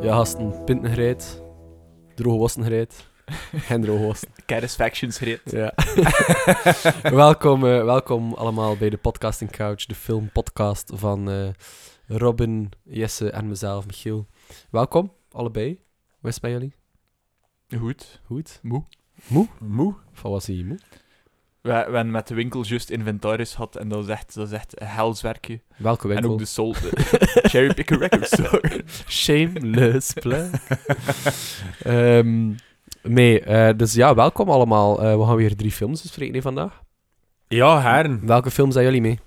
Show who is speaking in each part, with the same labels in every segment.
Speaker 1: Ja, gasten, pinten gereid. Droge wassen gereid. En droge wassen.
Speaker 2: Satisfactions reed.
Speaker 1: Ja. welkom, eh, welkom allemaal bij de Podcasting Couch, de filmpodcast van eh, Robin, Jesse en mezelf, Michiel. Welkom, allebei. Hoe is het bij jullie?
Speaker 2: Goed.
Speaker 1: Goed?
Speaker 2: Moe.
Speaker 1: Moe?
Speaker 2: Moe.
Speaker 1: Van was hier moe?
Speaker 2: We, we hebben met de winkel juist inventaris gehad en dat is echt, dat is echt een helswerkje.
Speaker 1: Welke
Speaker 2: En
Speaker 1: winkel?
Speaker 2: ook de soul... de Cherry Picker Record Store.
Speaker 1: Shameless plug. Ehm, nee, eh, dus ja, welkom allemaal. Eh, we gaan weer drie films bespreken hè, vandaag.
Speaker 3: Ja, heren.
Speaker 1: Welke films zijn jullie mee?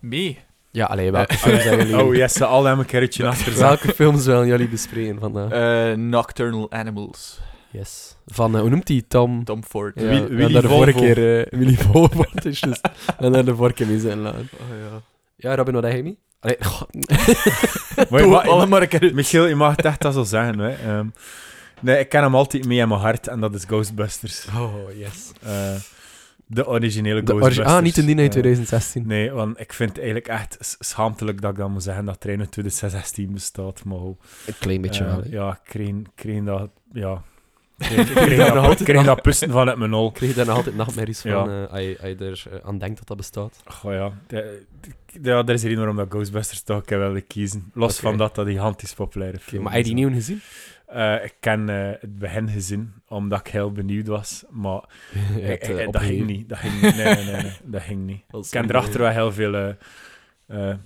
Speaker 2: Mee.
Speaker 1: Ja, alleen welke films zijn jullie
Speaker 3: Oh, yes, al hebben een keertje achter zijn.
Speaker 1: Welke films willen jullie bespreken vandaag?
Speaker 2: Eh, Nocturnal Animals.
Speaker 1: Yes. Van, eh, hoe noemt hij? Tom...
Speaker 2: Tom Ford.
Speaker 1: Ja,
Speaker 3: Wil-
Speaker 1: we
Speaker 3: Willy
Speaker 1: hebben daar de vorige
Speaker 3: Volvo.
Speaker 1: keer... eh, Willy Volvo, het is juist. We hebben daar de vorige keer mee zijn laten.
Speaker 2: Oh, ja.
Speaker 1: Ja, Robin, wat heb je mee? Allee, god.
Speaker 3: Maar je
Speaker 2: Doe
Speaker 3: mag- je
Speaker 2: allemaal een keer-
Speaker 3: mag- Michiel, je mag het echt dat zo zeggen. Hè. Ehm, nee, ik ken hem altijd mee in mijn hart en dat is Ghostbusters.
Speaker 1: Oh, yes.
Speaker 3: Eh, de originele
Speaker 1: De origi-
Speaker 3: Ghostbusters.
Speaker 1: ah, niet in die uit
Speaker 3: Eh,
Speaker 1: 2016.
Speaker 3: Nee, want ik vind het eigenlijk echt s- schaamtelijk dat ik dan moet zeggen dat Trein uit 2016 bestaat. Maar hoe-
Speaker 1: Een klein beetje
Speaker 3: eh,
Speaker 1: wel. hè.
Speaker 3: Ja, ik kreeg, kreeg dat... Ja.
Speaker 1: Ik
Speaker 3: Ik kreeg dat,
Speaker 1: nog
Speaker 3: ik kreeg
Speaker 1: altijd-
Speaker 3: dat pusten vanuit mijn hol.
Speaker 1: Ik kreeg daar nog altijd nachtmerries
Speaker 3: Ja.
Speaker 1: van, eh, als je- als je er eh, aan denkt dat dat bestaat.
Speaker 3: Goh, ja. De- de- ja, er is een reden waarom dat Ghostbusters toch een keer wilde kiezen. Los
Speaker 1: Oké.
Speaker 3: van dat dat een gigantisch populaire film
Speaker 1: maar heb je die
Speaker 3: is, hè.
Speaker 1: nieuwe gezien?
Speaker 3: Eh, ik ken eh, het begin gezien, omdat ik heel benieuwd was. Maar ik-
Speaker 1: eh,
Speaker 3: ik- eh, dat ging niet. Dat ging niet. Nee, nee, nee, nee, dat ging niet. Ik ken erachter wel heel veel eh, eh,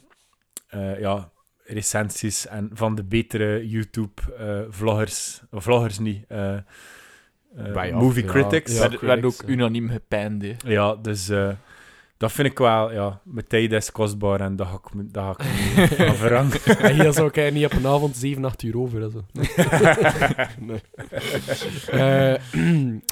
Speaker 3: eh, ja, recensies en van de betere YouTube-vloggers. vloggers niet. eh, eh,
Speaker 1: Bij- ja,
Speaker 3: movie
Speaker 1: ja,
Speaker 3: critics.
Speaker 1: ja.
Speaker 3: Ja,
Speaker 2: Werd, werd
Speaker 1: correct,
Speaker 2: ook
Speaker 1: ja.
Speaker 2: unaniem gepeind, hè.
Speaker 3: dus eh, dat vind ik wel... Ja, mijn tijd is kostbaar en dat ga ik, me- dat ga ik me niet aan veranderen.
Speaker 1: En hier zou ik eigenlijk niet op een avond 7, 8 uur over. en Zo. nee. Eh,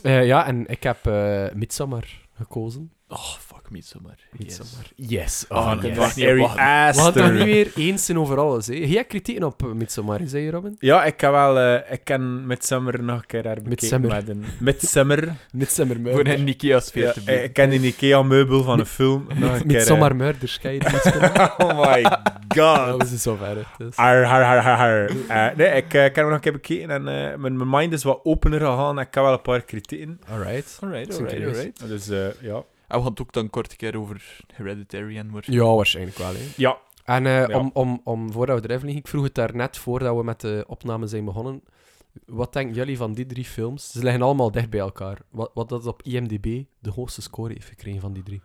Speaker 1: eh, ja, en ik heb eh Midsommar gekozen.
Speaker 2: Oh, fuck Midsommar. Yes.
Speaker 1: Midsommar. Yes.
Speaker 2: Oh,
Speaker 1: Ah,
Speaker 2: dat
Speaker 1: yes.
Speaker 2: was-
Speaker 3: Ari
Speaker 1: We gaan het daar
Speaker 3: Aster.
Speaker 1: nu weer eens zijn over alles. Hè. Jij hebt kritieken op eh, Midsommar, hè, zei je Robin?
Speaker 3: Ja, ik kan wel... eh, ik ken Midsummer nog een keer herbekeken.
Speaker 1: Midsummer.
Speaker 3: met een- Midsummer.
Speaker 1: Midsommar
Speaker 2: Voor een Ikea sfeer
Speaker 3: Ja,
Speaker 2: te
Speaker 3: eh,
Speaker 2: bieden.
Speaker 3: ik ken die Ikea-meubel van een film.
Speaker 1: Nou,
Speaker 3: Nog een keer,
Speaker 1: Midsommar Murders, kan je het niet spelen?
Speaker 3: eh. Oh my
Speaker 1: Dat
Speaker 3: god.
Speaker 1: is zover. hè. Dus.
Speaker 3: Har, har, har, har, har. Eh, nee, ik eh, kan hem nog een keer bekeken en eh, mijn, mijn mind is wat opener gegaan. en Ik heb wel een paar kritieken.
Speaker 1: Alright.
Speaker 2: Alright,
Speaker 1: Zijn
Speaker 2: alright,
Speaker 1: curieus.
Speaker 2: alright.
Speaker 3: Dus eh, ja.
Speaker 2: En Ah, we gaan het ook dan kort een keer over Hereditary en waar...
Speaker 1: Ja, waarschijnlijk wel. Hè.
Speaker 3: Ja,
Speaker 1: En eh,
Speaker 3: Ja.
Speaker 1: om, om, om, voordat we erin vliegen, ik vroeg het daarnet, voordat we met de opname zijn begonnen, wat denken jullie van die drie films? Ze liggen allemaal dicht bij elkaar. Wat, wat dat op IMDb de hoogste score heeft gekregen van die drie?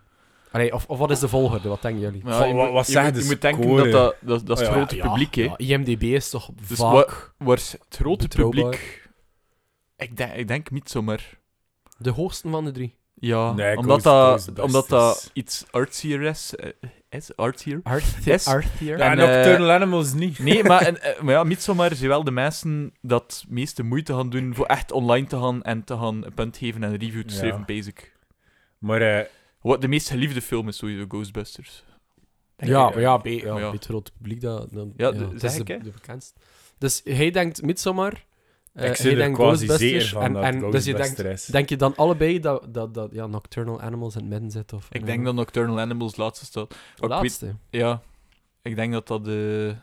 Speaker 1: Allee, of, of wat is de volgorde? Wat denken jullie?
Speaker 2: Maar
Speaker 3: Goh,
Speaker 2: je
Speaker 3: wa-
Speaker 2: moet-
Speaker 3: wat
Speaker 2: je
Speaker 3: zeggen
Speaker 2: moet-
Speaker 3: de
Speaker 2: Je moet denken
Speaker 3: score?
Speaker 2: dat dat, dat, dat is het
Speaker 3: Oh ja,
Speaker 2: grote publiek, hè.
Speaker 1: Ja, IMDb is toch
Speaker 2: Dus
Speaker 1: vaak...
Speaker 2: Waar is het grote
Speaker 1: Betrouwbaar.
Speaker 2: publiek... Ik denk, ik denk Midsommar.
Speaker 1: De hoogste van de drie.
Speaker 2: Ja,
Speaker 3: Nee, ik
Speaker 2: omdat,
Speaker 3: hoor
Speaker 2: dat,
Speaker 3: het
Speaker 2: omdat
Speaker 3: Ghostbusters.
Speaker 2: dat iets artsier is. eh, is artsier?
Speaker 1: Arthur.
Speaker 2: Yes.
Speaker 1: Arthur.
Speaker 2: Ja.
Speaker 3: en,
Speaker 2: en, eh,
Speaker 3: Nocturnal Animals niet.
Speaker 2: Nee, maar, en, eh, maar ja, Midsommar zijn wel de mensen dat het meeste moeite gaan doen voor echt online te gaan en te gaan een punt geven en een review te
Speaker 3: Ja.
Speaker 2: schrijven, basic.
Speaker 3: Maar eh,
Speaker 2: Wat de meest geliefde film is sowieso Ghostbusters. Denk
Speaker 1: Ja,
Speaker 2: ik.
Speaker 1: maar ja, bij, ja,
Speaker 2: Ja.
Speaker 1: bij het grote publiek, dat, dan,
Speaker 2: Ja, de-
Speaker 1: dat
Speaker 2: zeg
Speaker 1: is
Speaker 2: ik,
Speaker 1: de,
Speaker 2: hè.
Speaker 1: de bekendste. Dus hij denkt Midsommar, eh,
Speaker 3: ik
Speaker 1: hij
Speaker 3: zit er
Speaker 1: denkt
Speaker 3: quasi zeer
Speaker 1: Ghostbusters,
Speaker 3: van
Speaker 1: en,
Speaker 3: dat
Speaker 1: en dus je
Speaker 3: Ghostbusters
Speaker 1: denkt
Speaker 3: is.
Speaker 1: Denk je dan allebei dat, dat, dat ja, Nocturnal Animals in het midden zit? Of, eh,
Speaker 2: Ik denk dat Nocturnal Animals laatste staat.
Speaker 1: de
Speaker 2: ik
Speaker 1: laatste.
Speaker 2: Ja, ik denk dat dat de...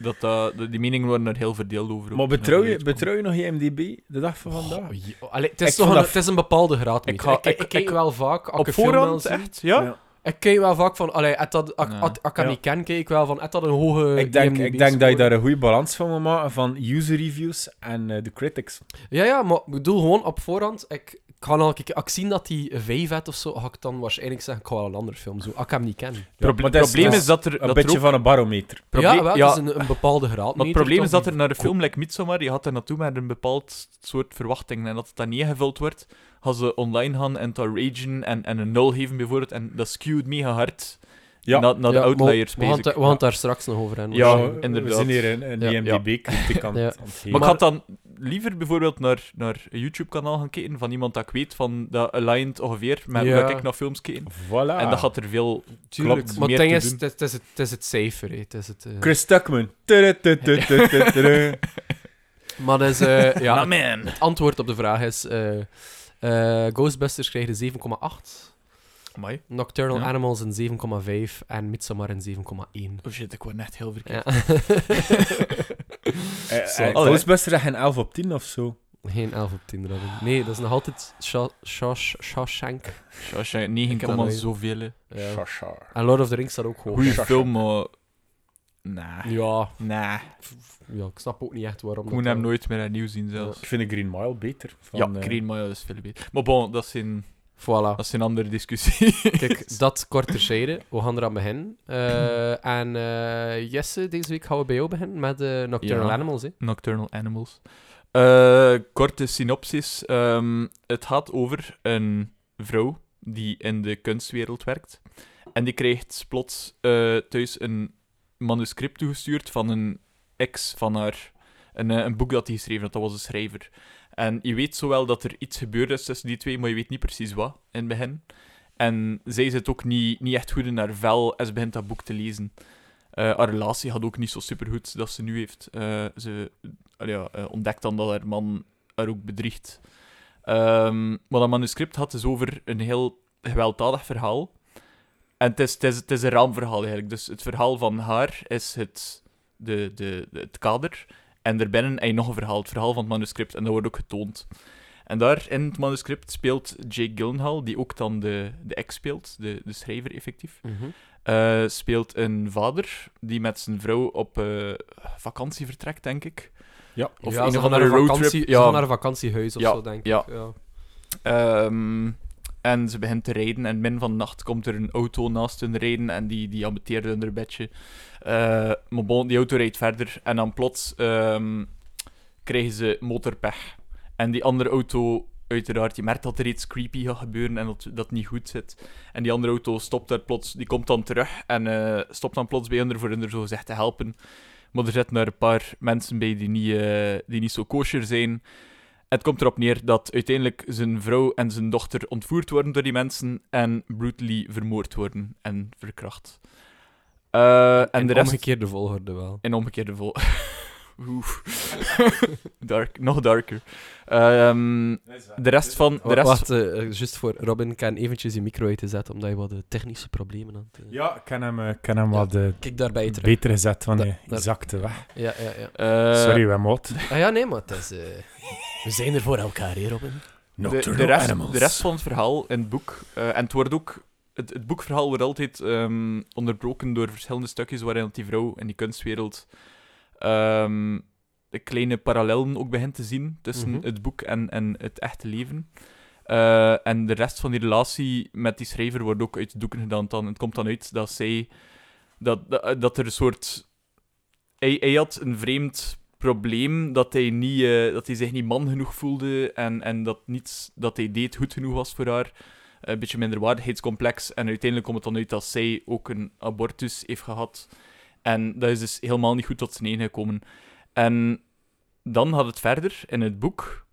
Speaker 2: Dat, dat, de- die meningen worden er heel verdeeld over.
Speaker 3: Maar betrouw je,
Speaker 2: Over-
Speaker 3: betrouw je nog IMDb de dag van vandaag?
Speaker 1: Oh, je- allee, het, is
Speaker 3: Ik
Speaker 1: toch
Speaker 3: vond
Speaker 1: een,
Speaker 3: dat-
Speaker 1: het is een bepaalde graad.
Speaker 2: Ik
Speaker 1: Ik,
Speaker 2: ga-
Speaker 1: ik, ik,
Speaker 2: ik-
Speaker 1: kijk
Speaker 2: ik-
Speaker 1: wel vaak. Als ik
Speaker 2: Op
Speaker 1: een film wil
Speaker 2: voorhand,
Speaker 1: zien,
Speaker 2: echt? Ja?
Speaker 1: Ik kijk wel vaak van. Allee, had dat, als
Speaker 2: Ja.
Speaker 1: als- als ik hem
Speaker 3: Ja.
Speaker 1: niet ken, kijk ik wel van. had dat een hoge.
Speaker 3: Ik denk,
Speaker 1: IMDb
Speaker 3: ik denk dat je
Speaker 1: score?
Speaker 3: daar een goede balans van moet maken van user reviews en eh, de critics.
Speaker 1: Ja, ja, maar ik bedoel gewoon op voorhand. Ik, ik ga al kijken. Als ik zie dat hij een 5 had of zo, ga ik dan waarschijnlijk zeggen: ik ga wel een andere film zo Als ik hem niet ken.
Speaker 2: Proble-
Speaker 3: maar dat is-
Speaker 2: probleem
Speaker 3: dat
Speaker 2: is,
Speaker 3: is
Speaker 2: dat er...
Speaker 3: Een
Speaker 2: dat er
Speaker 3: beetje
Speaker 2: ook-
Speaker 3: van een barometer.
Speaker 2: probleem-
Speaker 1: ja, wel,
Speaker 2: ja,
Speaker 1: dat is een, een bepaalde graad.
Speaker 2: Maar het probleem is dat er naar een film like Midsommar, je had er naartoe met een bepaald soort verwachting. En dat het dan niet ingevuld wordt, gaan ze online gaan en daar ragen en, en een nul geven bijvoorbeeld. En dat skewt mega hard
Speaker 3: Ja.
Speaker 2: naar, naar de outliers,
Speaker 1: We gaan het-
Speaker 2: basic.
Speaker 1: we gaan het daar straks nog over hebben.
Speaker 2: Ja,
Speaker 1: waarschijnlijk.
Speaker 3: We
Speaker 2: inderdaad.
Speaker 3: zijn hier een, een
Speaker 1: Ja.
Speaker 3: IMDb-critic aan
Speaker 1: Ja.
Speaker 3: het- aan het geven.
Speaker 2: Maar,
Speaker 1: Maar-
Speaker 2: ik had dan liever bijvoorbeeld naar, naar een YouTube-kanaal gaan kijken van iemand dat ik weet van dat aligned ongeveer met
Speaker 1: Ja. Ah.
Speaker 2: hoe dat ik naar films kijk.
Speaker 3: Voilà.
Speaker 2: En dat gaat er veel...
Speaker 1: Tuurlijk,
Speaker 2: Klopt,
Speaker 1: maar
Speaker 2: meer
Speaker 1: het ding
Speaker 2: te
Speaker 1: is,
Speaker 2: doen.
Speaker 1: het is- het is het- het is het cijfer, hè. het is het... eh.
Speaker 3: Chris Tuckman. Tudu, tudu, tudu, tudu, tudu.
Speaker 1: Maar dus, eh, ja,
Speaker 2: Ja,
Speaker 1: het-
Speaker 2: man!
Speaker 1: het antwoord op de vraag is... eh, eh, Ghostbusters krijgt een 7,8.
Speaker 2: Amai.
Speaker 1: Nocturnal
Speaker 2: Ja.
Speaker 1: Animals een 7,5. En Midsommar een 7,1.
Speaker 2: Oh shit, ik word net heel verkeerd.
Speaker 1: Ja. Zo.
Speaker 3: Eh, eh,
Speaker 2: Allee.
Speaker 3: Ghostbusters had geen 11 op 10 of zo.
Speaker 1: Geen 11 op 10, Robin. Nee, dat is nog altijd Sha- Sha- Sha- Shawshank.
Speaker 2: Als je niet ging
Speaker 1: Ik
Speaker 2: komen,
Speaker 1: kan dat
Speaker 2: zoveel.
Speaker 1: Ja.
Speaker 3: Shashar.
Speaker 1: En Lord of the Rings staat ook hoog.
Speaker 2: Goeie
Speaker 3: Shawshank.
Speaker 2: film, maar... Nah.
Speaker 1: Ja,
Speaker 2: Nah.
Speaker 1: ja, ik snap ook niet echt waarom.
Speaker 2: Ik
Speaker 1: dat
Speaker 2: moet hem
Speaker 1: wel-
Speaker 2: nooit meer nieuw zien, zelfs.
Speaker 3: Ik vind de Green Mile beter. Van,
Speaker 2: Ja,
Speaker 3: eh,
Speaker 2: Green Mile is veel beter. Maar bon, dat is een,
Speaker 1: Voilà.
Speaker 2: dat is een andere discussie.
Speaker 1: Kijk, dat kort terzijde. We gaan eraan beginnen. Eh, en eh, Jesse, deze week gaan we bij jou beginnen met eh, Nocturnal
Speaker 2: Ja.
Speaker 1: Animals. Hè.
Speaker 2: Nocturnal Animals. Eh, korte synopsis. Ehm, het gaat over een vrouw die in de kunstwereld werkt. En die krijgt plots eh, thuis een manuscript toegestuurd van een ex van haar. Een, eh, een boek dat hij geschreven had, dat was een schrijver. En je weet zowel dat er iets gebeurd is tussen die twee, maar je weet niet precies wat in het begin. En zij zit ook niet, niet echt goed in haar vel en ze begint dat boek te lezen. Eh, haar relatie had ook niet zo super goed dat ze nu heeft. Eh, ze allee, ja, eh, ontdekt dan dat haar man haar ook bedriegt. Ehm wat dat manuscript had is over een heel gewelddadig verhaal. En het is, het, is, het is een raamverhaal eigenlijk. Dus het verhaal van haar is het, de, de, de- het kader. En daarbinnen heb je nog een verhaal, het verhaal van het manuscript. En dat wordt ook getoond. En daar in het manuscript speelt Jake Gyllenhaal, die ook dan de, de ex speelt, de, de schrijver effectief. Eh, speelt een vader die met zijn vrouw op eh, vakantie vertrekt, denk ik.
Speaker 3: Ja.
Speaker 2: Of
Speaker 1: Ja,
Speaker 2: een
Speaker 1: ze
Speaker 2: of
Speaker 1: gaan naar
Speaker 2: andere
Speaker 1: een
Speaker 2: roadtrip.
Speaker 1: vakantie-
Speaker 2: Ja.
Speaker 1: Ze gaan naar een vakantiehuis of
Speaker 2: Ja,
Speaker 1: zo, denk
Speaker 2: ja.
Speaker 1: ik. Ja.
Speaker 2: Ehm, en ze begint te rijden en min van de nacht komt er een auto naast hun rijden en die, die ambeteert hun er een beetje. Eh, maar bon, die auto rijdt verder en dan plots ehm, krijgen ze motorpech. En die andere auto, uiteraard, je merkt dat er iets creepy gaat gebeuren en dat dat niet goed zit. En die andere auto stopt daar plots, die komt dan terug en eh, stopt dan plots bij hun voor hun er zo gezegd te helpen. Maar er zitten daar een paar mensen bij die niet, eh, die niet zo kosher zijn. Het komt erop neer dat uiteindelijk zijn vrouw en zijn dochter ontvoerd worden door die mensen en brutally vermoord worden en verkracht. Eh, en de rest...
Speaker 1: omgekeerde volgorde wel.
Speaker 2: In omgekeerde vol. Oeh. Dark, nog darker. Ehm, de rest van. De
Speaker 1: Wa-
Speaker 2: rest...
Speaker 1: Wacht, eh, eh, juist voor Robin, kan eventjes je micro uit te zetten, omdat je wat eh, technische problemen had. eh.
Speaker 3: Ja, ik kan hem, eh, ik kan hem wat eh,
Speaker 1: Kijk daarbij terug.
Speaker 3: beter gezet, want
Speaker 1: Da-
Speaker 3: hij
Speaker 1: daar-
Speaker 3: zakte weg.
Speaker 1: Ja, ja, ja.
Speaker 2: eh,
Speaker 3: Sorry, wij mot.
Speaker 1: Ah ja, nee, maar het is... eh, we zijn er voor elkaar, hè, Robin?
Speaker 2: de, de, rest, de rest van het verhaal in het boek. eh, en het wordt ook. Het, het boekverhaal wordt altijd ehm, onderbroken door verschillende stukjes waarin die vrouw in die kunstwereld. ehm, de kleine parallellen ook begint te zien tussen
Speaker 1: Mhm.
Speaker 2: het boek en, en het echte leven. Eh, en de rest van die relatie met die schrijver wordt ook uit de doeken gedaan. Dan. Het komt dan uit dat zij. Dat, dat, dat er een soort. Hij, hij had een vreemd probleem dat hij, niet, eh, dat hij zich niet man genoeg voelde en, en dat niets dat hij deed goed genoeg was voor haar. eh, Een beetje minderwaardigheidscomplex. En uiteindelijk komt het dan uit dat zij ook een abortus heeft gehad. En dat is dus helemaal niet goed tot zijn eigen gekomen. En dan had het verder in het boek.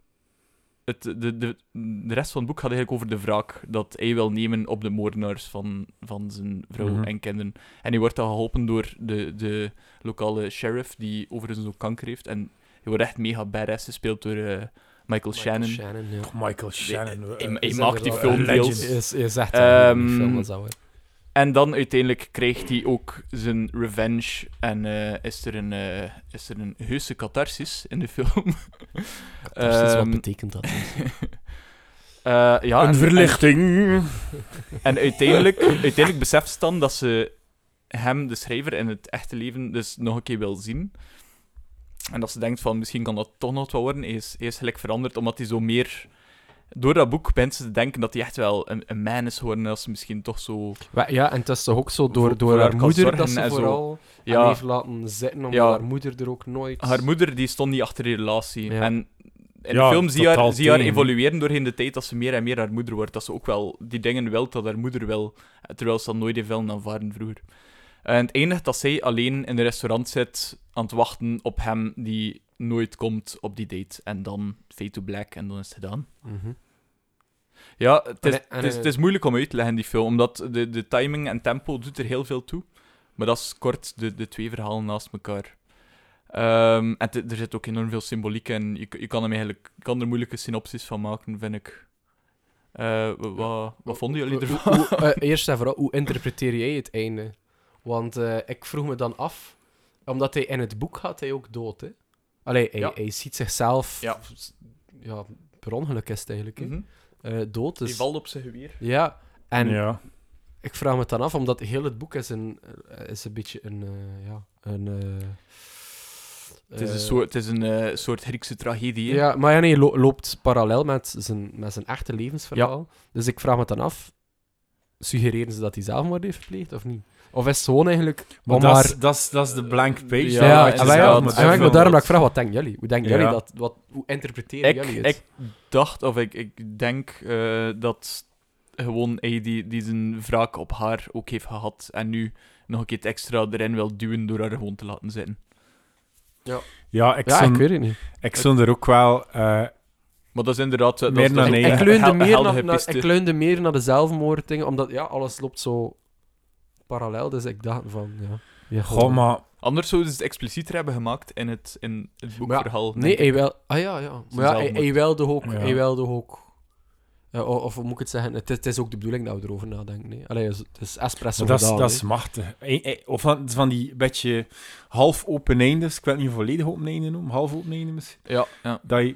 Speaker 2: Het, de, de, de rest van het boek gaat eigenlijk over de wraak dat hij wil nemen op de moordenaars van, van zijn vrouw
Speaker 3: Mhm.
Speaker 2: en kinderen. En hij wordt dan geholpen door de, de lokale sheriff, die overigens ook kanker heeft. En hij wordt echt mega badass gespeeld door eh, Michael, Shannon.
Speaker 1: ja.
Speaker 3: Michael Shannon.
Speaker 2: hij-
Speaker 3: eh,
Speaker 2: hij
Speaker 1: Is
Speaker 2: maakt die
Speaker 1: inderdaad-
Speaker 2: film
Speaker 1: eh,
Speaker 2: deels.
Speaker 1: legend. Is, is echt
Speaker 2: Ehm,
Speaker 1: een film, dat zou
Speaker 2: En dan uiteindelijk krijgt hij ook zijn revenge en eh, is, er een, eh, is er een heuse catharsis in de film.
Speaker 1: dus Wat
Speaker 2: ehm,
Speaker 1: betekent dat?
Speaker 2: Eh,
Speaker 1: Ah,
Speaker 2: ja, en-
Speaker 3: Een verlichting.
Speaker 2: En, en uiteindelijk, uiteindelijk beseft ze dan dat ze hem, de schrijver, in het echte leven dus nog een keer wil zien. En dat ze denkt van, misschien kan dat toch nog wat worden. Hij is, hij is gelijk veranderd, omdat hij zo meer... Door dat boek begint ze te denken dat hij echt wel een, een man is geworden. en Dat ze misschien toch zo...
Speaker 1: Maar ja, en het is toch ook zo door,
Speaker 2: Voor-
Speaker 1: door
Speaker 2: voor haar
Speaker 1: haar
Speaker 2: kan
Speaker 1: moeder
Speaker 2: zorgen
Speaker 1: dat ze
Speaker 2: en zo.
Speaker 1: vooral
Speaker 2: Ja.
Speaker 1: hem heeft laten zitten, omdat
Speaker 2: Ja.
Speaker 1: haar moeder er ook nooit...
Speaker 2: Haar moeder die stond niet achter die relatie.
Speaker 1: Ja.
Speaker 2: En in
Speaker 3: Ja,
Speaker 2: de film zie je haar,
Speaker 3: totaal
Speaker 2: zie je haar
Speaker 3: tegen.
Speaker 2: evolueren doorheen de tijd dat ze meer en meer haar moeder wordt. Dat ze ook wel die dingen wil dat haar moeder wil. Terwijl ze dat nooit heeft willen aanvaarden vroeger. En het eindigt dat zij alleen in een restaurant zit aan het wachten op hem die nooit komt op die date. En dan fade to black en dan is het gedaan.
Speaker 1: Mhm.
Speaker 2: Ja, het is,
Speaker 1: En- en-
Speaker 2: het is, het is moeilijk om uit te leggen, die film. Omdat de, de timing en tempo doet er heel veel toe. Maar dat is kort de, de twee verhalen naast elkaar. Ehm, en te- er zit ook enorm veel symboliek in. Je, k- je kan, hem eigenlijk, je kan er moeilijke synopsis van maken, vind ik. Eh, wa- wa- wat vonden jullie
Speaker 1: Hoe-
Speaker 2: ervan?
Speaker 1: hoe- eh, eerst en vooral, hoe interpreteer jij het einde? Want eh, ik vroeg me dan af, omdat hij in het boek gaat hij ook dood, hè? Allee, hij,
Speaker 2: Ja.
Speaker 1: hij ziet zichzelf...
Speaker 2: Ja.
Speaker 1: ja, per ongeluk is het eigenlijk, hè.
Speaker 2: Mhm.
Speaker 1: Eh, dood.
Speaker 2: Die
Speaker 1: Dus...
Speaker 2: valt op zijn geweer.
Speaker 1: Ja, en
Speaker 3: ja.
Speaker 1: ik vraag me het dan af, omdat heel het boek is een, eh, is een beetje een... eh, ja, een eh,
Speaker 2: Het is een
Speaker 1: eh,
Speaker 2: soort, het is een, eh, soort Griekse tragedie. hè.
Speaker 1: Ja, maar ja, nee, lo- loopt parallel met zijn, met zijn echte levensverhaal. Dus ik vraag me dan af, suggereren ze dat hij zelfmoord heeft gepleegd of niet? Of is het gewoon eigenlijk...
Speaker 3: Maar
Speaker 1: om
Speaker 3: dat
Speaker 1: maar-
Speaker 3: is- dat is- dat is de blank page.
Speaker 1: Ja,
Speaker 2: Ja,
Speaker 1: ja,
Speaker 2: het
Speaker 1: en
Speaker 2: is
Speaker 1: wij-
Speaker 2: wel
Speaker 1: en
Speaker 2: moet
Speaker 1: wij-
Speaker 2: zeggen
Speaker 1: maar daarom dat
Speaker 2: dat-
Speaker 1: ik vraag, wat denken jullie? Hoe denken jullie
Speaker 3: Ja.
Speaker 1: dat? Wat, hoe interpreteren
Speaker 2: Ik,
Speaker 1: jullie het?
Speaker 2: ik dacht, of ik, ik denk eh, dat gewoon hij die, die zijn wraak op haar ook heeft gehad. En nu nog een keer het extra erin wil duwen door haar gewoon te laten zitten.
Speaker 3: Ja, ik
Speaker 1: ja,
Speaker 3: zou
Speaker 1: ik weet het niet.
Speaker 3: ik zou er ook wel... eh,
Speaker 2: Maar dat is inderdaad... eh, Dat
Speaker 3: Meer
Speaker 2: is- dat
Speaker 3: dan
Speaker 2: is-
Speaker 3: Ah, nee.
Speaker 1: ik,
Speaker 3: één.
Speaker 1: leunde
Speaker 2: hel-
Speaker 1: meer
Speaker 2: heldige
Speaker 1: naar, naar-
Speaker 2: piste.
Speaker 1: ik leunde meer naar de zelfmoorddingen, omdat ja, alles loopt zo parallel. Dus ik dacht van, ja... ja
Speaker 3: goh, maar...
Speaker 2: Anders zouden ze het explicieter hebben gemaakt in het, in het boekverhaal.
Speaker 1: Nee,
Speaker 2: denk ik.
Speaker 1: hij wil... Ah ja, ja. Maar ja, hij,
Speaker 2: zelfmoord.
Speaker 1: hij wilde ook...
Speaker 3: Ja.
Speaker 1: Hij wilde ook ja, o- of hoe moet ik het zeggen? Het is, het is ook de bedoeling dat we erover nadenken. Nee? Allee, het is- het is espresso
Speaker 3: Maar dat, is,
Speaker 1: gedaan,
Speaker 3: dat
Speaker 1: hè.
Speaker 3: is machtig. Eén- één- Of van, van die beetje half open eindes, ik wil het niet volledig open einde noemen, half open einde misschien,
Speaker 2: Ja, ja.
Speaker 3: dat je,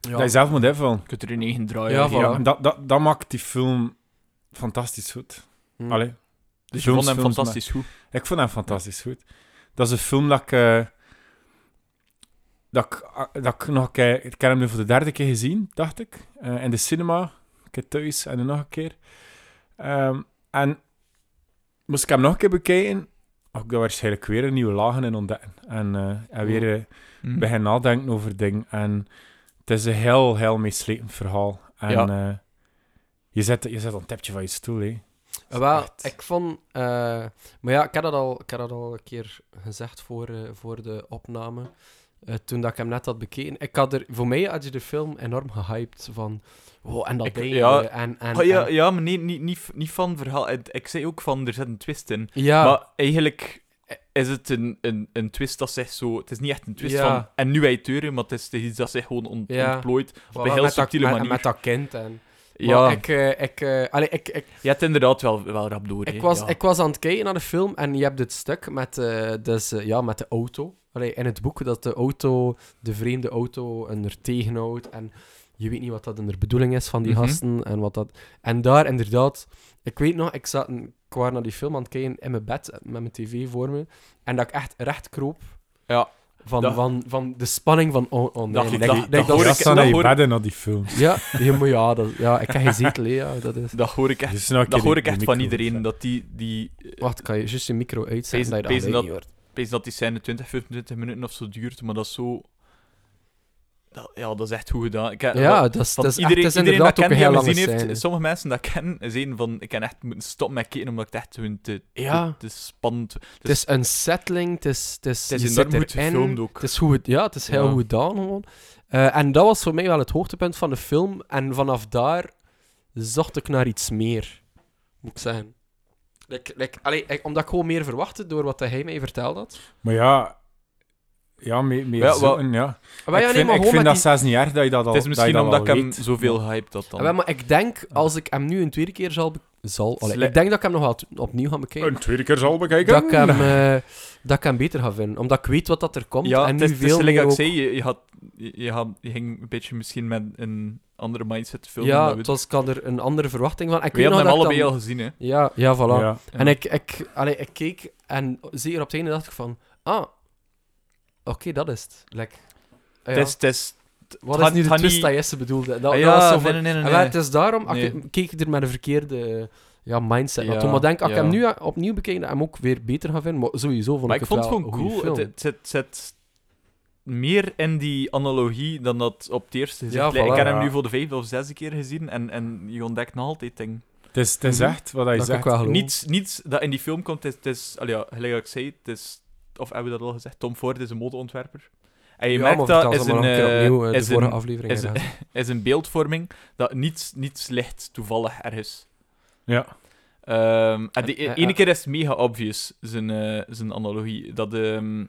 Speaker 1: Ja.
Speaker 3: dat je zelf moet hebben.
Speaker 2: Je kunt er in één draaien.
Speaker 1: Ja,
Speaker 2: Ja,
Speaker 1: voilà.
Speaker 3: Ja, en dat, dat, dat maakt die film fantastisch goed.
Speaker 1: Hm.
Speaker 3: Allee,
Speaker 2: Dus je
Speaker 3: Films,
Speaker 2: vond hem
Speaker 3: films,
Speaker 2: fantastisch goed.
Speaker 3: ik vond hem fantastisch goed. Dat is een film dat ik... eh, dat ik, ah, dat ik nog een keer... Ik heb hem nu voor de derde keer gezien, dacht ik. eh, in de cinema, een keer thuis en dan nog een keer. Ehm, en moest ik hem nog een keer bekijken, had ik daar waarschijnlijk weer een nieuwe lagen in ontdekken. En, eh, en weer... eh,
Speaker 2: Mhm.
Speaker 3: begin nadenken over dingen. En het is een heel, heel meeslepend verhaal. En
Speaker 2: Ja.
Speaker 3: eh, je, zet, je zet een tipje van je stoel, hè.
Speaker 1: Eh, wel,
Speaker 3: echt.
Speaker 1: ik vond... eh, maar ja, ik had dat al, ik had dat al een keer gezegd voor, eh, voor de opname. eh, toen dat ik hem net had bekeken. Ik had er, voor mij had je de film enorm gehyped. Van, wow, en dat
Speaker 2: Ik-
Speaker 1: ding.
Speaker 2: ja.
Speaker 1: eh, en, en,
Speaker 2: Ah, ja,
Speaker 1: en-
Speaker 2: ja, maar nee, niet, niet, niet van verhaal. Ik, ik zei ook van, er zit een twist in.
Speaker 1: ja.
Speaker 2: Maar eigenlijk is het een, een, een twist dat zegt zo... Het is niet echt een twist
Speaker 1: Ja.
Speaker 2: van... En nu wij teuren, maar het is, het is iets dat zich gewoon ont-
Speaker 1: Ja.
Speaker 2: ontplooit.
Speaker 1: voilà,
Speaker 2: een heel
Speaker 1: met dat-
Speaker 2: subtiele
Speaker 1: met-
Speaker 2: manier.
Speaker 1: Met dat kind. En,
Speaker 2: Ja,
Speaker 1: Maar ik, eh, ik, eh, allee, ik, ik,
Speaker 2: je hebt inderdaad wel, wel rap door. hè.
Speaker 1: Ik was,
Speaker 2: Ja.
Speaker 1: ik was aan het kijken naar de film en je hebt dit stuk met, eh, dus, eh, ja, met de auto. Allee, in het boek dat de auto, de vreemde auto, een er tegenhoudt. En je weet niet wat dat in de bedoeling is van die
Speaker 2: Mhm.
Speaker 1: gasten. En, wat dat... en daar inderdaad, ik weet nog, ik zat een, ik was naar die film aan het kijken in mijn bed met mijn tv voor me. En dat ik echt recht kroop
Speaker 2: Ja.
Speaker 1: van,
Speaker 2: Dat-
Speaker 1: van, van de spanning van oh, oh nee.
Speaker 2: Dat-
Speaker 1: En ik
Speaker 2: dat-
Speaker 1: denk-
Speaker 2: dat
Speaker 1: denk
Speaker 2: hoor
Speaker 3: Ja,
Speaker 2: ik-
Speaker 3: staan
Speaker 2: dat
Speaker 3: aan je
Speaker 2: hoor-
Speaker 3: bedden naar die film.
Speaker 1: Ja, ja, maar ja, dat, ja, ik heb geen zetel, hè, ja, dat is...
Speaker 2: Dat hoor ik echt,
Speaker 3: Dus nou een
Speaker 2: dat
Speaker 3: keer
Speaker 2: hoor
Speaker 3: de-
Speaker 2: ik echt
Speaker 3: de
Speaker 2: van
Speaker 3: micro-
Speaker 2: iedereen, dat die... die eh,
Speaker 1: Wacht, kan je juist je micro
Speaker 2: Pees-
Speaker 1: uitzetten? dat je
Speaker 2: pees
Speaker 1: dat
Speaker 2: dat-
Speaker 1: niet hoort?
Speaker 2: Pees dat die scène 20, 25 minuten of zo duurt, maar dat is zo... Dat, ja, dat is echt goed gedaan. Ik, heb-
Speaker 1: Ja, dat is, dat
Speaker 2: Want
Speaker 1: is, echt-
Speaker 2: iedereen,
Speaker 1: dat is
Speaker 2: iedereen dat
Speaker 1: inderdaad ook een
Speaker 2: kent
Speaker 1: heel
Speaker 2: die hem
Speaker 1: lange
Speaker 2: gezien
Speaker 1: scène.
Speaker 2: heeft, sommige mensen dat kennen, zeiden van, ik kan echt moeten stoppen met kijken, omdat ik het echt gewoon te, te-
Speaker 1: Ja.
Speaker 2: te, spannend...
Speaker 1: Het is unsettling, het is... Het is,
Speaker 2: Het
Speaker 1: je
Speaker 2: is
Speaker 1: zit
Speaker 2: enorm goed
Speaker 1: erin,
Speaker 2: gefilmd ook.
Speaker 1: Het is, goed, ja, het is heel
Speaker 2: Ja.
Speaker 1: goed gedaan gewoon. Eh, en dat was voor mij wel het hoogtepunt van de film. En vanaf daar zocht ik naar iets meer, moet ik zeggen. Like, like, allee, ik- omdat ik gewoon meer verwachtte door wat hij mij verteld had.
Speaker 3: Maar ja... Ja, meer, meer
Speaker 2: Ja,
Speaker 3: ja,
Speaker 2: wel-
Speaker 3: ja.
Speaker 1: Maar Ah, ja,
Speaker 3: ik
Speaker 1: nee,
Speaker 3: vind,
Speaker 1: maar
Speaker 3: ik
Speaker 1: gewoon
Speaker 3: vind
Speaker 1: met
Speaker 3: dat zelfs niet erg dat je dat al
Speaker 2: het is misschien
Speaker 3: dat je dat
Speaker 2: omdat ik
Speaker 3: al
Speaker 2: hem
Speaker 3: weet.
Speaker 2: zoveel hype dat dan.
Speaker 1: Ja, Ah, maar ik denk, als ik hem nu een tweede keer zal... be- zal allee,
Speaker 2: Sle-
Speaker 1: ik denk dat ik hem nog wel t- opnieuw ga bekijken.
Speaker 3: Een tweede keer zal bekijken.
Speaker 1: Dat ik, hem, eh, dat ik hem beter ga vinden. Omdat ik weet wat dat er komt. en
Speaker 2: ja, het
Speaker 1: nu
Speaker 2: is, het is
Speaker 1: veel
Speaker 2: gelijk
Speaker 1: meer
Speaker 2: dat ik
Speaker 1: ook...
Speaker 2: zei, je, je, had, je, je had- je ging een beetje misschien met een andere mindset filmen.
Speaker 1: ja,
Speaker 2: dan we
Speaker 1: het was, ik had er een andere verwachting van. Ik
Speaker 2: we
Speaker 1: weet nog
Speaker 2: hadden hem
Speaker 1: dat ik
Speaker 2: allebei
Speaker 1: dan-
Speaker 2: al gezien, hè.
Speaker 1: Ja, ja, voilà.
Speaker 3: Ja.
Speaker 1: En ik, ik, allee, ik keek en zeker op het einde dacht ik van... Ah, oké, dat is het. Like, ah ja,
Speaker 2: Het is- het is...
Speaker 1: wat
Speaker 2: het
Speaker 1: is nu de
Speaker 2: gaat
Speaker 1: twist
Speaker 2: niet-
Speaker 1: dat Jesse bedoelde? Dat,
Speaker 2: Ah
Speaker 1: dat
Speaker 2: ja,
Speaker 1: was zo
Speaker 2: nee,
Speaker 1: van-
Speaker 2: nee, nee, nee,
Speaker 1: En wel,
Speaker 2: nee.
Speaker 1: het is daarom... ah,
Speaker 2: Nee.
Speaker 1: Ik keek ik er met een verkeerde eh, ja, mindset
Speaker 2: Ja,
Speaker 1: naartoe. Maar denk, als ik
Speaker 2: ja.
Speaker 1: hem nu eh, opnieuw bekijk, dat ik hem ook weer beter ga vinden. Maar sowieso vond
Speaker 2: Maar
Speaker 1: ik
Speaker 2: ik
Speaker 1: het
Speaker 2: vond het
Speaker 1: wel
Speaker 2: gewoon
Speaker 1: een goede
Speaker 2: cool.
Speaker 1: film.
Speaker 2: Het, het, zit- zit meer in die analogie dan dat op het eerste gezicht
Speaker 1: Ja,
Speaker 2: lijkt.
Speaker 1: voilà.
Speaker 2: Ik heb hem
Speaker 3: Ja.
Speaker 2: nu voor de vijfde of zesde keer gezien en, en je ontdekt nog altijd dingen.
Speaker 3: Het is, het is
Speaker 1: Mhm.
Speaker 3: echt wat hij
Speaker 1: Dat kan ik
Speaker 3: zegt.
Speaker 1: wel geloven.
Speaker 2: Niets, niets dat in die film komt, het is, het is allee, ja, gelijk dat ik zei, het is, of hebben we dat al gezegd, Tom Ford is een modeontwerper. En je
Speaker 1: Ja, maar
Speaker 2: merkt
Speaker 1: vertel
Speaker 2: dat
Speaker 1: ze
Speaker 2: is
Speaker 1: maar nog
Speaker 2: een,
Speaker 1: een keer
Speaker 2: eh,
Speaker 1: opnieuw, eh, de
Speaker 2: is
Speaker 1: vorige
Speaker 2: een-
Speaker 1: aflevering.
Speaker 2: is een-
Speaker 1: eraan.
Speaker 2: is een beeldvorming dat niets, niets ligt toevallig ergens.
Speaker 3: Ja.
Speaker 2: Ehm, en de
Speaker 1: Eh, eh,
Speaker 2: ene
Speaker 1: eh.
Speaker 2: keer is het mega obvious, zijn, eh, zijn analogie. Dat, ehm,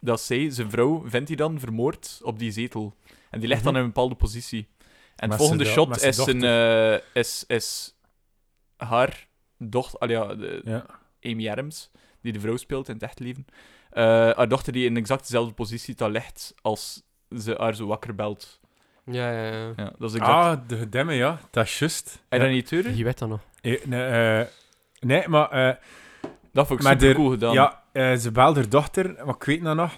Speaker 2: dat zij, zijn vrouw, vindt hij dan vermoord op die zetel. En die ligt dan
Speaker 1: Mhm.
Speaker 2: in een bepaalde positie. En
Speaker 3: Met
Speaker 2: het volgende
Speaker 3: zijn do- met
Speaker 2: shot
Speaker 3: zijn
Speaker 2: is, een, eh, is, is haar dochter, al ja, de-
Speaker 3: Ja.
Speaker 2: Amy Adams, die de vrouw speelt in het echt leven. Eh, haar dochter die in exact dezelfde positie daar ligt als ze haar zo wakker belt.
Speaker 1: Ja, ja, ja.
Speaker 2: Ja, dat is exact.
Speaker 3: Ah, de gedemme, ja. Dat is juist.
Speaker 2: en
Speaker 3: Ja.
Speaker 2: dan niet teuren?
Speaker 1: Je weet dat nog.
Speaker 3: Eh, nee, eh, nee, maar... eh,
Speaker 2: Dat vond ik
Speaker 3: Maar
Speaker 2: super
Speaker 3: er-
Speaker 2: cool gedaan.
Speaker 3: Ja, eh, ze belde haar dochter, maar ik weet dat nog.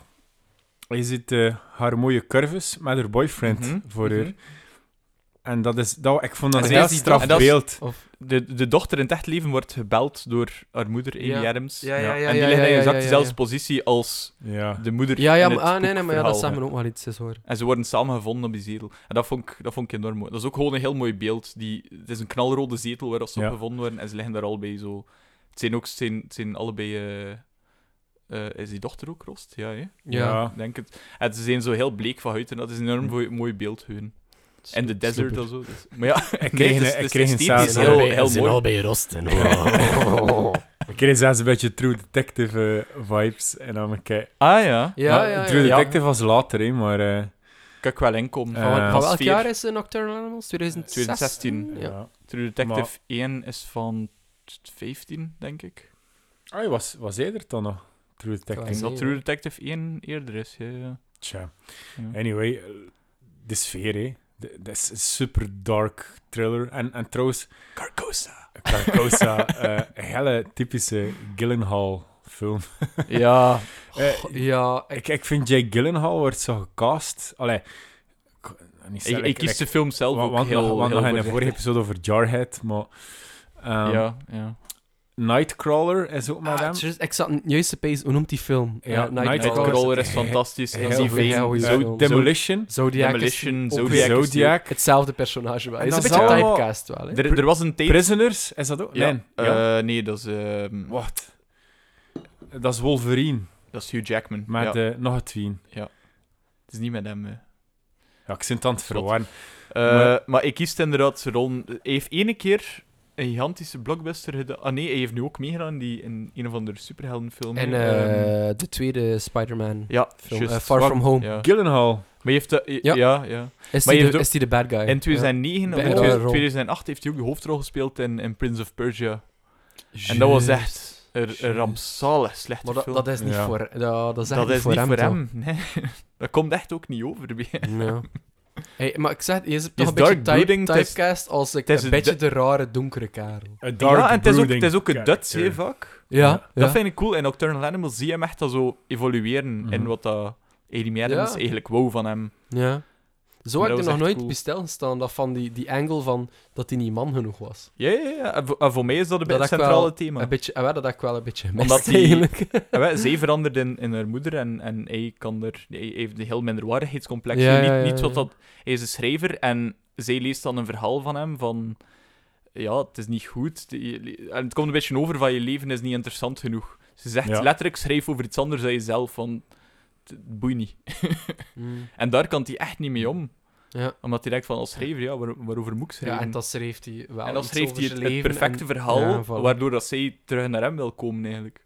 Speaker 3: Je ziet eh, haar mooie curves met haar boyfriend
Speaker 2: Mhm,
Speaker 3: voor
Speaker 2: mhm.
Speaker 3: haar. En dat is... Dat, ik vond dat
Speaker 1: En
Speaker 3: een
Speaker 1: zij is
Speaker 3: heel
Speaker 1: die
Speaker 3: straf
Speaker 2: en dat is-
Speaker 3: beeld.
Speaker 1: Of...
Speaker 2: De, de dochter in het echt leven wordt gebeld door haar moeder, Amy
Speaker 1: Ja.
Speaker 2: Adams.
Speaker 1: Ja, ja, ja,
Speaker 2: en die
Speaker 1: ja,
Speaker 2: ligt
Speaker 1: ja,
Speaker 2: in
Speaker 1: ja,
Speaker 2: exact
Speaker 1: ja, ja.
Speaker 2: dezelfde positie als
Speaker 3: Ja.
Speaker 2: de moeder
Speaker 1: Ja, ja,
Speaker 2: in
Speaker 1: maar,
Speaker 2: het
Speaker 1: ah, nee, nee, maar ja, dat
Speaker 2: boekverhaal. Eh,
Speaker 1: zegt me ook wel iets, is hoor.
Speaker 2: En ze worden samen gevonden op die zetel. En dat vond ik, dat vond ik enorm mooi. Dat is ook gewoon een heel mooi beeld. Die, het is een knalrode zetel waar ze
Speaker 3: Ja.
Speaker 2: op gevonden worden en ze liggen daar allebei zo. Het zijn, ook, het zijn, het zijn allebei. eh, eh, is die dochter ook rost? Ja, hè?
Speaker 1: Ja.
Speaker 2: Ik denk het. En ze zijn zo heel bleek van huid en dat is een
Speaker 3: Hm.
Speaker 2: enorm mooi, mooi beeld. Hun. En de desert en zo. dus- Maar ja,
Speaker 3: Ik kreeg,
Speaker 2: nee,
Speaker 3: een-
Speaker 2: het is-
Speaker 3: ik
Speaker 2: het
Speaker 3: kreeg een
Speaker 2: is
Speaker 3: zelfs...
Speaker 2: esthetisch heel, heel mooi.
Speaker 1: bij rosten.
Speaker 3: Ik kreeg zelfs een beetje True Detective eh, vibes. En dan een kei-
Speaker 2: Ah ja,
Speaker 1: Ja,
Speaker 3: Maar
Speaker 1: ja,
Speaker 3: True
Speaker 1: ja. ja.
Speaker 3: Detective was later, hè, maar... eh,
Speaker 2: kan ik wel inkomen.
Speaker 3: Eh,
Speaker 1: Van, wel- van
Speaker 2: Als
Speaker 1: welk
Speaker 2: sfeer.
Speaker 1: jaar is eh, Nocturnal Animals? 2016?
Speaker 2: 2016.
Speaker 1: Ja.
Speaker 3: ja.
Speaker 2: True Detective
Speaker 3: Maar-
Speaker 2: 1 is van 15, denk ik.
Speaker 3: Ah, je was, was eerder dan nog. True
Speaker 1: Ah,
Speaker 3: Detective.
Speaker 2: Is dat
Speaker 1: nee,
Speaker 2: True
Speaker 1: ja.
Speaker 2: Detective 1 eerder is? Ja, ja.
Speaker 3: Tja.
Speaker 2: Ja.
Speaker 3: Anyway, eh, de sfeer, hè. De- Dat is een super dark thriller. En, en trouwens,
Speaker 2: Carcosa.
Speaker 3: Carcosa, eh, een hele typische Gyllenhaal-film.
Speaker 2: Ja,
Speaker 3: Eh,
Speaker 1: Ja, ik-
Speaker 3: ik, ik vind Jake Gyllenhaal wordt zo gecast. Allee, ik,
Speaker 2: ik,
Speaker 3: niet zeggen,
Speaker 2: ik kies de film zelf
Speaker 3: wa-
Speaker 2: ook
Speaker 3: want
Speaker 2: heel,
Speaker 3: nog, want
Speaker 2: heel
Speaker 3: nog in de
Speaker 2: voorzichtig.
Speaker 3: vorige episode over Jarhead, maar... ehm,
Speaker 2: Ja, ja.
Speaker 3: Nightcrawler is ook met
Speaker 1: Ah,
Speaker 3: hem.
Speaker 1: juist- ik zat een juiste pace. Hoe noemt die film? Eh,
Speaker 3: Ja,
Speaker 1: Ja,
Speaker 3: Nightcrawler.
Speaker 1: Nightcrawler.
Speaker 2: Nightcrawler is fantastisch.
Speaker 3: Heel
Speaker 2: En die
Speaker 3: goed,
Speaker 2: veen-
Speaker 1: heel goed.
Speaker 2: zo-
Speaker 3: Eh,
Speaker 1: film.
Speaker 3: Demolition.
Speaker 1: Zodiac.
Speaker 2: Demolition,
Speaker 1: is ook
Speaker 2: Zodiac.
Speaker 1: weer
Speaker 3: Zodiac.
Speaker 1: Hetzelfde personage wel.
Speaker 3: En
Speaker 1: Het is een
Speaker 3: dat
Speaker 1: beetje
Speaker 3: is allemaal-
Speaker 1: typecast wel, hè?
Speaker 2: Er, er was een tijd...
Speaker 3: Prisoners, is dat ook?
Speaker 2: Ja,
Speaker 3: Nee.
Speaker 2: eh,
Speaker 3: ja.
Speaker 2: nee, dat is, ehm,
Speaker 3: Wat? Dat is Wolverine,
Speaker 2: dat is Hugh Jackman.
Speaker 3: met
Speaker 2: ja,
Speaker 3: eh, nog een tween.
Speaker 2: het is niet met hem. eh.
Speaker 3: Ja, ik zit het aan het
Speaker 2: Klopt.
Speaker 3: verwarren.
Speaker 2: Eh,
Speaker 3: Maar-
Speaker 2: maar... ik kies inderdaad Ron. Hij heeft ene keer een gigantische blockbuster gedaan. Ah nee, hij heeft nu ook meegedaan in die, in een of andere superheldenfilm.
Speaker 1: En
Speaker 2: Ehm,
Speaker 1: eh, de tweede Spider-Man
Speaker 2: ja,
Speaker 1: film,
Speaker 2: juist.
Speaker 1: eh, Far From Home.
Speaker 2: Ja.
Speaker 3: Gyllenhaal.
Speaker 2: Maar hij heeft dat... eh,
Speaker 1: Ja.
Speaker 2: Ja, ja.
Speaker 1: Is,
Speaker 2: Maar
Speaker 1: die
Speaker 2: je
Speaker 1: de,
Speaker 2: doet-
Speaker 1: is die de bad guy?
Speaker 2: In 2009 of
Speaker 1: Bij
Speaker 2: in
Speaker 1: een andere rol.
Speaker 2: 2008 heeft hij ook de hoofdrol gespeeld in, in Prince of Persia. En dat was echt een, een rampzalig slechte
Speaker 1: Maar dat,
Speaker 2: film.
Speaker 1: dat is niet
Speaker 3: Ja.
Speaker 1: voor... Ja, dat is, echt
Speaker 2: Dat
Speaker 1: niet
Speaker 2: is
Speaker 1: voor hem.
Speaker 2: Nee. Dat komt echt ook niet over. bij-
Speaker 1: toch? Ja. Hey, maar ik zeg, je is
Speaker 2: is
Speaker 1: toch een beetje
Speaker 2: dark
Speaker 1: type-
Speaker 2: brooding, het is-
Speaker 1: typecast als ik,
Speaker 2: het
Speaker 1: een
Speaker 2: is een
Speaker 1: beetje de rare donkere kerel.
Speaker 3: A dark
Speaker 2: Ja, en het is ook, het
Speaker 3: brooding eh.
Speaker 2: is ook een Dutch
Speaker 3: character.
Speaker 2: hè, vaak.
Speaker 1: Ja, ja.
Speaker 2: Dat vind ik cool. In Nocturnal Animals zie je hem echt al zo evolueren
Speaker 3: Mhm.
Speaker 2: in wat dat Amy Adams
Speaker 1: Ja.
Speaker 2: eigenlijk wou van hem.
Speaker 1: Ja. Zo
Speaker 2: Maar
Speaker 1: heb ik
Speaker 2: dat
Speaker 1: er nog
Speaker 2: was echt
Speaker 1: nooit
Speaker 2: cool.
Speaker 1: bij stilgestaan, dat van die, die angle van dat hij niet man genoeg was.
Speaker 2: Ja, ja, ja. En voor, en voor mij is dat een
Speaker 1: Dat
Speaker 2: beetje
Speaker 1: ik
Speaker 2: het centrale
Speaker 1: wel-
Speaker 2: thema.
Speaker 1: Een beetje, eh, dat had ik wel een beetje gemist,
Speaker 2: Omdat die-
Speaker 1: eigenlijk.
Speaker 2: En wij- zij verandert in, in haar moeder en, en hij, kan er, hij heeft een heel minderwaardigheidscomplex.
Speaker 1: Ja,
Speaker 2: niet,
Speaker 1: ja, ja,
Speaker 2: niet wat
Speaker 1: ja.
Speaker 2: dat, hij is een schrijver en zij leest dan een verhaal van hem van... Ja, het is niet goed. De- je- En het komt een beetje over van je leven is niet interessant genoeg. Ze zegt
Speaker 3: Ja.
Speaker 2: letterlijk, schrijf over iets anders dan jezelf, van het boeit niet.
Speaker 1: Mm.
Speaker 2: En daar kan hij echt niet mee om.
Speaker 1: Ja.
Speaker 2: Omdat hij denkt van, als schrijver, ja, waar- waarover moet ik
Speaker 1: ja,
Speaker 2: schrijven?
Speaker 1: en dan schreef hij wel
Speaker 2: En dan
Speaker 1: iets
Speaker 2: schreef
Speaker 1: over
Speaker 2: hij het,
Speaker 1: zijn
Speaker 2: het
Speaker 1: leven
Speaker 2: perfecte
Speaker 1: en-
Speaker 2: verhaal,
Speaker 1: Ja, voilà.
Speaker 2: waardoor dat zij terug naar hem wil komen, eigenlijk.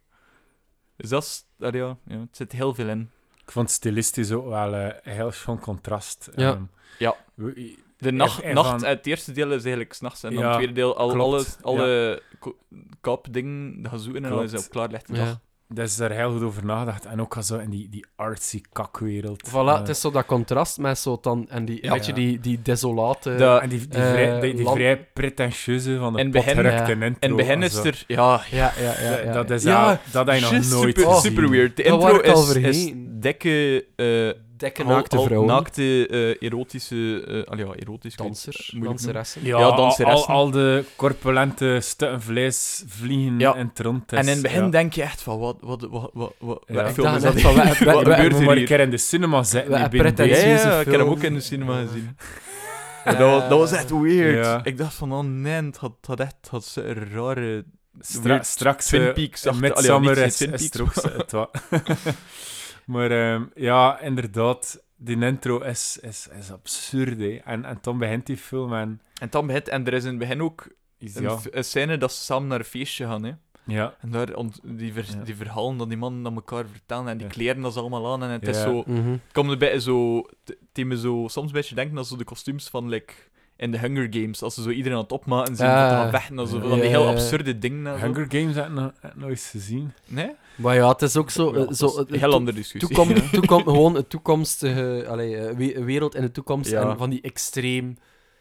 Speaker 2: Dus dat is... daar ja, ja, het zit heel veel in.
Speaker 3: Ik vond stilistisch ook wel eh, een heel schoon contrast.
Speaker 1: Ja.
Speaker 3: Ehm,
Speaker 2: Ja.
Speaker 3: we-
Speaker 2: De nacht,
Speaker 3: en
Speaker 2: nacht
Speaker 3: van-
Speaker 2: het eerste deel is eigenlijk s'nachts. En dan
Speaker 3: Ja,
Speaker 2: het tweede deel, al,
Speaker 3: klopt,
Speaker 2: alles, alle ko- kaapdingen dat gaan zoeken en dan is
Speaker 3: Klopt.
Speaker 2: het op klaar ligt de dag.
Speaker 1: Ja.
Speaker 3: Dat is daar heel goed over nagedacht. En ook al zo in die, die artsy kakwereld.
Speaker 1: Voilà,
Speaker 3: Eh,
Speaker 1: het is zo dat contrast met zo dan... En die,
Speaker 2: Ja.
Speaker 1: weet je, die, die desolate...
Speaker 2: Dat-
Speaker 3: En die, die,
Speaker 1: eh,
Speaker 3: vrij, die, die
Speaker 1: land-
Speaker 3: vrij pretentieuze van de
Speaker 2: In het begin,
Speaker 3: potgerukte
Speaker 1: ja.
Speaker 3: intro.
Speaker 2: En bij hen
Speaker 3: en
Speaker 2: is
Speaker 3: zo.
Speaker 2: er... Ja,
Speaker 1: ja, ja, ja,
Speaker 3: Dat-
Speaker 1: ja.
Speaker 3: Dat is
Speaker 1: ja,
Speaker 3: al- dat hij nog nooit
Speaker 2: just super,
Speaker 1: Oh.
Speaker 2: super weird. De
Speaker 1: Dat wou
Speaker 2: intro
Speaker 1: ik al
Speaker 2: is, is
Speaker 1: vergeten.
Speaker 2: dikke, eh
Speaker 1: Dikke
Speaker 2: hal-
Speaker 1: naakte
Speaker 2: hal-
Speaker 1: vrouwen.
Speaker 2: naakte eh, erotische... eh allee, ja, erotisch. ik weet het, eh,
Speaker 1: Dansers,
Speaker 2: moeilijk noemen.
Speaker 1: danseressen.
Speaker 3: Ja,
Speaker 2: Ja,
Speaker 3: al,
Speaker 2: danseressen.
Speaker 3: al, al de corpulente stukken vlees vliegen
Speaker 2: Ja.
Speaker 3: in het rond.
Speaker 2: En in het begin
Speaker 3: ja.
Speaker 2: denk je echt van, wat, wat, wat, wat, wat,
Speaker 3: Ja.
Speaker 2: welk
Speaker 3: Ik
Speaker 2: film
Speaker 1: dacht
Speaker 2: is dat?
Speaker 1: net van, wat- wat-
Speaker 2: Wat
Speaker 3: We
Speaker 2: gebeurt
Speaker 3: moeten maar
Speaker 2: er
Speaker 3: een
Speaker 2: hier?
Speaker 3: keer in de cinema zitten.
Speaker 1: Wat
Speaker 3: niet binnen
Speaker 1: pretentieus.
Speaker 2: Ja,
Speaker 3: deze.
Speaker 2: ja,
Speaker 1: Serieuze
Speaker 2: ik heb hem ook
Speaker 1: film.
Speaker 2: in de cinema gezien.
Speaker 1: Eh,
Speaker 2: Maar dat, was- dat was echt weird.
Speaker 3: Ja.
Speaker 2: Ik dacht van, oh nee, het had, het had echt het had zo'n rare...
Speaker 3: Stra-
Speaker 2: Weird
Speaker 3: straks
Speaker 2: Twin
Speaker 3: eh,
Speaker 2: Peaks achter-
Speaker 3: Midsummer
Speaker 2: Allee, ja,
Speaker 3: is,
Speaker 2: niet Twin
Speaker 3: is
Speaker 2: Peaks,
Speaker 3: er ook zo- het wa- maar ehm, ja, inderdaad, die intro is, is, is absurd. hè. En, en dan begint die film en
Speaker 2: En dan begint, en er is in het begin ook
Speaker 3: is
Speaker 2: een,
Speaker 3: ja,
Speaker 2: f- een scène dat ze samen naar een feestje gaan. Hè.
Speaker 3: ja,
Speaker 2: En daar ont- die, ver-
Speaker 3: Ja.
Speaker 2: die verhalen dat die mannen aan elkaar vertellen en die
Speaker 3: Ja.
Speaker 2: kleren dat ze allemaal aan. En het is
Speaker 3: Ja.
Speaker 2: zo,
Speaker 1: Mhm.
Speaker 2: het komt een beetje zo, het- het deed me zo soms een beetje denken dat zo de kostuums van like, in de Hunger Games, als ze zo iedereen aan het opmaken zijn,
Speaker 1: Ah.
Speaker 2: dat gaan vechten, en zo, van
Speaker 1: Ja,
Speaker 2: die heel
Speaker 1: ja, ja.
Speaker 2: absurde dingen. en zo.
Speaker 3: Hunger Games had ik nog, had ik nog eens gezien.
Speaker 2: Nee?
Speaker 1: Maar ja, het is ook zo... eh,
Speaker 2: Ja, dat is
Speaker 1: zo
Speaker 2: een
Speaker 1: eh,
Speaker 2: heel
Speaker 1: to-
Speaker 2: andere discussie.
Speaker 1: Toen komt toen komt gewoon een toekomstige allee, eh, we- wereld in de toekomst
Speaker 2: Ja.
Speaker 1: en van die extreem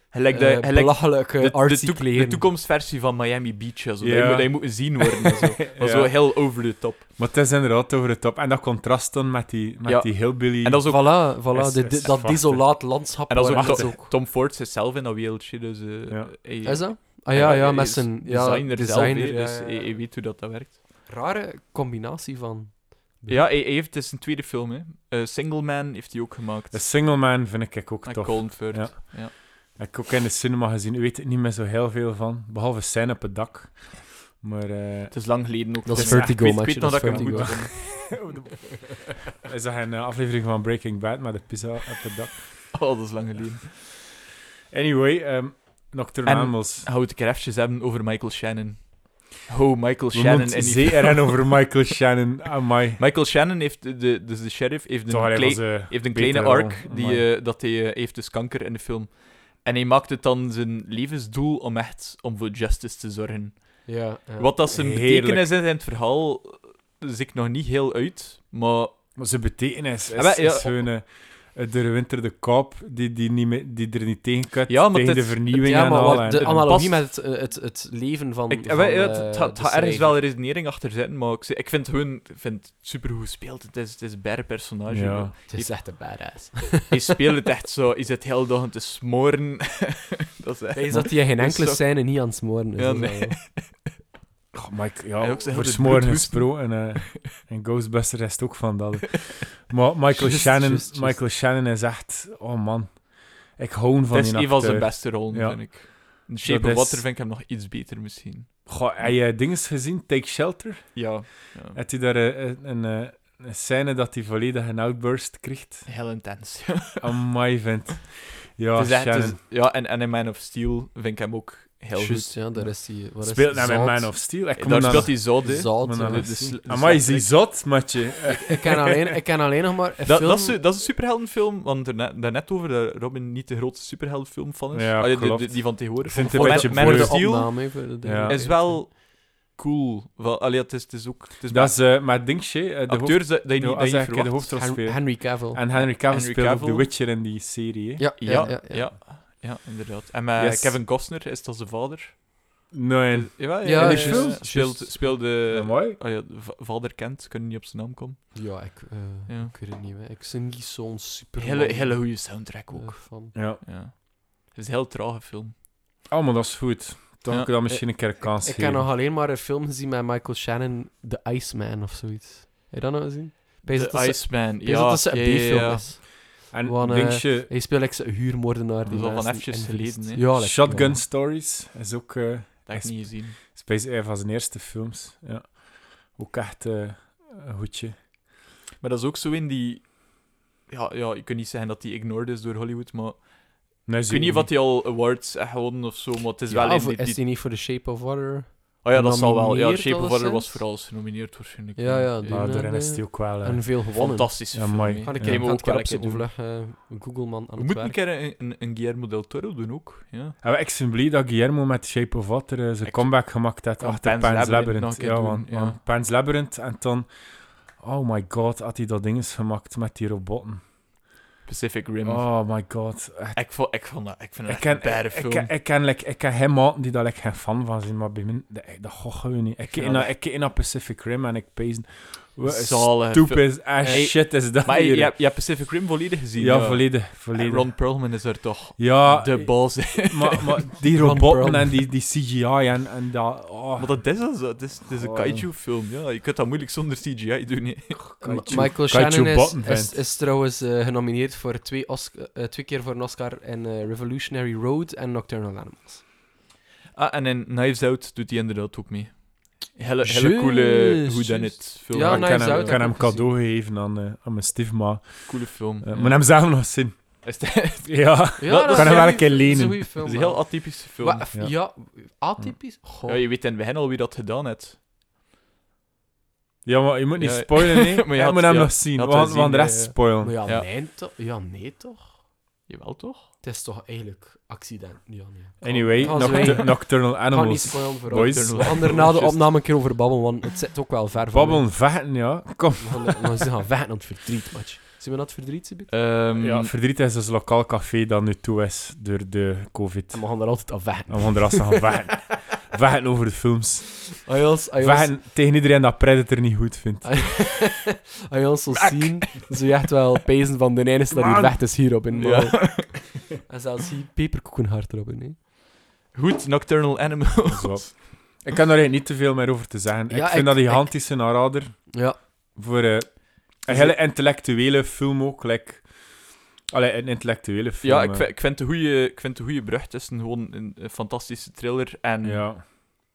Speaker 2: Gelijk de,
Speaker 1: eh,
Speaker 2: gelijk
Speaker 1: belachelijke
Speaker 2: de, de,
Speaker 1: artsy
Speaker 2: toek- de
Speaker 1: kleren.
Speaker 2: toekomstversie van Miami Beach. en Zo.
Speaker 3: Ja.
Speaker 2: Dat, moet, dat moet gezien worden. en zo. Maar
Speaker 3: Ja.
Speaker 2: zo heel over de top.
Speaker 3: Maar het is inderdaad over de top. En dat contrast dan met die, met
Speaker 2: Ja.
Speaker 3: die hillbilly...
Speaker 2: En dat is ook
Speaker 1: Voilà, voilà
Speaker 3: Is-
Speaker 1: de- de-
Speaker 3: is
Speaker 1: dat
Speaker 3: zwart,
Speaker 1: desolaat landschap.
Speaker 2: En dat is
Speaker 1: waarin
Speaker 2: ook
Speaker 1: het Oh, ook...
Speaker 2: Tom Ford zit zelf in dat wereldje. Dus, eh,
Speaker 3: Ja.
Speaker 2: hij-
Speaker 1: Is dat? Ah ja, ja,
Speaker 2: hij
Speaker 1: met
Speaker 2: is
Speaker 1: zijn ja,
Speaker 2: designer, zelf.
Speaker 1: designer,
Speaker 2: hè,
Speaker 1: ja,
Speaker 2: dus
Speaker 1: ja,
Speaker 2: hij-
Speaker 1: ja.
Speaker 2: hij weet hoe dat, dat werkt.
Speaker 1: Rare combinatie van...
Speaker 2: Ja, hij, hij heeft, het is een tweede film. Hè. Eh, Single Man heeft hij ook gemaakt.
Speaker 3: De Single Man vind ik ook
Speaker 2: en
Speaker 3: tof.
Speaker 2: Colin Firth.
Speaker 3: Ja.
Speaker 2: Ja.
Speaker 3: Heb ik ook in de cinema gezien. Ik weet er niet meer zo heel veel van. Behalve scène op het dak. Maar... eh,
Speaker 2: Het is lang geleden ook.
Speaker 1: Dat is
Speaker 2: dus, ja,
Speaker 1: Vertigo,
Speaker 2: ik weet-
Speaker 1: maatje,
Speaker 2: Ik weet
Speaker 1: dat
Speaker 2: nog dat
Speaker 1: is
Speaker 2: ik hem goed
Speaker 1: Vertigo.
Speaker 2: vond.
Speaker 3: is dat een eh, aflevering van Breaking Bad met de pizza op het dak?
Speaker 2: Oh, dat is lang geleden.
Speaker 3: Anyway, ehm Nocturnal
Speaker 2: En-
Speaker 3: Animals.
Speaker 2: Gaan we het een keer eventjes hebben over Michael Shannon. Ho, Michael
Speaker 3: We
Speaker 2: Shannon.
Speaker 3: moeten
Speaker 2: en die-
Speaker 3: zeer en over Michael Shannon. Amai.
Speaker 2: Michael Shannon heeft, de, de- dus de sheriff, heeft
Speaker 3: Toch, hij
Speaker 2: een, klei-
Speaker 3: was, eh,
Speaker 2: heeft een
Speaker 3: betere
Speaker 2: kleine
Speaker 3: rol.
Speaker 2: arc. Die,
Speaker 3: Amai.
Speaker 2: eh, dat hij eh, heeft dus kanker in de film. En hij maakt het dan zijn levensdoel om echt om voor justice te zorgen.
Speaker 1: Ja, ja.
Speaker 2: Wat dat zijn
Speaker 3: Heerlijk.
Speaker 2: betekenis is in het verhaal, dus ik nog niet heel uit. Maar
Speaker 3: Maar zijn betekenis
Speaker 2: Ja, maar,
Speaker 3: is,
Speaker 2: Ah, ja,
Speaker 3: is gewoon... eh, eh, de winter de kop die, die, niet meer- die er niet tegen kunt,
Speaker 2: Ja, maar
Speaker 3: tegen
Speaker 2: het
Speaker 3: de
Speaker 2: is-
Speaker 3: vernieuwing
Speaker 1: ja,
Speaker 3: en
Speaker 1: maar
Speaker 3: al.
Speaker 1: wat-
Speaker 3: en-
Speaker 1: de
Speaker 3: en-
Speaker 1: analogie
Speaker 2: past-
Speaker 1: met het, eh, het, het leven van...
Speaker 2: ik,
Speaker 1: van
Speaker 2: wel, ja,
Speaker 1: eh,
Speaker 2: het- het gaat
Speaker 1: de
Speaker 2: gaat ergens
Speaker 1: schrijver.
Speaker 2: wel redenering achter zitten, maar ik, zeg- ik vind het gewoon ik vind het supergoed gespeeld. Het is, het is een bare personage.
Speaker 3: Ja.
Speaker 1: Het is echt een badass.
Speaker 2: Hij speelt het echt zo. Is het heel dag aan te smoren. dat is echt...
Speaker 1: Hij is dat hij geen
Speaker 2: Dat is
Speaker 1: enkele
Speaker 2: zo-
Speaker 1: scène niet aan het smoren is.
Speaker 2: Ja,
Speaker 1: dat is
Speaker 2: nee.
Speaker 1: wel-
Speaker 3: Oh, maar ik-
Speaker 2: En
Speaker 3: ja,
Speaker 2: ook zo heel
Speaker 3: voor
Speaker 2: de
Speaker 3: smoren
Speaker 2: bloedhoesten.
Speaker 3: gesproken. eh, en Ghostbusters is het ook van dat. Maar Michael,
Speaker 1: Just,
Speaker 3: Shannon,
Speaker 1: just, just.
Speaker 3: Michael Shannon is echt... Oh man, ik hou van
Speaker 2: Het is
Speaker 3: die
Speaker 2: een van zijn
Speaker 3: acteur.
Speaker 2: beste rollen,
Speaker 3: Ja.
Speaker 2: vind ik. In Shape
Speaker 3: Dat
Speaker 2: of
Speaker 3: is-
Speaker 2: Water vind ik hem nog iets beter, misschien.
Speaker 3: Goh, heb je dingen gezien? Take Shelter?
Speaker 2: Ja. ja.
Speaker 3: Had hij daar eh, een, een, eh, een scène dat hij volledig een outburst krijgt?
Speaker 2: Heel intens.
Speaker 3: Amai, vent. Oh, Ja,
Speaker 2: Het is echt- het is-
Speaker 3: Shannon.
Speaker 2: ja, en, en in Man of Steel vind ik hem ook heel
Speaker 1: Juist,
Speaker 2: goed.
Speaker 1: ja, daar is hij. waar is
Speaker 3: Speelt
Speaker 1: hij?
Speaker 3: naar mijn
Speaker 1: Zout.
Speaker 3: Man of Steel. Ik kom
Speaker 2: Daar
Speaker 3: dan-
Speaker 2: speelt hij dus zo, hè.
Speaker 1: Zout,
Speaker 3: kom
Speaker 1: ja.
Speaker 3: dan
Speaker 2: de-
Speaker 3: aan
Speaker 2: de
Speaker 3: zien.
Speaker 2: sl- de
Speaker 3: Amai, is
Speaker 2: sl-
Speaker 3: hij zot, matje? Eh,
Speaker 1: Ik ken alleen, ik ken alleen nog maar. Een
Speaker 2: Dat,
Speaker 1: film...
Speaker 2: dat, is, dat is een superheldenfilm, want daarnet, daarnet over dat Robin niet de grootste superheldenfilm van is.
Speaker 3: Ja,
Speaker 2: Allee, de-
Speaker 3: klopt.
Speaker 2: de- die van
Speaker 3: Ik
Speaker 2: tegenwoordig.
Speaker 3: vind het
Speaker 2: Man-
Speaker 3: een beetje
Speaker 2: Man
Speaker 1: voor
Speaker 2: of
Speaker 1: de
Speaker 3: bleu.
Speaker 2: Steel
Speaker 1: opname. hè, voor de dingen.
Speaker 3: Ja.
Speaker 2: is wel cool. Wel, allee, het, is, het is ook... Het is
Speaker 3: Dat is eh, met Dingshé, eh, de, hoofd,
Speaker 2: acteurs dat, dat je
Speaker 3: de,
Speaker 2: niet, dat
Speaker 3: als
Speaker 2: je
Speaker 3: hij
Speaker 2: niet
Speaker 3: een keer de
Speaker 2: verwacht.
Speaker 3: hoofdrol
Speaker 1: Hen-
Speaker 3: speelt.
Speaker 1: Henry Cavill.
Speaker 3: En Henry Cavill
Speaker 2: Henry
Speaker 3: speelt ook
Speaker 2: Cavill.
Speaker 3: The Witcher in die serie. hè?
Speaker 1: ja, ja, ja, ja,
Speaker 2: ja. Ja, inderdaad. En met
Speaker 3: Yes.
Speaker 2: Kevin Costner is dat zijn vader.
Speaker 3: Nee.
Speaker 2: Ja,
Speaker 1: Ja,
Speaker 3: in die film?
Speaker 2: Speelt,
Speaker 1: Juist.
Speaker 2: speelde...
Speaker 3: Mooi.
Speaker 2: Oh ja, de va- vader kent, kunnen niet op zijn naam komen.
Speaker 1: Ja, ik, eh,
Speaker 2: Ja.
Speaker 1: ik weet het niet. Hè. Ik zing niet zo'n super. eh,
Speaker 2: Hele, hele goede soundtrack ook.
Speaker 1: van.
Speaker 3: Ja.
Speaker 2: Ja. Het is een heel trage film.
Speaker 3: Oh, maar dat is goed. Dan
Speaker 2: Ja.
Speaker 3: kan ik dat misschien een keer een kans
Speaker 1: Eh, Ik
Speaker 3: geven.
Speaker 1: heb nog alleen maar een film gezien met Michael Shannon, The Iceman of zoiets. Heb je dat nou gezien? Bij dat
Speaker 2: The
Speaker 1: ze-
Speaker 2: Iceman.
Speaker 1: bij dat
Speaker 2: Ja,
Speaker 1: ze een
Speaker 2: ja, ja,
Speaker 1: B-film
Speaker 2: ja.
Speaker 1: is.
Speaker 3: En
Speaker 1: Gewoon, eh,
Speaker 3: Dingshé,
Speaker 1: Hij speelt like, een huurmoordenaar.
Speaker 2: Dat
Speaker 1: die
Speaker 2: is al van
Speaker 1: mensen
Speaker 2: eventjes
Speaker 1: invliegt.
Speaker 2: geleden, hè.
Speaker 1: Ja, like,
Speaker 3: Shotgun
Speaker 1: ja.
Speaker 3: Stories is ook... eh,
Speaker 2: Dat heb ik niet gezien.
Speaker 3: Space Air van zijn eerste films. Ja. Ook echt eh, een goedje.
Speaker 2: Maar dat is ook zo in die... Ja, ja, je kunt niet zeggen dat die ignored is door Hollywood, maar...
Speaker 3: Nee,
Speaker 2: Ik weet niet wat hij al awards heeft gewonnen of zo, maar het is
Speaker 1: Ja,
Speaker 2: wel
Speaker 1: voor-
Speaker 2: in die...
Speaker 1: Is
Speaker 2: die-
Speaker 1: die niet voor The Shape of Water?
Speaker 2: Oh ja, dat zal wel. Ja,
Speaker 1: genomineerd
Speaker 2: Shape of
Speaker 1: al
Speaker 2: Water
Speaker 1: eens?
Speaker 2: was vooral genomineerd, waarschijnlijk.
Speaker 1: Ja, ja, die-
Speaker 3: Ja,
Speaker 1: Nee,
Speaker 3: daarin
Speaker 1: nee.
Speaker 3: is hij ook wel... eh,
Speaker 1: En veel gewonnen.
Speaker 2: Fantastisch
Speaker 3: Ja,
Speaker 2: film.
Speaker 3: mooi.
Speaker 2: hè.
Speaker 1: Ga ik
Speaker 3: Ja.
Speaker 1: ja.
Speaker 2: Die
Speaker 1: even
Speaker 2: moet
Speaker 1: ook
Speaker 2: ook wel
Speaker 1: wel
Speaker 2: een keer
Speaker 1: op
Speaker 2: doen.
Speaker 1: vlug Googleman aan
Speaker 2: We
Speaker 1: het
Speaker 2: moeten een
Speaker 1: werk.
Speaker 2: keer een, een, een Guillermo del Toro doen ook. Ja.
Speaker 3: Ja, Ah, maar ik ben blij dat Guillermo met Shape of Water eh, zijn
Speaker 2: Ik-
Speaker 3: comeback gemaakt heeft
Speaker 2: Ja,
Speaker 3: achter
Speaker 2: Pan's
Speaker 3: Pan's,
Speaker 2: Labyrinth
Speaker 3: Labyrinth.
Speaker 2: nog een keer
Speaker 3: Ja,
Speaker 2: doen,
Speaker 3: want,
Speaker 2: ja.
Speaker 3: want Pan's Labyrinth en dan... Oh my god, had hij dat ding eens gemaakt met die robotten.
Speaker 2: Pacific Rim.
Speaker 3: Oh my god. Echt.
Speaker 2: Ik, vond, ik, vond dat, ik vind dat
Speaker 3: Ik
Speaker 2: echt een
Speaker 3: ken,
Speaker 2: bad
Speaker 3: ik,
Speaker 2: film.
Speaker 3: ik, ken- ik, ken, like, ik ken hem maten die daar like, geen fan van zijn, maar bij mij, dat, dat goh gewoon niet. Ik kijk
Speaker 2: Ja,
Speaker 3: naar-
Speaker 2: dat-
Speaker 3: ik kijk naar Pacific Rim en ik pees... Wat een
Speaker 2: Zalige film.
Speaker 3: stupid ass
Speaker 2: Hey,
Speaker 3: shit is dat
Speaker 2: Maar je,
Speaker 3: hier.
Speaker 2: je, hebt- je hebt Pacific Rim volledig gezien.
Speaker 3: ja, volledig.
Speaker 2: En
Speaker 3: volledig.
Speaker 2: Ron Perlman is er toch
Speaker 3: ja,
Speaker 2: de baas.
Speaker 3: maar, maar die
Speaker 1: Ron
Speaker 3: robotten
Speaker 1: Perlman.
Speaker 3: en die, die CGI en, en dat... Oh,
Speaker 2: Maar dat is al zo. Het is, het is een
Speaker 3: Oh.
Speaker 2: kaiju-film. Ja, je kunt dat moeilijk zonder CGI doen. hè.
Speaker 1: Ma-
Speaker 3: kaiju-
Speaker 1: Michael
Speaker 3: kaiju
Speaker 1: Shannon is,
Speaker 3: botten,
Speaker 1: is,
Speaker 3: vent.
Speaker 1: is trouwens eh, genomineerd voor twee, Osc- eh, twee keer voor een Oscar in eh, Revolutionary Road en Nocturnal Animals.
Speaker 2: Ah, en in Knives Out doet hij inderdaad ook mee. Hele, hele
Speaker 1: Juist,
Speaker 2: coole whodunit
Speaker 1: juist.
Speaker 2: film.
Speaker 1: Ja,
Speaker 3: Maar ik
Speaker 1: Knives
Speaker 3: kan hem,
Speaker 1: Out
Speaker 3: ik
Speaker 1: heb
Speaker 3: kan hem
Speaker 1: ik ook
Speaker 3: cadeau geven aan, eh, aan mijn stiefma. Eh,
Speaker 2: Coole film.
Speaker 3: Maar
Speaker 2: ja.
Speaker 3: hem zelf nog zien.
Speaker 2: Is het-
Speaker 3: Ja.
Speaker 1: Ja,
Speaker 2: dat
Speaker 1: is
Speaker 2: kan
Speaker 1: een
Speaker 2: hem
Speaker 3: wel een
Speaker 1: goeie-
Speaker 3: keer
Speaker 1: dat is
Speaker 3: lenen.
Speaker 1: goeie
Speaker 2: Het
Speaker 1: film,
Speaker 2: is een heel
Speaker 1: man.
Speaker 2: atypische film.
Speaker 1: Wa- f-
Speaker 3: ja.
Speaker 1: ja. atypisch? Goh.
Speaker 2: Ja, je weet in het begin al wie dat gedaan heeft.
Speaker 3: ja, maar je moet niet
Speaker 2: Ja,
Speaker 3: spoilen, nee.
Speaker 2: maar
Speaker 3: maar
Speaker 2: je had-
Speaker 3: moet hem
Speaker 2: ja,
Speaker 3: nog zien,
Speaker 2: had
Speaker 3: want,
Speaker 2: wel
Speaker 3: want de
Speaker 2: zien,
Speaker 3: rest
Speaker 2: ja, ja.
Speaker 3: spoilen.
Speaker 1: Maar ja,
Speaker 2: Ja.
Speaker 1: Nee, toch? ja, nee toch?
Speaker 2: Jawel, toch?
Speaker 1: Het is toch eigenlijk accident, Jan. Ja. Kan-
Speaker 3: Anyway,
Speaker 1: kan
Speaker 3: noct-
Speaker 1: zo niet-
Speaker 3: Nocturnal
Speaker 1: kan niet
Speaker 3: Animals.
Speaker 1: spoilen voor
Speaker 3: Boys.
Speaker 1: ons. We gaan er na de opname een keer over babbelen, want het zit ook wel ver van
Speaker 3: Babbelen, vechten, ja. Kom.
Speaker 1: mij. We gaan- we gaan vechten aan het verdriet, match. Zien we dat verdriet, Sibit?
Speaker 2: Ehm,
Speaker 3: Ja, Verdriet is dus lokaal café dat nu toe is door de covid.
Speaker 1: En we gaan er altijd aan vechten.
Speaker 3: En we gaan er als gaan vechten. Vechten over de films.
Speaker 1: Als je ons- als je ons-
Speaker 3: Vechten tegen iedereen dat Predator niet goed vindt.
Speaker 1: Als je ons zo zien, zou je echt wel pezen van de ene is dat hier weg is hierop. In,
Speaker 2: Ja.
Speaker 1: En zelfs hier peperkoekenhart erop in. hè.
Speaker 2: Goed, Nocturnal Animals.
Speaker 3: Zo. Ik kan daar eigenlijk niet te veel meer over te zeggen.
Speaker 1: Ja,
Speaker 3: ik vind
Speaker 1: ik-
Speaker 3: dat een
Speaker 1: ik-
Speaker 3: gigantische aanrader
Speaker 1: Ja,
Speaker 3: voor eh, een hele intellectuele film ook. Like, allee, een intellectuele film.
Speaker 2: Ja, ik,
Speaker 3: eh.
Speaker 2: vind- ik vind de goede- ik vind de goede brug tussen gewoon een, een fantastische thriller en
Speaker 3: Ja.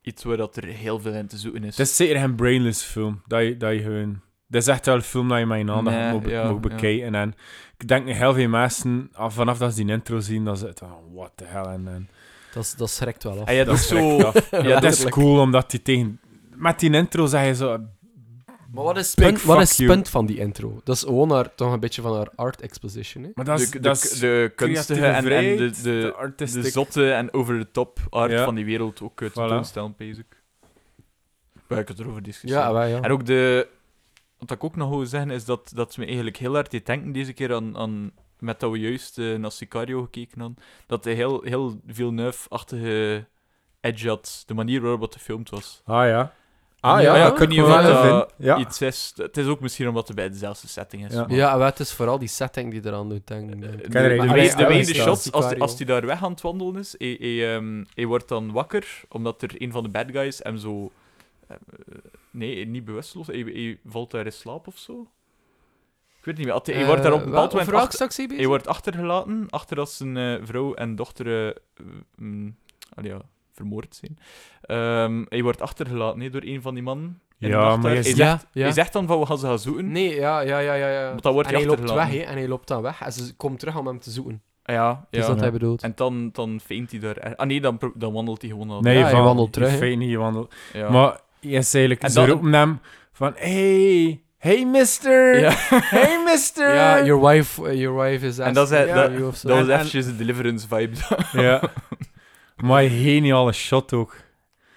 Speaker 2: iets waar dat er heel veel in te zoeken is.
Speaker 3: Het is zeker geen brainless film. Dat je, dat je gewoon... Dat is echt wel een film dat je met je aandacht
Speaker 2: Nee,
Speaker 3: moet, be-
Speaker 2: ja,
Speaker 3: moet bekijken. En ik denk dat heel veel mensen, af- vanaf dat ze die intro zien, dan zitten van, what the hell. En, en
Speaker 1: dat, is- dat schrikt wel af.
Speaker 2: En je hebt ook
Speaker 3: dat
Speaker 2: zo...
Speaker 3: schrikt af.
Speaker 2: Ja,
Speaker 3: dat is
Speaker 1: letterlijk.
Speaker 3: cool, omdat die tegen... Met die intro zeg je zo...
Speaker 1: Maar wat is het
Speaker 3: Big
Speaker 1: punt, wat
Speaker 3: fuck
Speaker 1: is het
Speaker 3: you.
Speaker 1: punt van die intro? Dat is gewoon haar, toch een beetje van haar art exposition. Hè?
Speaker 3: Maar dat is...
Speaker 2: de,
Speaker 3: dat
Speaker 2: de,
Speaker 3: is
Speaker 2: de kunstige
Speaker 3: creatieve
Speaker 2: en, en de,
Speaker 3: vrijheid,
Speaker 2: de,
Speaker 3: artistic-
Speaker 2: de zotte en over-the-top art
Speaker 3: Ja.
Speaker 2: van die wereld ook eh,
Speaker 3: Voilà.
Speaker 2: uit tentoonstellen, basic. Waar ik het erover discussiëren.
Speaker 1: Ja, wel, ja.
Speaker 2: En ook de... Wat ik ook nog wil zeggen, is dat, dat me eigenlijk heel hard deed denken deze keer aan... aan met dat we juist eh, naar Sicario gekeken hadden. Dat hij heel, heel Villeneuve-achtige edge had. De manier waarop het gefilmd was.
Speaker 3: Ah ja.
Speaker 1: Ah, ja,
Speaker 2: ik weet
Speaker 1: ik
Speaker 2: niet of
Speaker 1: wel
Speaker 2: dat
Speaker 3: even, ja.
Speaker 2: eh, iets is. Het is ook misschien omdat het bij dezelfde setting is.
Speaker 3: Ja.
Speaker 2: maar-
Speaker 1: Ja, wel, het is vooral die setting die eraan doet denken.
Speaker 2: Eh,
Speaker 1: denk ik.
Speaker 3: Ken er
Speaker 2: de-
Speaker 3: een-
Speaker 2: De
Speaker 3: Allee,
Speaker 2: meeste- de
Speaker 3: Allee,
Speaker 2: meeste
Speaker 3: Allee,
Speaker 2: shots, als,
Speaker 1: Sicario.
Speaker 2: als hij daar weg aan het wandelen is, hij, hij, ehm, hij wordt dan wakker, omdat er een van de bad guys hem zo... eh, nee, niet bewusteloos. Hij, hij valt daar in slaap of zo. Ik weet niet meer. Had Hij, hij wordt daar op een
Speaker 1: Eh,
Speaker 2: bepaald
Speaker 1: wel-
Speaker 2: moment
Speaker 1: Over welk stuk
Speaker 2: achter-
Speaker 1: zie je bezig?
Speaker 2: hij wordt achtergelaten, achter dat zijn eh, vrouw en dochter eh, mm, allee, ja, vermoord zijn. Ehm, hij wordt achtergelaten hè, door een van die mannen. in de
Speaker 3: Ja,
Speaker 2: nacht
Speaker 3: maar
Speaker 2: daar.
Speaker 3: je
Speaker 2: hij,
Speaker 3: ziet-
Speaker 2: zegt,
Speaker 1: ja, ja.
Speaker 2: hij zegt dan van, we gaan ze gaan zoeken.
Speaker 1: Nee, ja, ja, ja, ja. ja.
Speaker 2: Want dan wordt
Speaker 1: en
Speaker 2: hij
Speaker 1: hij loopt weg,
Speaker 2: achtergelaten.
Speaker 1: hè. En hij loopt dan weg. En ze komt terug om hem te zoeken.
Speaker 2: Ah Ja,
Speaker 1: Dus Dat is
Speaker 2: ja.
Speaker 1: wat
Speaker 3: Ja.
Speaker 1: hij bedoelt.
Speaker 2: En dan, dan feint hij daar. er- Ah nee, dan, pro- dan wandelt hij gewoon al.
Speaker 3: Nee,
Speaker 1: Ja, je
Speaker 3: van,
Speaker 1: wandelt terug,
Speaker 3: Je
Speaker 1: hè.
Speaker 3: feit niet, je wandelt.
Speaker 2: Ja.
Speaker 3: Maar je is eigenlijk
Speaker 2: En
Speaker 3: zo
Speaker 2: dan-
Speaker 3: roepen hem van... Hey, hey mister,
Speaker 2: Ja.
Speaker 3: hey mister.
Speaker 1: Ja, your wife, eh, your wife is
Speaker 2: En dat
Speaker 1: asking
Speaker 2: zei-
Speaker 1: for
Speaker 2: dat-
Speaker 1: you of zo.
Speaker 2: dat was
Speaker 3: En- en-
Speaker 2: eventjes de Deliverance vibe.
Speaker 3: Ja. Maar een geniale shot ook.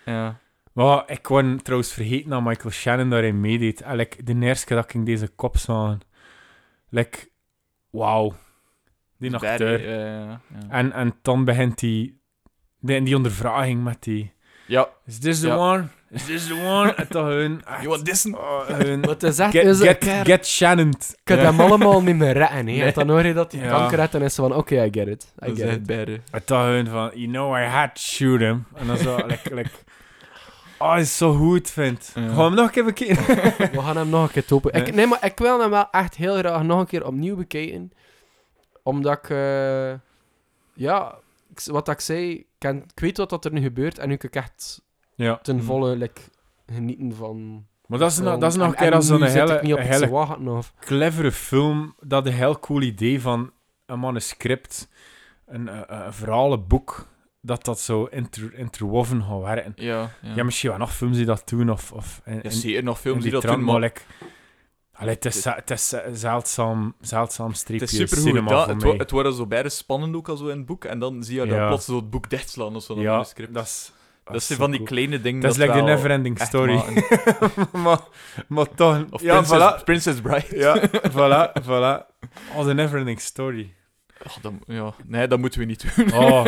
Speaker 2: ja.
Speaker 3: Maar ik wou trouwens vergeten dat Michael Shannon daarin meedeed. En like, de eerste keer dat ik in deze kop zag, like, wauw. Die Ah, acteur.
Speaker 2: Ja, ja, ja.
Speaker 3: En, en dan begint die, die, die ondervraging met die...
Speaker 2: ja.
Speaker 3: Is this the
Speaker 2: Ja.
Speaker 3: one? Is this the one? en dan hun... echt,
Speaker 2: You want this?
Speaker 3: oh, hun-
Speaker 1: Wat is dat?
Speaker 3: Get,
Speaker 1: is een
Speaker 3: get,
Speaker 1: kerel.
Speaker 3: get Shannon.
Speaker 1: Ik kan hem allemaal niet meer redden. hè. En dan hoor je dat hij
Speaker 3: Ja.
Speaker 1: kanker heeft en is ze van, oké, I get it. I
Speaker 2: Dat
Speaker 1: get
Speaker 2: zijn
Speaker 1: it.
Speaker 2: het beide.
Speaker 3: En dan hun van, you know I had to shoot him. En dan zo, like, like, oh, is zo goed, vindt.
Speaker 2: Ja.
Speaker 3: Gewoon hem nog even bekijken.
Speaker 1: We gaan hem nog een keer topen. Ik,
Speaker 3: Nee.
Speaker 1: nee, maar ik wil hem wel echt heel graag nog een keer opnieuw bekijken. Omdat ik... eh, ja, ik s- wat dat ik zei, ik, ken- ik weet wat dat er nu gebeurt en nu kan ik echt
Speaker 3: ja.
Speaker 1: ten
Speaker 2: Mhm.
Speaker 1: volle like, genieten van...
Speaker 3: Maar dat is, nog-
Speaker 1: van-
Speaker 3: dat is nog
Speaker 1: en-
Speaker 3: een keer
Speaker 1: en
Speaker 3: als
Speaker 1: nu
Speaker 3: zo'n
Speaker 1: zit ik
Speaker 3: hele,
Speaker 1: niet op het
Speaker 3: hele
Speaker 1: te wachten, of...
Speaker 3: clevere film dat een heel cool idee van een manuscript, een, eh, eh, een verhalenboek, dat dat zo inter, interwoven gaat werken.
Speaker 2: Ja, ja.
Speaker 3: Ja. misschien wel nog films die dat doen, of... of en,
Speaker 2: Ja, zeker nog films die, dat
Speaker 3: trant,
Speaker 2: doen, maar
Speaker 3: maar like, allee, het is, za- het is eh, zeldzaam, zeldzaam
Speaker 2: het
Speaker 3: streepje
Speaker 2: is super
Speaker 3: cinema
Speaker 2: goed.
Speaker 3: voor
Speaker 2: Het,
Speaker 3: mij.
Speaker 2: wo- het worden zo beide spannend ook al zo in het boek. En dan zie je dat
Speaker 3: Ja.
Speaker 2: plots zo het boek dichtslaan of zo.
Speaker 3: ja,
Speaker 2: Ja, script.
Speaker 3: dat
Speaker 2: Dat,
Speaker 3: is...
Speaker 2: zijn van die
Speaker 3: cool.
Speaker 2: kleine dingen.
Speaker 3: Dat is like de
Speaker 2: wel
Speaker 3: never-ending
Speaker 2: echt
Speaker 3: story.
Speaker 2: maken.
Speaker 3: maar, maar toch...
Speaker 2: Of
Speaker 3: ja,
Speaker 2: Princess,
Speaker 3: voilà.
Speaker 2: Princess Bride.
Speaker 3: Ja, voilà, voilà. Oh, de never-ending story.
Speaker 2: Oh, dat- ja. Nee, dat moeten we niet doen.
Speaker 3: Oh,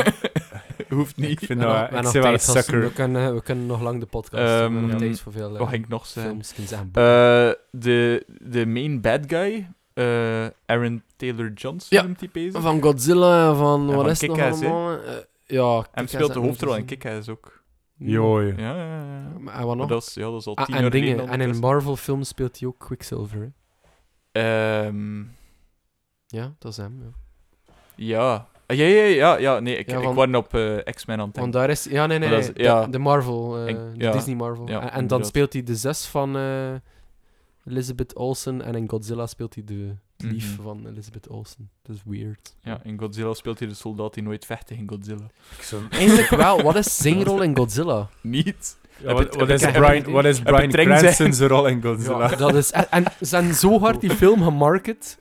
Speaker 2: Hoeft
Speaker 3: ik
Speaker 2: niet.
Speaker 3: vind
Speaker 1: We hebben
Speaker 3: dat...
Speaker 1: nog- we hebben nog
Speaker 3: Ik ben wel een
Speaker 1: tijd, gasten.
Speaker 3: sucker.
Speaker 1: We kunnen, we kunnen nog lang de podcast. doen. we hebben
Speaker 2: Ehm,
Speaker 1: nog tijd voor veel eh,
Speaker 2: Wat ging ik nog zeggen?
Speaker 1: films. kunnen zeggen,
Speaker 2: Eh, de, de main bad guy, eh, Aaron Taylor Johnson,
Speaker 1: Ja.
Speaker 2: noemt hij bezig.
Speaker 1: Van Godzilla en van...
Speaker 2: En
Speaker 1: wat
Speaker 2: van
Speaker 1: is het nog
Speaker 2: Kick-Ass, hè?
Speaker 1: allemaal? Eh, ja,
Speaker 2: Hij
Speaker 1: Kick-Ass heb
Speaker 2: speelt de
Speaker 1: ik
Speaker 2: hoofdrol in
Speaker 1: gezien.
Speaker 2: Kick-Ass ook.
Speaker 3: Joh, joh.
Speaker 2: Ja, ja, ja. ja.
Speaker 1: Maar, en wat nog?
Speaker 2: Maar Dat is, ja, dat is al
Speaker 1: Ah,
Speaker 2: tien
Speaker 1: en
Speaker 2: jaar
Speaker 1: dingen.
Speaker 2: geleden.
Speaker 1: En in Marvel-films speelt hij ook Quicksilver. hè.
Speaker 2: Ehm,
Speaker 1: Ja, dat is hem. Ja.
Speaker 2: ja. Ah, Ja, ja, ja, ja. Nee, ik,
Speaker 1: Ja,
Speaker 2: ik
Speaker 1: want-
Speaker 2: was op eh, X-Men aan
Speaker 1: Want
Speaker 2: het denken.
Speaker 1: daar is... Ja, nee, nee.
Speaker 2: Maar dat
Speaker 1: nee,
Speaker 2: is- ja.
Speaker 1: de, de Marvel. eh,
Speaker 2: Ik-
Speaker 1: de
Speaker 2: ja.
Speaker 1: Disney Marvel.
Speaker 2: Ja,
Speaker 1: en, en dan
Speaker 2: inderdaad.
Speaker 1: speelt hij de zes van eh, Elizabeth Olsen. En in Godzilla speelt hij de lief
Speaker 2: Mhm.
Speaker 1: van Elizabeth Olsen. Dat is weird.
Speaker 2: Ja, in Godzilla speelt hij de soldaat die nooit vecht in Godzilla.
Speaker 3: Ik zou-
Speaker 1: Eigenlijk wel. Wat is zijn rol in Godzilla?
Speaker 2: Niet.
Speaker 3: Ja,
Speaker 2: Heb
Speaker 3: wat,
Speaker 2: het-
Speaker 3: wat
Speaker 2: heb
Speaker 3: is
Speaker 1: ik- heb
Speaker 3: Brian,
Speaker 1: het-
Speaker 3: wat is
Speaker 2: heb
Speaker 3: Brian
Speaker 2: het treng zijn?
Speaker 3: Cranston's rol in Godzilla?
Speaker 1: Ja, dat is... En, en ze zijn zo hard die film gemarket...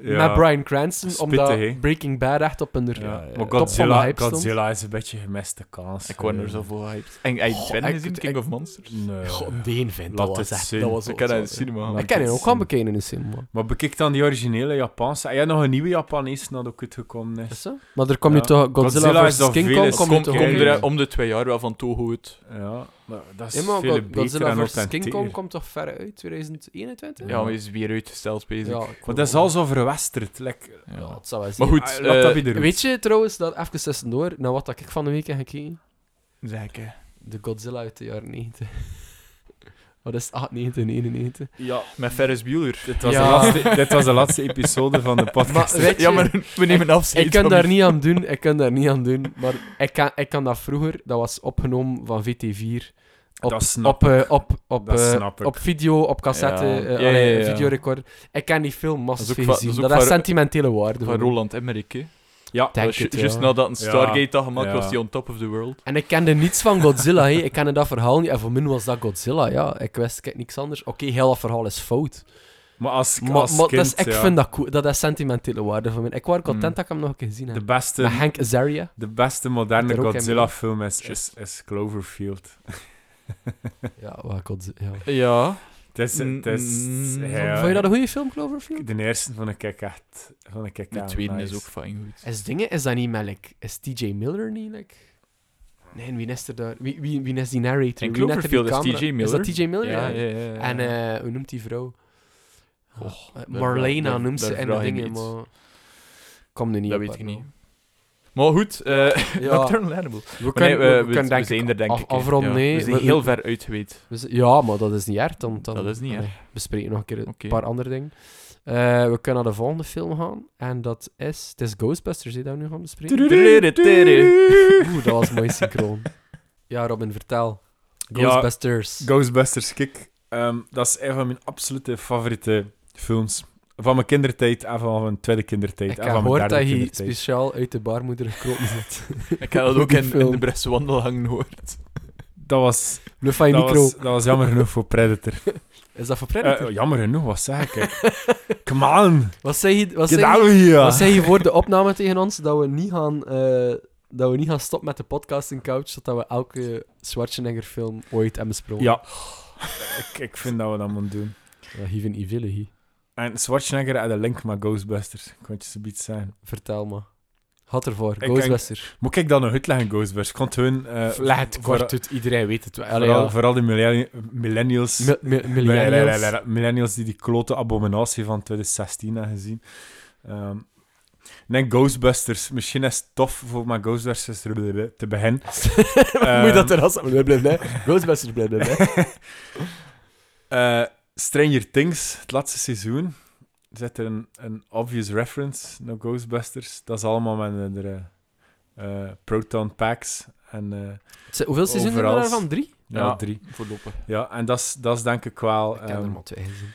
Speaker 1: met Brian Cranston, omdat
Speaker 3: Spittig, hè?
Speaker 1: Breaking Bad echt op een r-
Speaker 3: Ja,
Speaker 1: eh, top
Speaker 3: maar
Speaker 1: van de
Speaker 3: Godzilla,
Speaker 1: hype stond.
Speaker 3: Godzilla is een beetje een gemiste kans.
Speaker 2: Ik word er zo voor hyped. En heb je
Speaker 1: Goh,
Speaker 2: Twin
Speaker 1: ik-
Speaker 2: gezien,
Speaker 1: ik-
Speaker 2: King of Monsters?
Speaker 3: Nee.
Speaker 1: God, Deen vindt,
Speaker 3: Laat
Speaker 1: dat was
Speaker 3: het
Speaker 1: echt...
Speaker 3: zien.
Speaker 1: Dat was
Speaker 2: Ik ken dat in de
Speaker 1: zo-
Speaker 2: cinema.
Speaker 3: Maar-
Speaker 1: Ik ken hem ook gaan
Speaker 3: zien.
Speaker 1: bekeken in de cinema.
Speaker 3: Maar bekijk dan die originele Japanse. En ja, nog een nieuwe Japanees dat ook uitgekomen is.
Speaker 1: Is dat? Maar er komt nu
Speaker 3: Ja.
Speaker 1: toch
Speaker 3: Godzilla
Speaker 1: Godzilla
Speaker 3: is
Speaker 1: vs.
Speaker 3: nog
Speaker 1: King
Speaker 3: veel
Speaker 1: Kong.
Speaker 3: eens-
Speaker 1: Komt
Speaker 2: Kom,
Speaker 1: nu
Speaker 3: komt-
Speaker 1: toch
Speaker 2: kom
Speaker 1: ook
Speaker 3: komt
Speaker 1: weer?
Speaker 2: er om de twee jaar wel van Toho uit.
Speaker 3: Ja, maar dat is
Speaker 1: Ja, maar
Speaker 3: veel
Speaker 1: Go-
Speaker 3: beter
Speaker 1: Godzilla
Speaker 3: en
Speaker 1: vs. King Kong
Speaker 3: authentieker.
Speaker 1: komt toch ver uit? 2021?
Speaker 2: Ja, maar is weer uitgesteld, bezig.
Speaker 1: Ja,
Speaker 2: Ja.
Speaker 1: ik
Speaker 3: Maar
Speaker 1: wil
Speaker 3: dat is
Speaker 1: wel.
Speaker 3: al zo verwesterd. Like,
Speaker 1: Ja, het zal wel
Speaker 2: Maar
Speaker 1: zijn.
Speaker 2: goed,
Speaker 3: Ah, laat dat
Speaker 2: eh,
Speaker 3: bij de roots.
Speaker 1: Weet je trouwens, dat even tussendoor, naar wat dat ik van de week heb gekeken?
Speaker 2: zeg ik, eh,
Speaker 1: De Godzilla uit de jaren 90. Wat is het? Ah, 98, 99.
Speaker 3: Ja,
Speaker 2: met Ferris Bueller.
Speaker 3: dit was,
Speaker 1: Ja.
Speaker 3: de laatste, dit was de laatste episode van de podcast.
Speaker 1: Maar weet je-
Speaker 2: Ja, maar we nemen afscheid.
Speaker 1: Ik kan
Speaker 2: van
Speaker 1: daar
Speaker 2: die-
Speaker 1: niet aan doen, ik kan daar niet aan doen. Maar ik kan, ik kan dat vroeger, dat was opgenomen van VT4. Op,
Speaker 3: Dat snap
Speaker 1: op, eh, op, op,
Speaker 3: Dat
Speaker 1: eh,
Speaker 3: snap ik.
Speaker 1: op video, op cassette,
Speaker 2: Ja.
Speaker 1: eh,
Speaker 2: Ja,
Speaker 1: allee,
Speaker 2: ja, ja, ja.
Speaker 1: videorecorder. Ik kan die film massas
Speaker 2: Dat is
Speaker 1: veel
Speaker 2: ook va-
Speaker 1: gezien.
Speaker 2: dat is
Speaker 1: Dat,
Speaker 2: ook
Speaker 1: heeft
Speaker 2: van-
Speaker 1: sentimentele waarde.
Speaker 2: Van
Speaker 1: voor me.
Speaker 2: Roland Emmerich, hè.
Speaker 3: Ja,
Speaker 1: Denk
Speaker 2: Dat was ju-
Speaker 1: het, ja.
Speaker 2: Juist nadat een
Speaker 3: Ja.
Speaker 2: Stargate dat gemaakt
Speaker 3: Ja.
Speaker 2: was, die on top of the world.
Speaker 1: En ik kende niets van Godzilla, hè. ik kende dat verhaal niet. En voor mij was dat Godzilla, ja. Ik wist kijk, niks anders. Oké, heel dat verhaal is fout.
Speaker 3: maar als,
Speaker 1: Maar,
Speaker 3: als
Speaker 1: maar dat
Speaker 3: kind,
Speaker 1: is, ik
Speaker 3: ja, Hmm.
Speaker 1: vind dat cool. Dat is sentimentele waarde voor mij. Ik was content
Speaker 2: Mm.
Speaker 1: dat ik hem nog een keer gezien
Speaker 3: de
Speaker 1: heb. Met
Speaker 3: beste,
Speaker 1: Hank Azaria.
Speaker 3: de beste
Speaker 1: Moet
Speaker 3: moderne
Speaker 1: er ook in mee.
Speaker 3: Godzilla-film is, is, is Cloverfield.
Speaker 1: Ja, wat Godzilla. Ja.
Speaker 2: Ja.
Speaker 3: Het is, het is,
Speaker 2: Mm,
Speaker 3: ja,
Speaker 1: Vond je dat een goede film, Cloverfield?
Speaker 3: De eerste vond ik echt... Vond ik echt
Speaker 2: De
Speaker 3: aan,
Speaker 2: tweede
Speaker 3: nice.
Speaker 2: is ook fijn goed.
Speaker 1: Is dingen, is dat niet met, like, is TJ Miller niet, like... Nee, wie is er daar? Wie, wie, wie is die narrator?
Speaker 2: En
Speaker 1: Wie net er die
Speaker 2: Cloverfield is
Speaker 1: camera-
Speaker 2: T.J. Miller.
Speaker 1: Is dat TJ Miller?
Speaker 2: Ja, ja,
Speaker 1: Ja.
Speaker 2: ja. ja.
Speaker 1: En eh, hoe noemt die vrouw?
Speaker 2: Och,
Speaker 1: Eh,
Speaker 2: daar-
Speaker 1: Marlena
Speaker 2: daar-
Speaker 1: noemt
Speaker 2: daar
Speaker 1: ze en de
Speaker 2: vraag je me
Speaker 1: dingen,
Speaker 2: iets.
Speaker 1: maar... Kom nu niet
Speaker 2: dat
Speaker 1: op,
Speaker 2: weet ik
Speaker 1: hè,
Speaker 2: niet.
Speaker 1: bro.
Speaker 2: Maar goed, eh
Speaker 1: Ja.
Speaker 2: Nocturnal Animal.
Speaker 1: We
Speaker 2: Maar nee,
Speaker 1: kunnen, we,
Speaker 2: we, we-
Speaker 1: kunnen
Speaker 2: we
Speaker 1: denk
Speaker 2: zijn
Speaker 1: ik
Speaker 2: er denk
Speaker 1: af-
Speaker 2: ik. hè.
Speaker 1: afronden,
Speaker 2: Ja.
Speaker 1: nee.
Speaker 2: We zijn
Speaker 1: We-
Speaker 2: heel
Speaker 1: we-
Speaker 2: ver uitgeweid.
Speaker 1: we z- Ja, maar dat is niet erg. Dan, dan,
Speaker 2: Dat is niet erg.
Speaker 1: allee, We bespreken nog een keer
Speaker 2: Oké.
Speaker 1: een paar andere dingen. Eh, we kunnen naar de volgende film gaan. En dat is... Het is Ghostbusters, die dat we nu gaan bespreken. Oeh, dat was mooi synchroon. Ja, Robin, vertel.
Speaker 3: Ja,
Speaker 1: Ghostbusters.
Speaker 3: Ghostbusters, kijk. ehm, dat is een van mijn absolute favoriete films. Van mijn kindertijd en van mijn tweede kindertijd.
Speaker 1: ik
Speaker 2: ah,
Speaker 3: en
Speaker 1: heb
Speaker 3: van mijn
Speaker 1: gehoord
Speaker 3: derde
Speaker 1: dat hij
Speaker 3: kindertijd.
Speaker 1: speciaal uit de barmoeder gekropen zit.
Speaker 2: Ik heb dat ook
Speaker 1: Die
Speaker 2: in, in
Speaker 1: film.
Speaker 2: de Bresse wandel hangen gehoord.
Speaker 3: Dat was,
Speaker 1: Bluf van je
Speaker 3: dat,
Speaker 1: micro.
Speaker 3: was, dat was jammer genoeg voor Predator.
Speaker 1: Is dat voor
Speaker 3: Eh,
Speaker 1: Predator?
Speaker 2: oh,
Speaker 3: jammer genoeg, wat zeg ik? Come on,
Speaker 1: wat zei je, wat
Speaker 3: get
Speaker 1: zei
Speaker 3: out
Speaker 1: je,
Speaker 3: of here.
Speaker 1: wat zei je voor de opname tegen ons? Dat we niet gaan... eh, dat we niet gaan stoppen met de podcasting couch, zodat we elke Schwarzenegger film ooit hebben besproken.
Speaker 3: Ja. ik, ik vind dat we dat moeten doen.
Speaker 1: Ja, Hier vind je willen, hier.
Speaker 3: En Schwarzenegger had een link met Ghostbusters. Ik kon het je zoiets zeggen.
Speaker 1: Vertel me. Had ervoor.
Speaker 3: denk-
Speaker 1: Ghostbusters.
Speaker 3: Moet ik dat nog uitleggen, Ghostbusters? Ik kon het hun... eh,
Speaker 1: Leg het
Speaker 3: voor-
Speaker 1: kort uit, iedereen weet het wel. Allee,
Speaker 3: Vooral,
Speaker 1: ja.
Speaker 3: vooral de millenni- millennials...
Speaker 1: Mi- mi- millennials.
Speaker 3: Nee, nee, nee, nee, nee. Millennials die die klote abominatie van 2016 hebben gezien. Ehm, nee, Ghostbusters. Misschien is het tof voor mijn Ghostbusters te beginnen.
Speaker 1: Moet je dat
Speaker 3: Ehm.
Speaker 1: er als... Blablabla. Ghostbusters, blablabla.
Speaker 3: Eh, Stranger Things, het laatste seizoen, zit er een, een obvious reference naar Ghostbusters. Dat is allemaal met de, de, eh, proton packs en eh,
Speaker 1: Het zijn- Hoeveel seizoenen zijn er
Speaker 3: Overal.
Speaker 1: daarvan? Drie?
Speaker 3: ja,
Speaker 2: Ja.
Speaker 3: drie.
Speaker 2: Voorlopig.
Speaker 3: Ja, en dat is- dat is denk ik wel...
Speaker 1: Ik ken er
Speaker 3: ehm,
Speaker 1: maar twee gezien.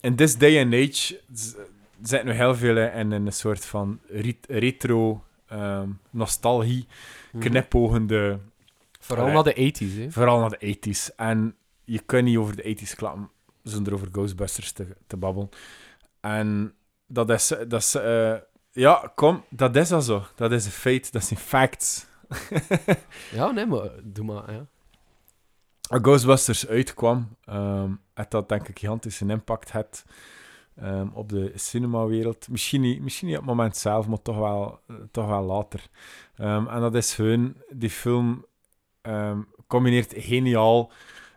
Speaker 3: in this day and age z- zitten we heel veel eh, in een soort van rit- retro, ehm, nostalgie,
Speaker 1: Mhm.
Speaker 3: knipogende,
Speaker 1: Vooral
Speaker 3: Allee.
Speaker 1: naar de 80s, hè.
Speaker 3: vooral naar de 80s. En je kunt niet over de 80s klappen zonder over Ghostbusters te, te babbelen. En dat is, dat is eh, ja, kom, dat is al zo. Dat is een feit, dat zijn facts.
Speaker 1: Ja, nee, maar eh, doe maar, ja.
Speaker 3: Als Ghostbusters uitkwam, ehm had dat denk ik gigantisch een impact had ehm, op de cinemawereld. Misschien niet, misschien niet op het moment zelf, maar toch wel, eh, toch wel later. Ehm, en dat is hun, die film ehm, combineert geniaal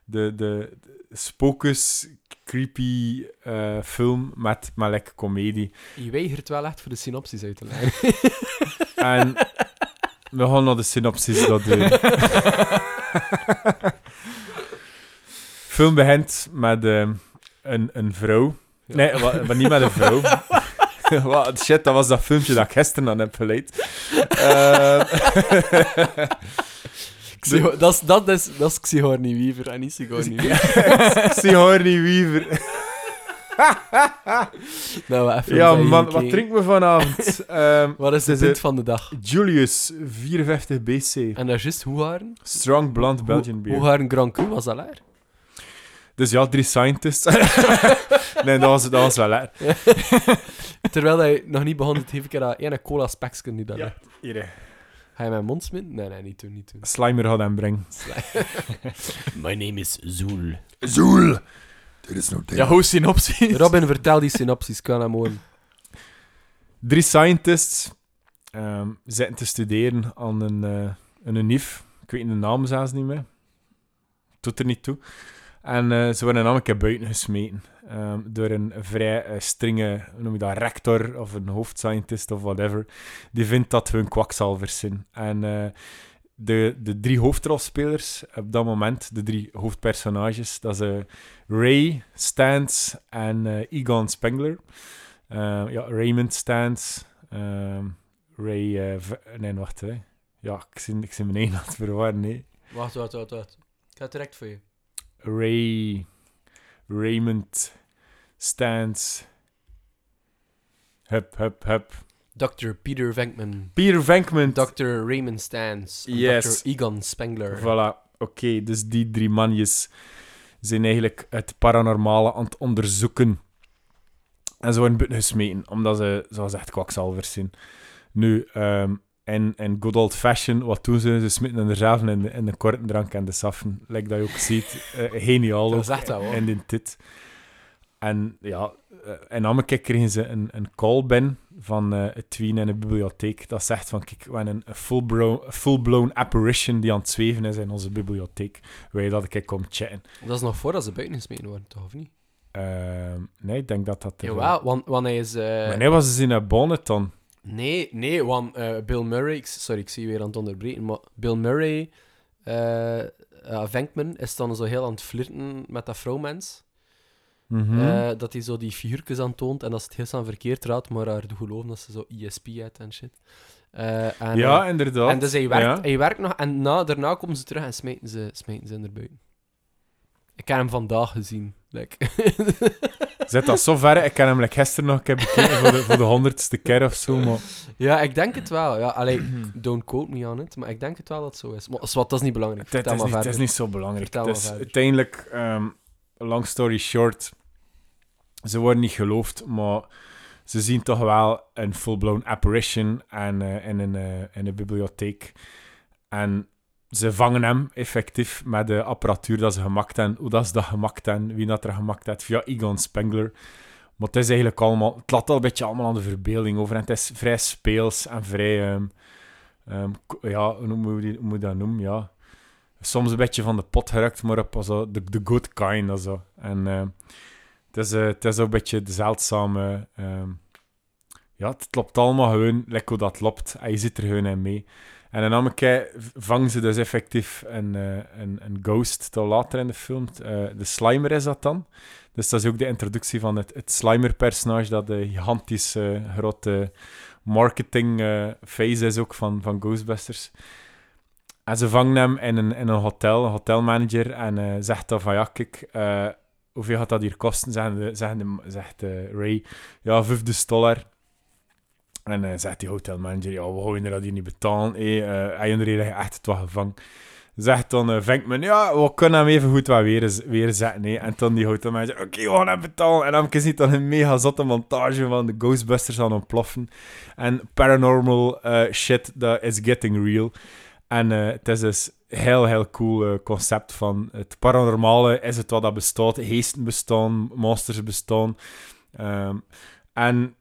Speaker 3: de, de, de spookus, creepy eh, film met, met lekker comedie.
Speaker 1: Je weigert wel echt voor de synopsis uit te leggen.
Speaker 3: En we gaan naar de synopsis dat doen. Film begint met ehm, een, een vrouw. Nee, wa- maar niet met een vrouw. Wat, shit, dat was dat filmpje dat ik gisteren aan heb geleid.
Speaker 1: Eh,
Speaker 3: Ehm,
Speaker 1: Xeho- dat, is, dat, is, dat is Xihorni Weaver en niet Sigourney Weaver.
Speaker 3: ik zie Horny Weaver.
Speaker 1: Nou, we even
Speaker 3: Ja,
Speaker 1: bij je
Speaker 3: man, wat
Speaker 1: gekeken.
Speaker 3: drinken we vanavond? Ehm,
Speaker 1: Wat is
Speaker 3: Het
Speaker 1: de
Speaker 3: is
Speaker 1: punt
Speaker 3: een-
Speaker 1: van de dag?
Speaker 3: Julius, 54 BC.
Speaker 1: En dat is juist hoe haren?
Speaker 3: Strong blond Belgian
Speaker 1: Hoe
Speaker 3: beer.
Speaker 1: haren Grand Cru was dat daar?
Speaker 3: Dus ja, drie scientists. Nee, dat was, dat was wel lekker.
Speaker 1: Terwijl hij nog niet begon, het heeft ik er dat ene cola speksken die dat
Speaker 3: Ja.
Speaker 1: ligt.
Speaker 3: Hier, hè.
Speaker 1: Ga je mijn mond smitten? Nee, nee, niet doen, niet doen.
Speaker 3: Slimer had hem brengen.
Speaker 1: My name is Zoel.
Speaker 3: Zoel!
Speaker 4: There is no
Speaker 2: Ja, hoe synopsis?
Speaker 1: Robin, vertel die synopsis, kan hem horen.
Speaker 3: Drie scientists ehm zitten te studeren aan een, eh een unief. Ik weet de naam zelfs niet meer. Doet er niet toe. En eh, ze worden namelijk buiten gesmeten. ehm, door een vrij eh, strenge, hoe noem je dat, rector of een hoofdscientist of whatever. Die vindt dat hun kwakzalvers zijn. En eh, de, de drie hoofdrolspelers op dat moment, de drie hoofdpersonages, dat zijn Ray, Stans en eh Egon Spengler. Eh, ja, Raymond Stans. ehm, Ray... eh, V- nee, wacht. Hè. Ja, ik zie, ik zie mijn één aan het verwarren. hè.
Speaker 1: Wacht, wacht, wacht, wacht. Ik ga direct voor je.
Speaker 3: Ray... Raymond Stans... Hup, hup, hup.
Speaker 1: Dr. Peter Venkman.
Speaker 3: Peter Venkman.
Speaker 1: Dr. Raymond Stans. en
Speaker 3: Yes.
Speaker 1: Dr. Egon Spengler.
Speaker 3: Voilà, oké. dus die drie manjes zijn eigenlijk het paranormale aan het onderzoeken. En ze worden buiten gesmeten, omdat ze, zoals echt kwakzalvers zijn. Nu, ehm en, en good old fashion, wat doen ze? Ze smeten hun zelf in de, in de korte drank en de saffen. Like dat je ook ziet. Eh, geniaal.
Speaker 1: Dat
Speaker 3: ook.
Speaker 1: is echt dat, hoor.
Speaker 3: En in dit. En ja, eh, en dan kijk, kregen ze een, een call ben van eh het tween in de bibliotheek. Dat zegt van, kijk, we hebben een- een full-bro- een full-blown apparition die aan het zweven is in onze bibliotheek. Wil je dat ik kom chatten?
Speaker 1: Dat is nog voordat ze buiten gesmeten worden, toch, of niet?
Speaker 3: Ehm, nee, ik denk dat dat... er-
Speaker 1: Jawel, want, want hij is... eh,
Speaker 3: Wanneer was ze in een bonnet dan?
Speaker 1: Nee, nee, want eh, Bill Murray... ik- sorry, ik zie je weer aan het onderbreken, maar Bill Murray... eh eh, Venkman is dan zo heel aan het flirten met dat vrouwmens.
Speaker 3: Mhm.
Speaker 1: Eh, dat hij zo die figuurtjes aantoont en dat ze het heel snel verkeerd raadt, maar haar doet geloven dat ze zo E ISP heeft en shit. Eh, en,
Speaker 3: ja,
Speaker 1: eh,
Speaker 3: inderdaad.
Speaker 1: en dus hij werkt,
Speaker 3: Ja.
Speaker 1: hij werkt nog en na, daarna komen ze terug en smijten ze, smijten ze hem erbuiten. Ik heb hem vandaag gezien. Like.
Speaker 3: Zet dat zo ver. Ik kan hem like, gisteren nog een keer bekeken voor de, voor de honderdste keer of zo, maar...
Speaker 1: Ja, ik denk het wel. Ja, allee, don't quote me on it, maar ik denk het wel dat het zo is. Maar zwart, dat is niet belangrijk.
Speaker 3: Het,
Speaker 1: Vertel
Speaker 3: is
Speaker 1: maar
Speaker 3: niet, het
Speaker 1: verder.
Speaker 3: is niet zo belangrijk.
Speaker 1: Vertel
Speaker 3: Het
Speaker 1: maar
Speaker 3: is
Speaker 1: verder.
Speaker 3: uiteindelijk, ehm, long story short, ze worden niet geloofd, maar ze zien toch wel een full-blown apparition en, eh, in, een, eh, in een bibliotheek. En ze vangen hem effectief met de apparatuur dat ze gemaakt hebben, hoe dat ze dat gemaakt hebben, wie dat er gemaakt heeft, via Egon Spengler. Maar het is eigenlijk allemaal, het laat al een beetje allemaal aan de verbeelding over. En het is vrij speels en vrij, ehm, ehm, ko- ja, hoe moet je die- hoe moet je dat noemen? Ja soms een beetje van de pot gerukt, maar op zo de, de good kind of zo. En eh, het, is, eh, het is ook een beetje de zeldzame... ehm, ja, het loopt allemaal gewoon lekker hoe dat loopt. En je zit er gewoon in mee. En dan een keer v- vangen ze dus effectief een, eh, een, een ghost, dat later in de film. eh, de Slimer is dat dan. Dus dat is ook de introductie van het, het Slimer-personage, dat de gigantische grote marketing-phase is ook van, van Ghostbusters. En ze vangen hem in een, in een hotel, een hotelmanager, en eh, zegt dan van, ja, kijk, eh, hoeveel gaat dat hier kosten? Zeggen de, zeggen de- zegt eh, Ray, ja, 50 dollar. En eh, zegt die hotelmanager, ja, we houden dat hier niet betalen. Hey, eh hij en Ray echt het wat gevangen. Zegt dan eh, Venkman, ja, we kunnen hem even goed wat weer, eens- weer zetten. hè. En dan die hotelmanager, oké, we gaan hem betalen. En dan ziet dan een mega zotte montage van de Ghostbusters aan ontploffen. En paranormal eh, shit, that is getting real. En eh, het is dus heel, heel cool eh, concept van het paranormale is het wat dat bestaat. Geesten bestaan, monsters bestaan. Ehm, en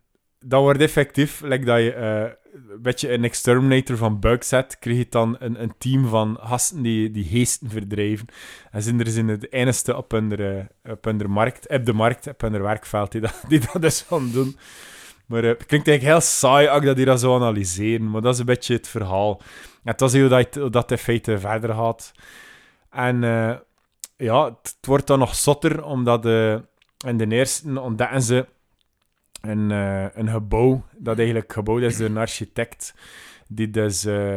Speaker 3: dat wordt effectief, like dat je eh, een beetje een exterminator van bugs hebt, krijg je dan een, een team van gasten die, die geesten verdrijven. En zijn er zijn het enigste op hun, eh, op hun markt, op de markt, op hun werkveld, die dat, die dat dus gaan doen. Maar eh, het klinkt eigenlijk heel saai als ik dat hier dan zo analyseren, maar dat is een beetje het verhaal. En dat is hoe dat, hoe dat in feite verder gaat. En eh, ja, het, het wordt dan nog zotter, omdat eh, in de eerste ontdekken ze een, eh, een gebouw, dat eigenlijk gebouwd is door een architect, die dus eh,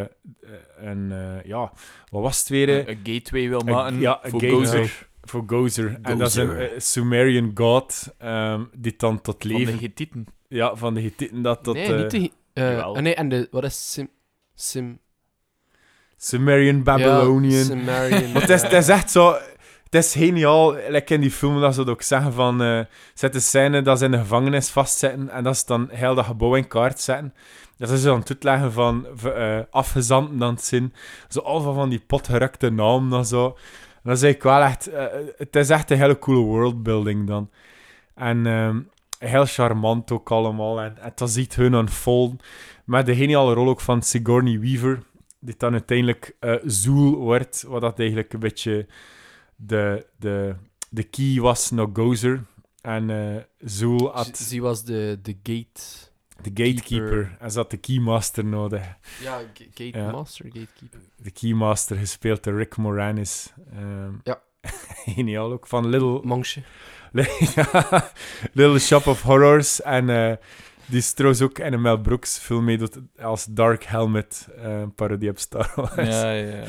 Speaker 3: een, eh, ja, wat was het weer? eh?
Speaker 2: Een een gateway wil
Speaker 3: Een-
Speaker 2: maken
Speaker 3: ja, een
Speaker 2: voor
Speaker 3: gateway.
Speaker 2: Gozer.
Speaker 3: voor Gozer. En dat is een
Speaker 4: Gozer.
Speaker 3: eh, Sumerian god ehm, die dan tot
Speaker 2: Van de
Speaker 3: leven...
Speaker 2: Hittiten.
Speaker 3: ja, van de Hittiten dat tot...
Speaker 1: nee,
Speaker 3: eh,
Speaker 1: niet de... eh,
Speaker 2: jawel.
Speaker 1: ah, nee, en de... Wat is Sim... Sim...
Speaker 3: Sumerian,
Speaker 1: ja,
Speaker 3: Babylonian.
Speaker 1: Sumerian.
Speaker 3: Maar het is,
Speaker 1: ja.
Speaker 3: het is echt zo... Het is geniaal, like in die film, dat ze het ook zeggen van... eh zet de scène dat ze in de gevangenis vastzitten en dat ze dan heel dat gebouw in kaart zetten. Dat is dan toetleggen van v- eh afgezanten dan het zien. Zo al van, van die potgerukte naam en zo. En dat is eigenlijk wel echt... eh, het is echt een hele coole worldbuilding dan. En ehm, heel charmant ook allemaal. En, en dat ziet hun unfolden. Met de geniale rol ook van Sigourney Weaver. Die dan uiteindelijk eh Zoel wordt. Wat dat eigenlijk een beetje de, de, de key was naar Gozer. En eh Zoel had
Speaker 1: Ze was de, de gate...
Speaker 3: de gatekeeper. En ze had de keymaster nodig.
Speaker 1: Ja, ga- gate
Speaker 3: Ja.
Speaker 1: master, gatekeeper.
Speaker 3: De keymaster gespeeld door Rick Moranis. Ehm,
Speaker 1: Ja.
Speaker 3: Geniaal ook. Van Little,
Speaker 1: Mangsje.
Speaker 3: Ja, Little Shop of Horrors. En eh, die is trouwens ook in een Mel Brooks film mee doet als Dark Helmet. eh, Een parodie op Star Wars.
Speaker 2: Ja, ja.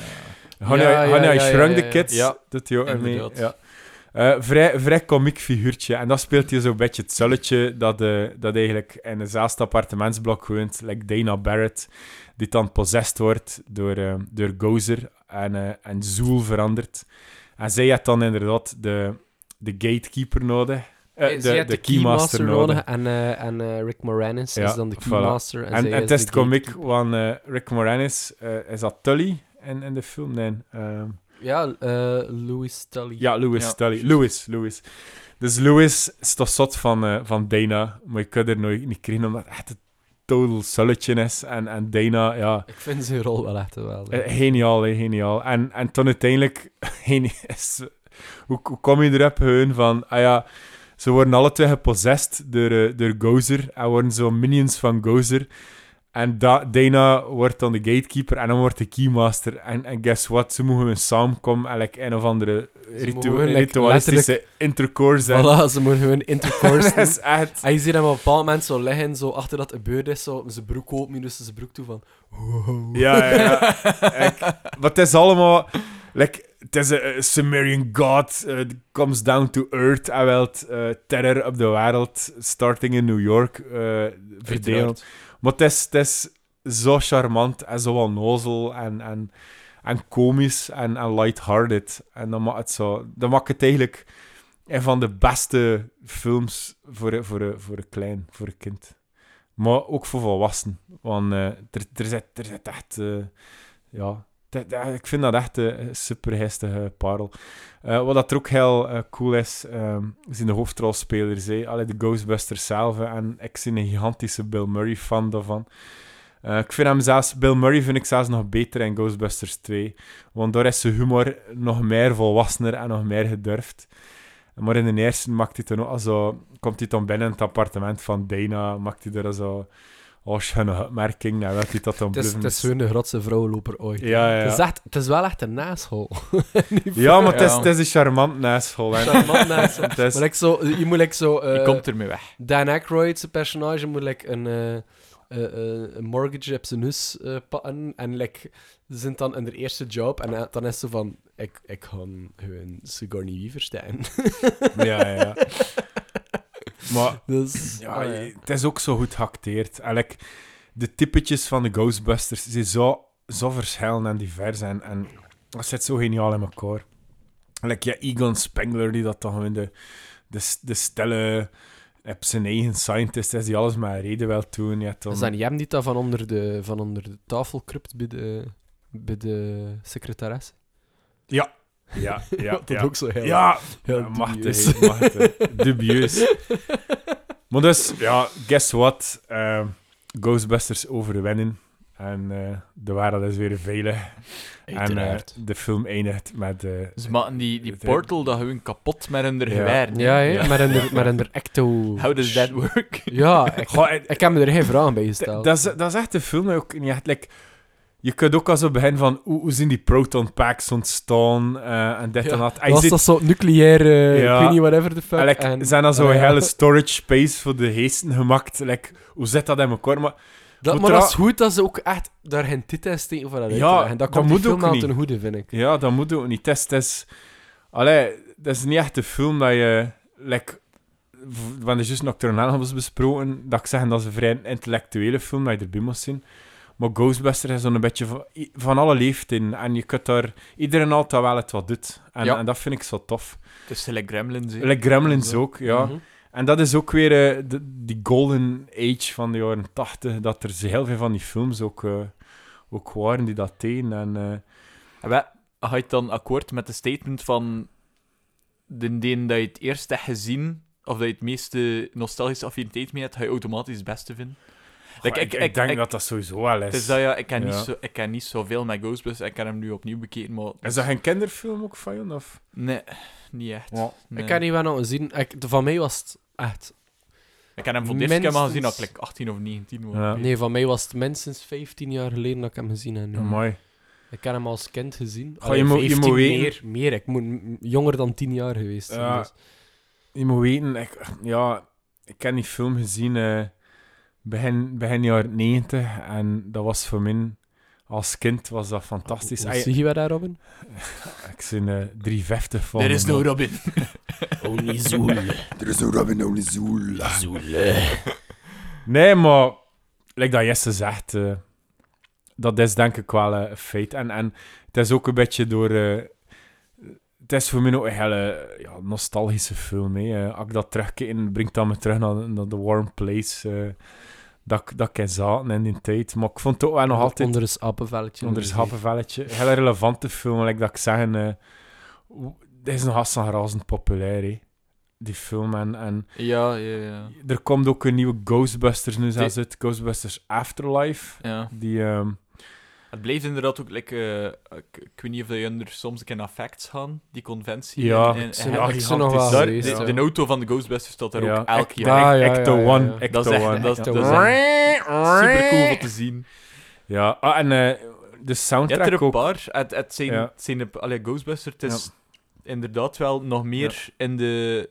Speaker 3: Honey,
Speaker 1: Ja,
Speaker 3: I-
Speaker 1: ja,
Speaker 3: Honey,
Speaker 1: ja,
Speaker 3: I
Speaker 1: ja,
Speaker 3: Shrunk
Speaker 1: ja,
Speaker 3: the
Speaker 1: ja.
Speaker 3: Kids.
Speaker 2: Ja,
Speaker 3: doet hij ook in mee.
Speaker 2: inderdaad.
Speaker 3: Ja. Eh, vrij, vrij komiek figuurtje. En dan speelt hij zo'n beetje het zulletje dat, eh, dat eigenlijk in een zaalste appartementsblok woont. Like Dana Barrett, die dan possessed wordt door, eh, door Gozer en, eh en Zoel verandert. En zij had dan inderdaad de, de gatekeeper nodig. Eh,
Speaker 1: Eh,
Speaker 3: de,
Speaker 1: ze had
Speaker 3: de keymaster nodig.
Speaker 1: En, eh, en eh, Rick Moranis
Speaker 3: Ja,
Speaker 1: is dan de
Speaker 3: voilà.
Speaker 1: keymaster. En,
Speaker 3: En,
Speaker 1: zij
Speaker 3: en het is
Speaker 1: de
Speaker 3: komiek,
Speaker 1: gatekeeper.
Speaker 3: want eh, Rick Moranis, eh, is dat Tully in, in de film? Nee. ehm,
Speaker 1: Ja, eh Louis Tully.
Speaker 3: Ja, Lewis
Speaker 2: Ja,
Speaker 3: Tully.
Speaker 2: juist.
Speaker 3: Lewis, Lewis. Dus Lewis is toch zot van, eh, van Dana, maar je kunt er nooit niet krijgen omdat het echt een total sulletje is. En, en Dana, ja,
Speaker 1: Ik vind zijn rol wel echt wel.
Speaker 3: eh, geniaal, hè, geniaal. En, en toen uiteindelijk, geni- is, hoe, hoe kom je erop gewoon van, ah ja, ze worden alle twee gepossessed door, eh, door Gozer en worden zo minions van Gozer. En da- Dana wordt dan de gatekeeper en dan wordt de keymaster. En, en guess what? Ze mogen samenkomen en like, een of andere ritu-
Speaker 1: mogen, like,
Speaker 3: ritualistische intercourse hebben.
Speaker 1: Voilà, ze moeten hun intercourse
Speaker 3: Dat
Speaker 1: doen.
Speaker 3: is echt...
Speaker 1: En je ziet hem op een bepaald moment zo liggen, zo achter dat de beurt is, zo zijn broek open, dus zijn broek toe van... Wow.
Speaker 3: Ja, ja, ja. Ik- maar het is allemaal... Like, het is een een Sumerian god. eh, it comes down to earth. Hij wil eh, terror op de wereld. Starting in New York. eh verdelen.
Speaker 2: Uiteraard.
Speaker 3: Maar het is, het is zo charmant en zo onnozel en, en, en komisch en, en lighthearted. En dan maakt het zo... Dan maakt het eigenlijk een van de beste films voor, voor, voor een klein, voor een kind. Maar ook voor volwassenen. Want eh, er, er, zit, er zit echt... eh, ja... dat- dat- Ik vind dat echt eh, een supergeestige parel. Eh, wat dat er ook heel eh, cool is, ehm zijn de hoofdrolspelers. hè. Allee, de Ghostbusters zelf. hè. En ik ben een gigantische Bill Murray-fan daarvan. Eh, ik vind hem zelfs... Bill Murray vind ik zelfs nog beter in Ghostbusters 2. Want daar is zijn humor nog meer volwassener en nog meer gedurfd. Maar in de eerste maakt hij dan ook al zo... Komt hij dan binnen in het appartement van Dana, maakt hij er al zo... Oh, schöne opmerking. Nou, wil hij dat dan
Speaker 1: Het is, het
Speaker 3: blijven-
Speaker 1: is zo'n de grootste vrouwenloper ooit.
Speaker 3: Ja, ja, ja.
Speaker 1: Het, is echt- het is wel echt een naashol.
Speaker 3: Ja, maar het is,
Speaker 2: Ja.
Speaker 3: het is een charmant naschool. hè.
Speaker 1: Charmant naashol.
Speaker 2: Dus,
Speaker 3: Het is-
Speaker 1: Maar like zo, je moet like zo...
Speaker 2: Je
Speaker 1: eh,
Speaker 2: komt ermee weg.
Speaker 1: Dan Aykroyd, zijn personage, moet like, een, eh, eh, eh, een mortgage op zijn huis eh, pakken. En like, ze zijn dan in de eerste job. En eh, dan is ze van, ik, ik ga hun Sigourney Weaver staan.
Speaker 3: Ja, ja, ja. Maar
Speaker 1: dus,
Speaker 3: ja,
Speaker 1: ah,
Speaker 3: je- het is ook zo goed geacteerd. En like, de typetjes van de Ghostbusters zijn zo, zo verschillend en divers. En, en dat zit zo geniaal in elkaar. Like, ja, Egon Spengler, die dat dan gewoon de, de, de stille... Heb zijn eigen scientist is die alles maar reden wel doen. Ja, dan...
Speaker 1: Is dat niet hem die dat van onder de, van onder de tafel krupt bij de, bij de secretaresse?
Speaker 3: Ja, ja,
Speaker 1: dat
Speaker 3: ja.
Speaker 1: ook zo heel,
Speaker 3: Ja,
Speaker 1: heel
Speaker 3: Ja, machtig,
Speaker 1: dubieus.
Speaker 3: machtig. Dubieus. Maar dus, ja, guess what? Ehm, Ghostbusters overwinnen. En eh, de wereld is weer veilig. En eh,
Speaker 1: Uiteraard.
Speaker 3: de film eindigt met... eh,
Speaker 2: Ze maken die, die
Speaker 3: het-
Speaker 2: portal dat gewoon kapot met hun er
Speaker 3: Ja.
Speaker 2: geweer.
Speaker 1: ja, hè,
Speaker 3: Ja.
Speaker 1: maar in de, maar in de ecto...
Speaker 2: How does that work?
Speaker 1: Ja, ik,
Speaker 3: Goh, eh,
Speaker 1: ik heb me er geen vragen bij
Speaker 3: d-
Speaker 1: gesteld.
Speaker 3: dat, is, dat is echt een film dat ook niet echt... Like, je kunt ook al zo beginnen van hoe, hoe zijn die proton packs ontstaan eh, en dit
Speaker 1: Ja,
Speaker 3: en dat. En je
Speaker 1: was
Speaker 3: ziet-
Speaker 1: dat zo nucleair, eh,
Speaker 3: Ja.
Speaker 1: ik weet niet, whatever the fuck.
Speaker 3: En, like,
Speaker 1: en-
Speaker 3: zijn dan zo'n
Speaker 1: Ah, ja.
Speaker 3: hele storage space voor de geesten gemaakt. Like, hoe zit dat in elkaar? Maar
Speaker 1: Dat,
Speaker 3: Moet
Speaker 1: maar
Speaker 3: er
Speaker 1: dat
Speaker 3: al-
Speaker 1: is goed dat ze ook echt daar geen tit in steken van uit.
Speaker 3: Ja,
Speaker 1: en
Speaker 3: dat
Speaker 1: dat komt die
Speaker 3: moet
Speaker 1: film
Speaker 3: ook
Speaker 1: wel
Speaker 3: niet.
Speaker 1: ten goede, vind ik.
Speaker 3: Ja, dat moet ook niet. Het is, het is, allee, dat is niet echt de film dat je... Like, v- we hadden juist Nocturnal hebben besproken. Dat ik zeg dat is een vrij intellectuele film, dat je erbij moet zien. Maar Ghostbusters is zo'n beetje van, i- van alle leeftijden. En je kunt daar... Iedereen haalt dat wel het wat doet. En,
Speaker 2: Ja.
Speaker 3: en dat vind ik zo tof.
Speaker 2: Het is gelijk Gremlins. hè.
Speaker 3: Like Gremlins
Speaker 2: Zo.
Speaker 3: ook, ja.
Speaker 1: Mhm.
Speaker 3: En dat is ook weer eh, de- die golden age van de jaren tachtig, dat er z- heel veel van die films ook, eh, ook waren die dat deden. En, eh,
Speaker 2: En wij- Ga je het dan akkoord met de statement van de deen dat je het eerst hebt gezien, of dat je het meeste nostalgische affiniteit mee hebt, ga je automatisch het beste vinden? Like,
Speaker 3: goh, ik, ik denk dat dat sowieso wel is.
Speaker 2: Het is dat, ja, ik, ken
Speaker 3: Ja.
Speaker 2: Niet zo, ik ken niet zoveel met Ghostbusters, ik heb hem nu opnieuw bekeken, maar...
Speaker 3: Is dat geen kinderfilm ook van je? Of?
Speaker 2: Nee, niet echt. Nee.
Speaker 1: Ik heb niet wel nog gezien. Ik, de- van mij was het echt...
Speaker 2: Ik heb hem voor de eerste keer maar gezien dat ik
Speaker 1: Minstens-
Speaker 2: like, 18 of 19 was.
Speaker 3: Ja.
Speaker 1: Nee, van mij was het minstens 15 jaar geleden dat ik hem gezien heb. nu.
Speaker 3: Mooi.
Speaker 1: Ik heb hem als kind gezien.
Speaker 3: Goh, je moet- je
Speaker 1: 15
Speaker 3: moet weten-
Speaker 1: meer, meer. Ik moet m- jonger dan 10 jaar geweest zijn.
Speaker 3: Ja.
Speaker 1: dus.
Speaker 3: Je moet weten, ik, ja, ik heb die film gezien eh, begin, begin jaren 90 en dat was voor mij... Als kind was dat fantastisch.
Speaker 1: Hoe-
Speaker 3: Ey,
Speaker 1: hoe zie je wat daar, Robin?
Speaker 3: ik zie eh 350 van.
Speaker 2: Er is
Speaker 3: me,
Speaker 2: no
Speaker 3: maar-
Speaker 2: Robin.
Speaker 1: Only Zoel.
Speaker 4: Er is een Robin Only Zool.
Speaker 3: Nee, maar like dat Jesse zegt, eh, dat is denk ik wel eh, een feit. En, en het is ook een beetje door... eh, het is voor mij ook een hele eh, ja, nostalgische film. Hè. Eh, als ik dat terugkijk, brengt dat me terug naar, naar The Warm Place. eh, dat, ik- dat ik in zaten in die tijd. Maar ik vond het ook wel nog altijd...
Speaker 1: Onder een appenvelletje.
Speaker 3: Onder het happenvelletje. Heel relevante film, like dat ik zeg. En, eh, w- dit is nog altijd razend populair, hè. Die film. En, en
Speaker 2: Ja, ja, ja.
Speaker 3: er komt ook een nieuwe Ghostbusters nu zelfs
Speaker 2: Die-
Speaker 3: uit. Ghostbusters Afterlife.
Speaker 2: ja.
Speaker 3: Die, ehm,
Speaker 2: Het blijft inderdaad ook, like, eh, ik, ik weet niet of jullie er soms een keer naar facts gaan, die conventie.
Speaker 3: Ja,
Speaker 2: en,
Speaker 1: Ik ben
Speaker 3: Ja,
Speaker 1: er- ik
Speaker 3: die
Speaker 1: ben nog
Speaker 3: had
Speaker 1: wel
Speaker 3: iets-
Speaker 2: Daar-
Speaker 1: geweest,
Speaker 2: de,
Speaker 1: ja.
Speaker 2: de auto van de Ghostbusters staat daar ook
Speaker 3: ja,
Speaker 2: elk
Speaker 3: Act-
Speaker 2: jaar.
Speaker 1: daar-
Speaker 3: Act-
Speaker 1: ja, ja,
Speaker 3: Acto
Speaker 1: ja,
Speaker 3: Ah, One.
Speaker 1: ja.
Speaker 3: Acto
Speaker 2: Dat is echt-
Speaker 3: One.
Speaker 2: dat is-
Speaker 3: Acto
Speaker 2: dat is
Speaker 3: One.
Speaker 2: Super cool om te zien.
Speaker 3: Ja, ah, en eh, de
Speaker 2: Je hebt
Speaker 3: soundtrack
Speaker 2: er een
Speaker 3: ook.
Speaker 2: paar. Het, het zijn,
Speaker 3: Ja.
Speaker 2: het zijn de- allee, Ghostbusters. Het is inderdaad wel nog meer in de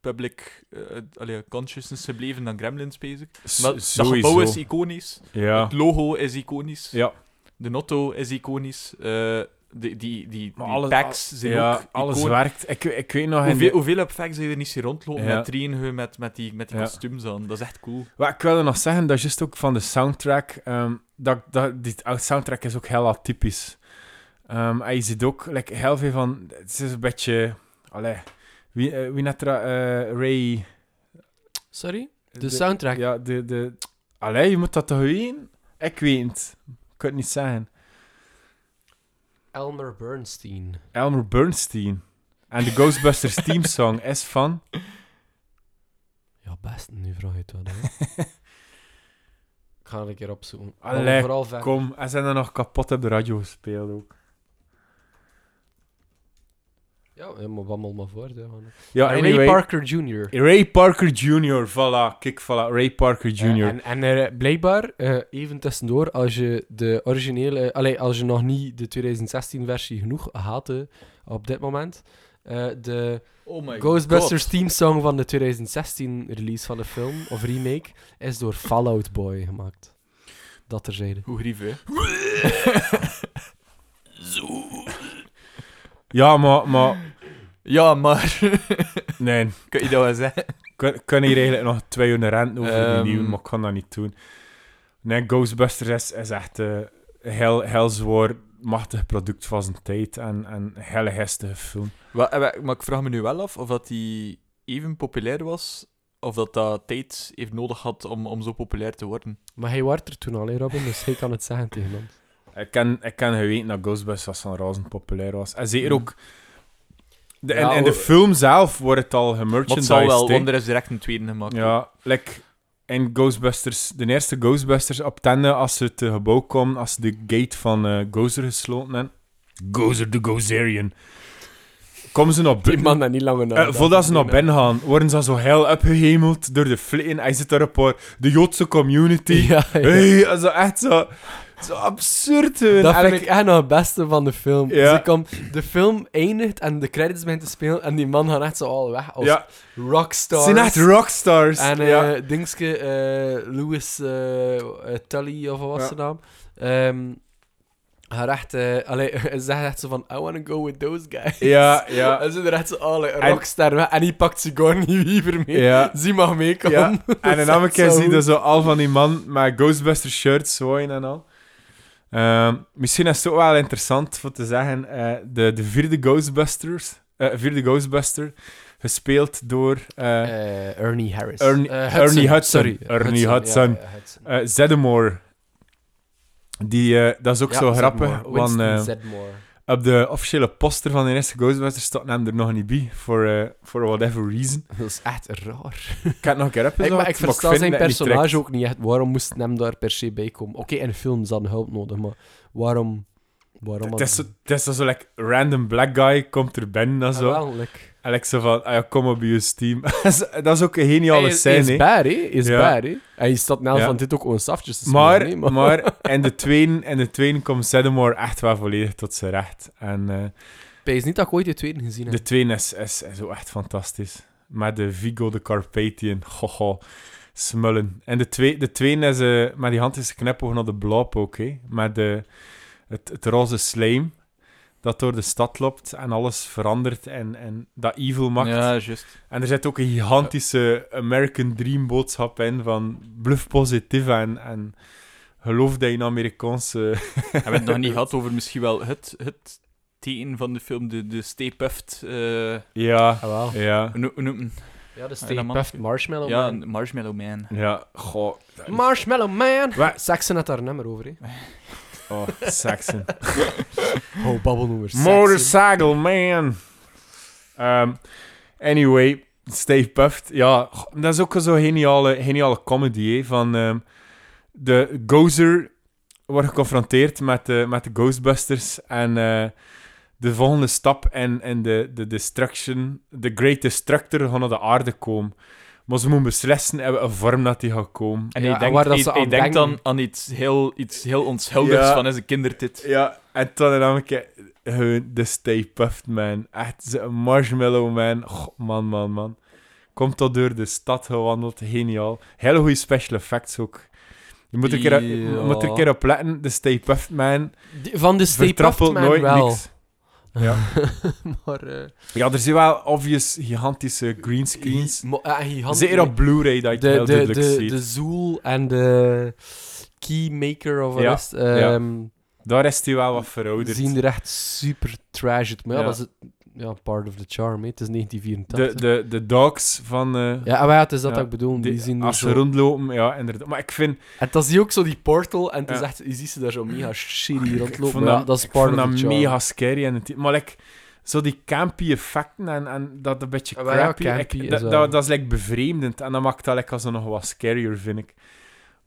Speaker 2: public eh, allee, consciousness gebleven dan Gremlins, bezig.
Speaker 3: S-
Speaker 2: Maar dat
Speaker 3: sowieso.
Speaker 2: gebouw is iconisch.
Speaker 3: Ja.
Speaker 2: Het logo is iconisch.
Speaker 3: Ja.
Speaker 2: De motto is iconisch. eh, de, die, die, die
Speaker 3: Maar alles-
Speaker 2: packs zijn
Speaker 3: ja,
Speaker 2: ook
Speaker 3: alles
Speaker 2: iconisch.
Speaker 3: werkt. Ik, ik weet nog... in
Speaker 2: Hoeveel,
Speaker 3: de-
Speaker 2: hoeveel effects zijn er niet zien rondlopen
Speaker 3: Ja.
Speaker 2: met Trienheu, met, met die, met die
Speaker 3: Ja.
Speaker 2: kostuums aan. Dat is echt cool.
Speaker 3: Wat ik wilde nog zeggen, dat is juist ook van de soundtrack. ehm, dat, dat, die soundtrack is ook heel atypisch. Ehm, en je ziet ook like, heel veel van... Het is een beetje... Allee, wie, eh, wie net er, eh, Ray...
Speaker 1: Sorry? De soundtrack?
Speaker 3: Ja, de... de allee, je moet dat toch weten? Ik weet het. Ik kan het niet zeggen.
Speaker 1: Elmer Bernstein.
Speaker 3: Elmer Bernstein. En de Ghostbusters teamsong is van...
Speaker 1: Ja, best. Nu vraag je het wel. hè. ik ga het een keer opzoeken. Oh,
Speaker 3: Allee,
Speaker 1: Maar vooral ver.
Speaker 3: Kom, en zijn er nog kapot op de radio gespeeld ook.
Speaker 1: Ja, eh, maar babbel maar voort. Hè, man.
Speaker 3: Ja,
Speaker 1: En
Speaker 3: anyway,
Speaker 1: Ray Parker Jr.
Speaker 3: Ray Parker Jr. Voilà, kijk, voilà. Ray Parker Jr.
Speaker 1: Ja, en en eh, blijkbaar, eh, even tussendoor, als je de originele... allee, als je nog niet de 2016-versie genoeg had eh, op dit moment... eh, de
Speaker 2: Oh my
Speaker 1: Ghostbusters teamsong van de 2016-release van de film, of remake, is door Fallout Boy gemaakt. Dat terzijde.
Speaker 2: Hoe grief, hè?
Speaker 3: Ja, maar, maar
Speaker 2: Ja, maar...
Speaker 3: nee,
Speaker 2: Kun je dat wel zeggen?
Speaker 3: kun, kun hier eigenlijk nog twee uur rent over
Speaker 2: Ehm.
Speaker 3: die nieuwe, maar ik kan dat niet doen. Nee, Ghostbusters is, is echt eh, een heel, heel zwaar, machtig product van zijn tijd en, en een hele gestige film.
Speaker 2: Wa- eh, wa- Maar ik vraag me nu wel af of dat die even populair was, of dat dat tijd heeft nodig had om, om zo populair te worden.
Speaker 1: Maar hij was er toen al, hè, Robin, dus hij kan het zeggen tegen ons.
Speaker 3: Ik kan, ik kan geweten dat Ghostbusters was van razend populair was. En zeker
Speaker 2: Hmm.
Speaker 3: ook... De, in,
Speaker 1: Ja,
Speaker 3: in de
Speaker 1: oh.
Speaker 3: film zelf wordt het al
Speaker 2: Maar het zal wel,
Speaker 3: gemerchandised. hè.
Speaker 2: want er is direct een tweede gemaakt.
Speaker 3: Ja, like in Ghostbusters, de eerste Ghostbusters op tende, als ze het eh, gebouw komen, als ze de gate van eh Gozer gesloten hebben. Gozer de Gozerian. Komen ze naar
Speaker 1: Die
Speaker 3: binnen.
Speaker 1: man dat niet langer
Speaker 3: Eh, voordat ze naar binnen gaan, worden ze zo heel opgehemeld door de flitten. Hij zit daar op haar, de Joodse community.
Speaker 1: Ja, ja.
Speaker 3: Hey, dat is echt zo, zo absurd. hè.
Speaker 1: Dat
Speaker 3: En
Speaker 1: vind
Speaker 3: ik-
Speaker 1: ik echt nog het beste van de film.
Speaker 3: Ja.
Speaker 1: Ze komt- de film eindigt en de credits beginnen te spelen en die man gaat echt zo al weg als
Speaker 3: ja, ze
Speaker 1: rockstars.
Speaker 3: zijn echt rockstars.
Speaker 1: En eh
Speaker 3: ja.
Speaker 1: Dingske, eh, Louis eh, eh, Tully, of wat was
Speaker 3: Ja.
Speaker 1: zijn naam? Ehm haar echt, eh, allee, ze zegt echt zo van, I wanna go with those guys.
Speaker 3: ja, ja.
Speaker 1: En ze er echt zo, alle
Speaker 3: En-
Speaker 1: rockstar weg. En die pakt Sigourney Weaver mee.
Speaker 3: Ja.
Speaker 1: Ze mag meekomen.
Speaker 3: Ja,
Speaker 1: is
Speaker 3: En een andere
Speaker 1: echt
Speaker 3: keer
Speaker 1: zo
Speaker 3: zie je
Speaker 1: goed.
Speaker 3: zo al van die man met Ghostbuster shirts zwaaien en al. Ehm, misschien is het ook wel interessant voor te zeggen, eh, de, de vierde Ghostbusters, eh, vierde Ghostbuster, gespeeld door eh,
Speaker 1: Eh, Ernie Harris.
Speaker 3: Ernie-
Speaker 1: Eh,
Speaker 3: Ernie Hudson.
Speaker 1: Sorry.
Speaker 3: Ernie
Speaker 1: ja,
Speaker 3: Hudson.
Speaker 1: ja, Hudson.
Speaker 3: eh, Zeddemore. Die, eh, dat is ook
Speaker 1: Ja,
Speaker 3: zo
Speaker 1: Zedmore.
Speaker 3: grappig, want
Speaker 1: Winston
Speaker 3: eh,
Speaker 1: Zedmore.
Speaker 3: op de officiële poster van de eerste Ghostbusters staat hem er nog niet bij, voor eh, for whatever reason.
Speaker 1: Dat is echt raar.
Speaker 3: Ik heb het nog een keer opgezocht,
Speaker 1: Ik, maar ik
Speaker 3: vind
Speaker 1: versta zijn
Speaker 3: dat het niet trekt.
Speaker 1: personage ook niet echt. Waarom moest hem daar per se bij komen? Oké, in films dan hulp nodig, maar waarom... waarom
Speaker 3: Het is, zo- het is zo, zo like, random black guy komt er binnen en
Speaker 1: Ah,
Speaker 3: zo.
Speaker 1: wel, like-
Speaker 3: En ik zo van, ah ja, kom op je team. dat is ook een geniale
Speaker 1: Hij is- hij
Speaker 3: scène, hè.
Speaker 1: is baar, hè? Hij is
Speaker 3: Ja.
Speaker 1: baar, hè? En je staat nou
Speaker 3: Ja.
Speaker 1: van dit ook gewoon saftjes te smeren, hè,
Speaker 3: Maar, maar in, de tweede, in de tweede komt Zeddemore echt wel volledig tot zijn recht. En eh,
Speaker 1: Ik is niet dat ik ooit de tweede gezien heb.
Speaker 3: de tweede is, is, is ook echt fantastisch. Met de Vigo de Carpathian. Gogo. Smullen. En de, twee, de tweede is eh, met die hand is knipoog naar de blob ook. hè. Met de, het, het roze slime. Dat door de stad loopt en alles verandert en, en dat evil maakt.
Speaker 2: Ja, juist.
Speaker 3: En er zit ook een gigantische American Dream boodschap in van bluff positief en, en geloof dat je een Amerikaanse...
Speaker 2: Hebben we het nog niet gehad over misschien wel het, het teken van de film, de, de Stay Puft. eh,
Speaker 3: Ja,
Speaker 1: Ah, wel.
Speaker 3: ja,
Speaker 1: Ja, de
Speaker 2: Ja,
Speaker 1: Stay
Speaker 2: dat man-
Speaker 1: Puft Marshmallow
Speaker 2: Ja,
Speaker 1: Man.
Speaker 2: een Marshmallow Man.
Speaker 3: ja. Goh.
Speaker 1: Marshmallow Man!
Speaker 3: Wat?
Speaker 1: Saxon had daar een nummer over, hè?
Speaker 3: Oh, Saxon.
Speaker 1: Oh, babbel over Saxon.
Speaker 3: Motorcycle man. Ehm, anyway, Steve Puft. Ja, goh, dat is ook zo'n geniale, geniale comedy hè, van ehm, de Gozer wordt geconfronteerd met, de met de Ghostbusters en eh, de volgende stap en, en de, de destruction, de Great Destructor gaan naar de aarde komen. Maar ze moeten beslissen in welke vorm dat die gaat komen.
Speaker 2: En
Speaker 1: Ja,
Speaker 2: hij
Speaker 1: en
Speaker 2: denkt,
Speaker 1: waar dat
Speaker 2: hij-
Speaker 1: ze
Speaker 2: hij
Speaker 1: aan
Speaker 2: denkt
Speaker 1: denken.
Speaker 2: dan aan iets heel, iets heel onschuldigs
Speaker 3: Ja.
Speaker 2: van is een kindertit.
Speaker 3: Ja, en toen namelijk eh, gewoon de Stay Puft Man. Echt zo'n marshmallow man. Goh, man, man, man. Komt tot door de stad gewandeld. Geniaal. Hele goede special effects ook. Je moet er, een keer, je
Speaker 2: Ja.
Speaker 3: moet er een keer op letten. De Stay Puft Man
Speaker 1: Die- Van de Stay Puft
Speaker 3: vertrappelt
Speaker 1: Man
Speaker 3: nooit
Speaker 1: wel.
Speaker 3: niks. Ja.
Speaker 1: maar... eh
Speaker 3: ja, er zijn wel obvious gigantische greenscreens.
Speaker 1: mo- eh, gigantisch-
Speaker 3: Zeker op Blu-ray dat je het
Speaker 1: de,
Speaker 3: heel
Speaker 1: de,
Speaker 3: duidelijk
Speaker 1: de,
Speaker 3: ziet.
Speaker 1: de Zool en de Keymaker of
Speaker 3: Ja,
Speaker 1: alles ehm
Speaker 3: Daar is hij wel wat verouderd.
Speaker 1: zien er echt super trash uit. Maar ja,
Speaker 3: Ja.
Speaker 1: dat is het- ja, part of the charm, hè. Het is
Speaker 3: De,
Speaker 1: 1984.
Speaker 3: de, de dogs van... eh,
Speaker 1: Ja, maar ja, het is dat
Speaker 3: Ja,
Speaker 1: dat ik bedoel. Die,
Speaker 3: die-
Speaker 1: zien er
Speaker 3: als
Speaker 1: zo...
Speaker 3: ze rondlopen, ja, inderdaad. Maar ik vind...
Speaker 1: En dan zie je ook zo die portal en het is
Speaker 3: Ja.
Speaker 1: echt, je ziet ze daar zo mega shitty
Speaker 3: Ik
Speaker 1: rondlopen.
Speaker 3: vond
Speaker 1: Ja,
Speaker 3: dat,
Speaker 1: Dat, is
Speaker 3: ik
Speaker 1: part
Speaker 3: vond
Speaker 1: of
Speaker 3: dat
Speaker 1: the charm.
Speaker 3: mega scary. En het, maar like, zo die campy effecten en, en dat een beetje
Speaker 1: Ah, wel ja,
Speaker 3: crappy. ik-
Speaker 1: campy is
Speaker 3: dat,
Speaker 1: wel-
Speaker 3: dat, dat is like bevreemdend. En dat maakt dat like, als nog wat scarier, vind ik.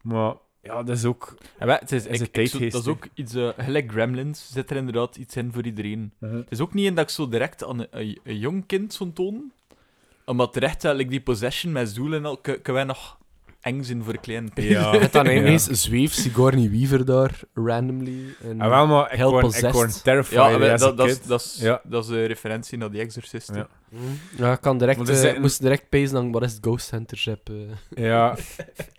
Speaker 3: Maar ja, dat is ook...
Speaker 2: Ja, maar het is,
Speaker 3: Dat is
Speaker 2: ik-
Speaker 3: een
Speaker 2: ik zo-
Speaker 3: tijdgeest,
Speaker 2: dat is
Speaker 3: hè.
Speaker 2: ook iets, eh, gelijk Gremlins, zit er inderdaad iets in voor iedereen.
Speaker 1: Mhm.
Speaker 2: Het is ook niet in dat ik zo direct aan een, een, een jong kind zou tonen, omdat terecht had ik die possession met Zoel en al, kunnen wij nog eng zijn voor klein kind.
Speaker 3: Ja.
Speaker 1: En dan
Speaker 3: Ja.
Speaker 1: ineens zweeft Sigourney Weaver daar, randomly. En...
Speaker 3: Ah, wel, maar ik
Speaker 1: Heel
Speaker 3: word, ik
Speaker 1: possessed.
Speaker 3: word terrified
Speaker 2: Ja, maar
Speaker 3: als
Speaker 2: dat,
Speaker 3: een
Speaker 2: dat, is-
Speaker 3: kid.
Speaker 2: dat, is,
Speaker 3: Ja.
Speaker 2: dat is een referentie naar die Exorcist. hè.
Speaker 3: Ja.
Speaker 1: Ja, ik kan direct,
Speaker 3: Want er
Speaker 1: eh,
Speaker 3: zitten-
Speaker 1: moest direct pezen aan wat is het Ghost Hunter heb. eh.
Speaker 3: Ja,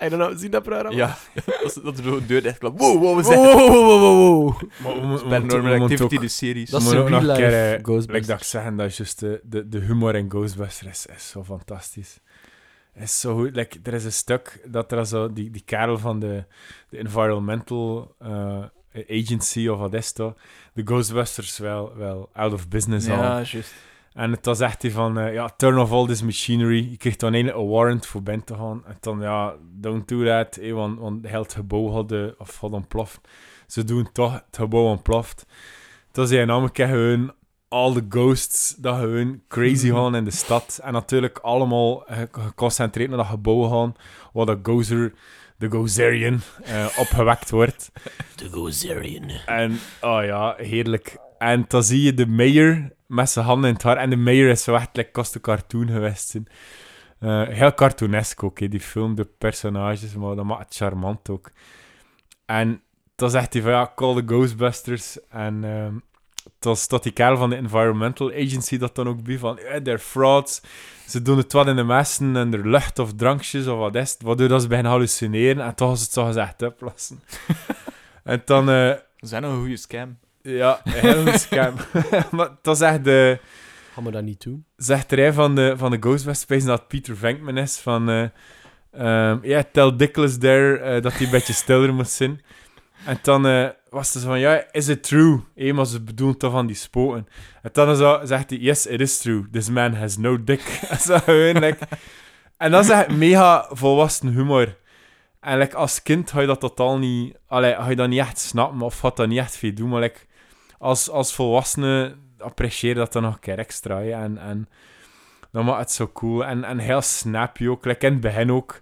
Speaker 1: I don't know, zie dat programma?
Speaker 2: Ja, dat, is- dat er zo de deur echt klapt. Wow, wow, we
Speaker 1: Wow,
Speaker 2: zijn
Speaker 1: wow, wow, wow, wow.
Speaker 3: maar we, moeten- we, moeten-
Speaker 2: Paranormal
Speaker 3: we moeten ook-
Speaker 2: Activity, de series.
Speaker 1: Dat is
Speaker 3: moet
Speaker 1: een
Speaker 3: ook nog
Speaker 1: real
Speaker 3: een keer,
Speaker 1: life
Speaker 3: eh, Like dat ik
Speaker 1: Ghostbusters.
Speaker 3: zeggen, dat is juist de, de, de humor in Ghostbusters is, is zo fantastisch. Is zo goed. Like, er is een stuk dat er zo die, die kerel van de, de Environmental eh, Agency of wat is dat, de Ghostbusters wel, wel out of business al.
Speaker 2: ja, juist.
Speaker 3: En het was echt die van, eh, ja, turn off all this machinery. Je kreeg dan eigenlijk een warrant voor binnen te gaan. En dan, ja, don't do that, eh, want, want heel het gebouw had, eh, of had ontploft. Ze doen toch, het gebouw ontploft. Toen zei hij namelijk echt gewoon, al de ghosts, dat gewoon crazy gaan in de stad. En natuurlijk allemaal eh, geconcentreerd naar dat gebouw gaan, waar dat gozer, de gozerian, eh, opgewekt wordt.
Speaker 1: The Gozerian.
Speaker 3: En, oh ja, heerlijk. En dan zie je de mayor met zijn handen in het haar. En de mayor is zo echt like, kost een cartoon geweest. zijn. Eh, heel cartoonesk ook, hè, die film, de personages, maar dat maakt het charmant ook. En dan zegt hij van, ja, call the Ghostbusters. En ehm dan staat die kerel van de Environmental Agency dat dan ook bij, van, eh, they're frauds. Ze doen het wat in de messen en er lucht of drankjes of wat is het, waardoor dat ze beginnen hallucineren en toch is het zo gezegd oplossen. en dan... eh,
Speaker 2: We zijn een goede scam.
Speaker 3: ja, heel een scam. maar dat zegt, de,
Speaker 1: Gaan we dat niet doen?
Speaker 3: zegt er een van de, van de Ghostbusters Space dat Peter Venkman is van... eh ehm, ja, tell Dickless there eh, dat hij een beetje stiller moet zijn. En dan eh, was het zo van, ja, is it true? Hé, maar ze bedoelt toch van die spoten. En dan zo, zegt hij, yes, it is true. This man has no dick. En zo gewoon, like- En dat is echt mega volwassen humor. En like, als kind ga je dat totaal niet... Allee, ga je dat niet echt snappen of gaat dat niet echt veel doen. Maar like, als, als volwassene apprecieer dat dan nog een keer extra. hè. En, en dan maakt het zo cool. En, en heel snappy ook. Like in het begin ook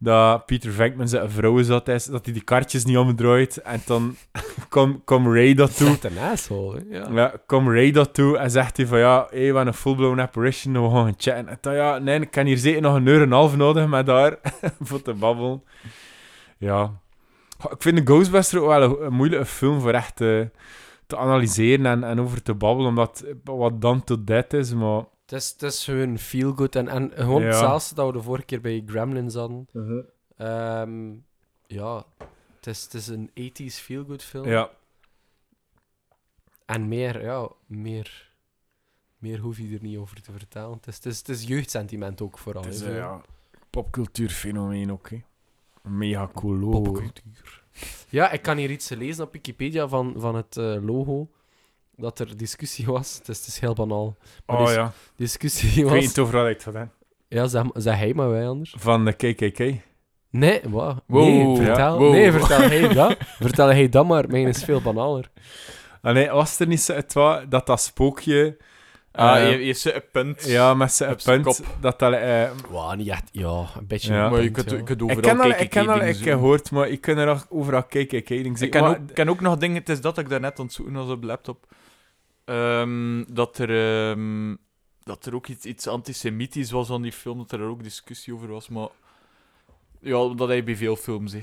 Speaker 3: dat Peter Venkman zijn vrouw zat, is, dat hij die kaartjes niet omdraait. En dan kom, kom Ray dat toe.
Speaker 1: Echt een asshole, hè? Ja.
Speaker 3: Ja, kom Ray dat toe en zegt hij van ja, hé, we hebben een full-blown apparition, we gaan gaan chatten. En dan ja, nee, ik kan hier zeker nog een uur en een half nodig met haar voor te babbelen. Ja. Goh, Ik vind de Ghostbuster ook wel een, een moeilijke film voor echt eh, te analyseren en, en over te babbelen, omdat het wat dan tot dead is, maar...
Speaker 1: Het is, het is gewoon feel good. En, en gewoon
Speaker 3: Ja.
Speaker 1: hetzelfde dat we de vorige keer bij Gremlins hadden. Ehm, ja, het is, het is een 80s feel good film.
Speaker 3: Ja.
Speaker 1: En meer, ja, meer, meer hoef je er niet over te vertellen. Het is, het is, het is jeugdsentiment ook vooral.
Speaker 3: Het is
Speaker 1: hè,
Speaker 3: een
Speaker 1: zo.
Speaker 3: ja, popcultuurfenomeen ook, hè. Mega cool logo, hè.
Speaker 1: Popcultuur. Ja, ik kan hier iets lezen op Wikipedia van, van het eh, logo. Dat er discussie was. Het is, het is heel banaal. Maar
Speaker 3: Oh
Speaker 1: dis-
Speaker 3: ja,
Speaker 1: Discussie
Speaker 3: ik
Speaker 1: was...
Speaker 3: weet niet over wat ik het had, hè.
Speaker 1: Ja, zeg, zeg hij maar wij anders.
Speaker 3: Van de KKK.
Speaker 1: Nee, wat?
Speaker 2: Wow,
Speaker 1: nee, vertel,
Speaker 2: ja, wow.
Speaker 1: nee, vertel hij dat. vertel hij dat maar. Mijn is veel banaler.
Speaker 3: Ah, nee, was er niet zo- het wa- dat dat spookje...
Speaker 2: Ah,
Speaker 3: eh,
Speaker 2: je, je zet een punt.
Speaker 3: Ja, met zijn
Speaker 2: Op zijn
Speaker 3: punt. Dat dat, eh,
Speaker 1: Wow, Ah, niet echt. Ja, een beetje.
Speaker 3: Ja.
Speaker 1: een
Speaker 2: maar je
Speaker 1: punt,
Speaker 2: kunt, je
Speaker 1: ja.
Speaker 2: kunt
Speaker 3: ik
Speaker 2: overal
Speaker 3: ken al,
Speaker 2: kijken.
Speaker 3: ik ken al, ik gehoord, maar ik kan er nog overal kijken, kijken.
Speaker 2: Dus Ik ken, ook, ken ook nog dingen, het is dat ik daarnet aan het zoeken was op de laptop. Ehm, dat, er, ehm, dat er ook iets, iets antisemitisch was aan die film, dat er ook discussie over was, maar... Ja, dat hij bij veel films, hè.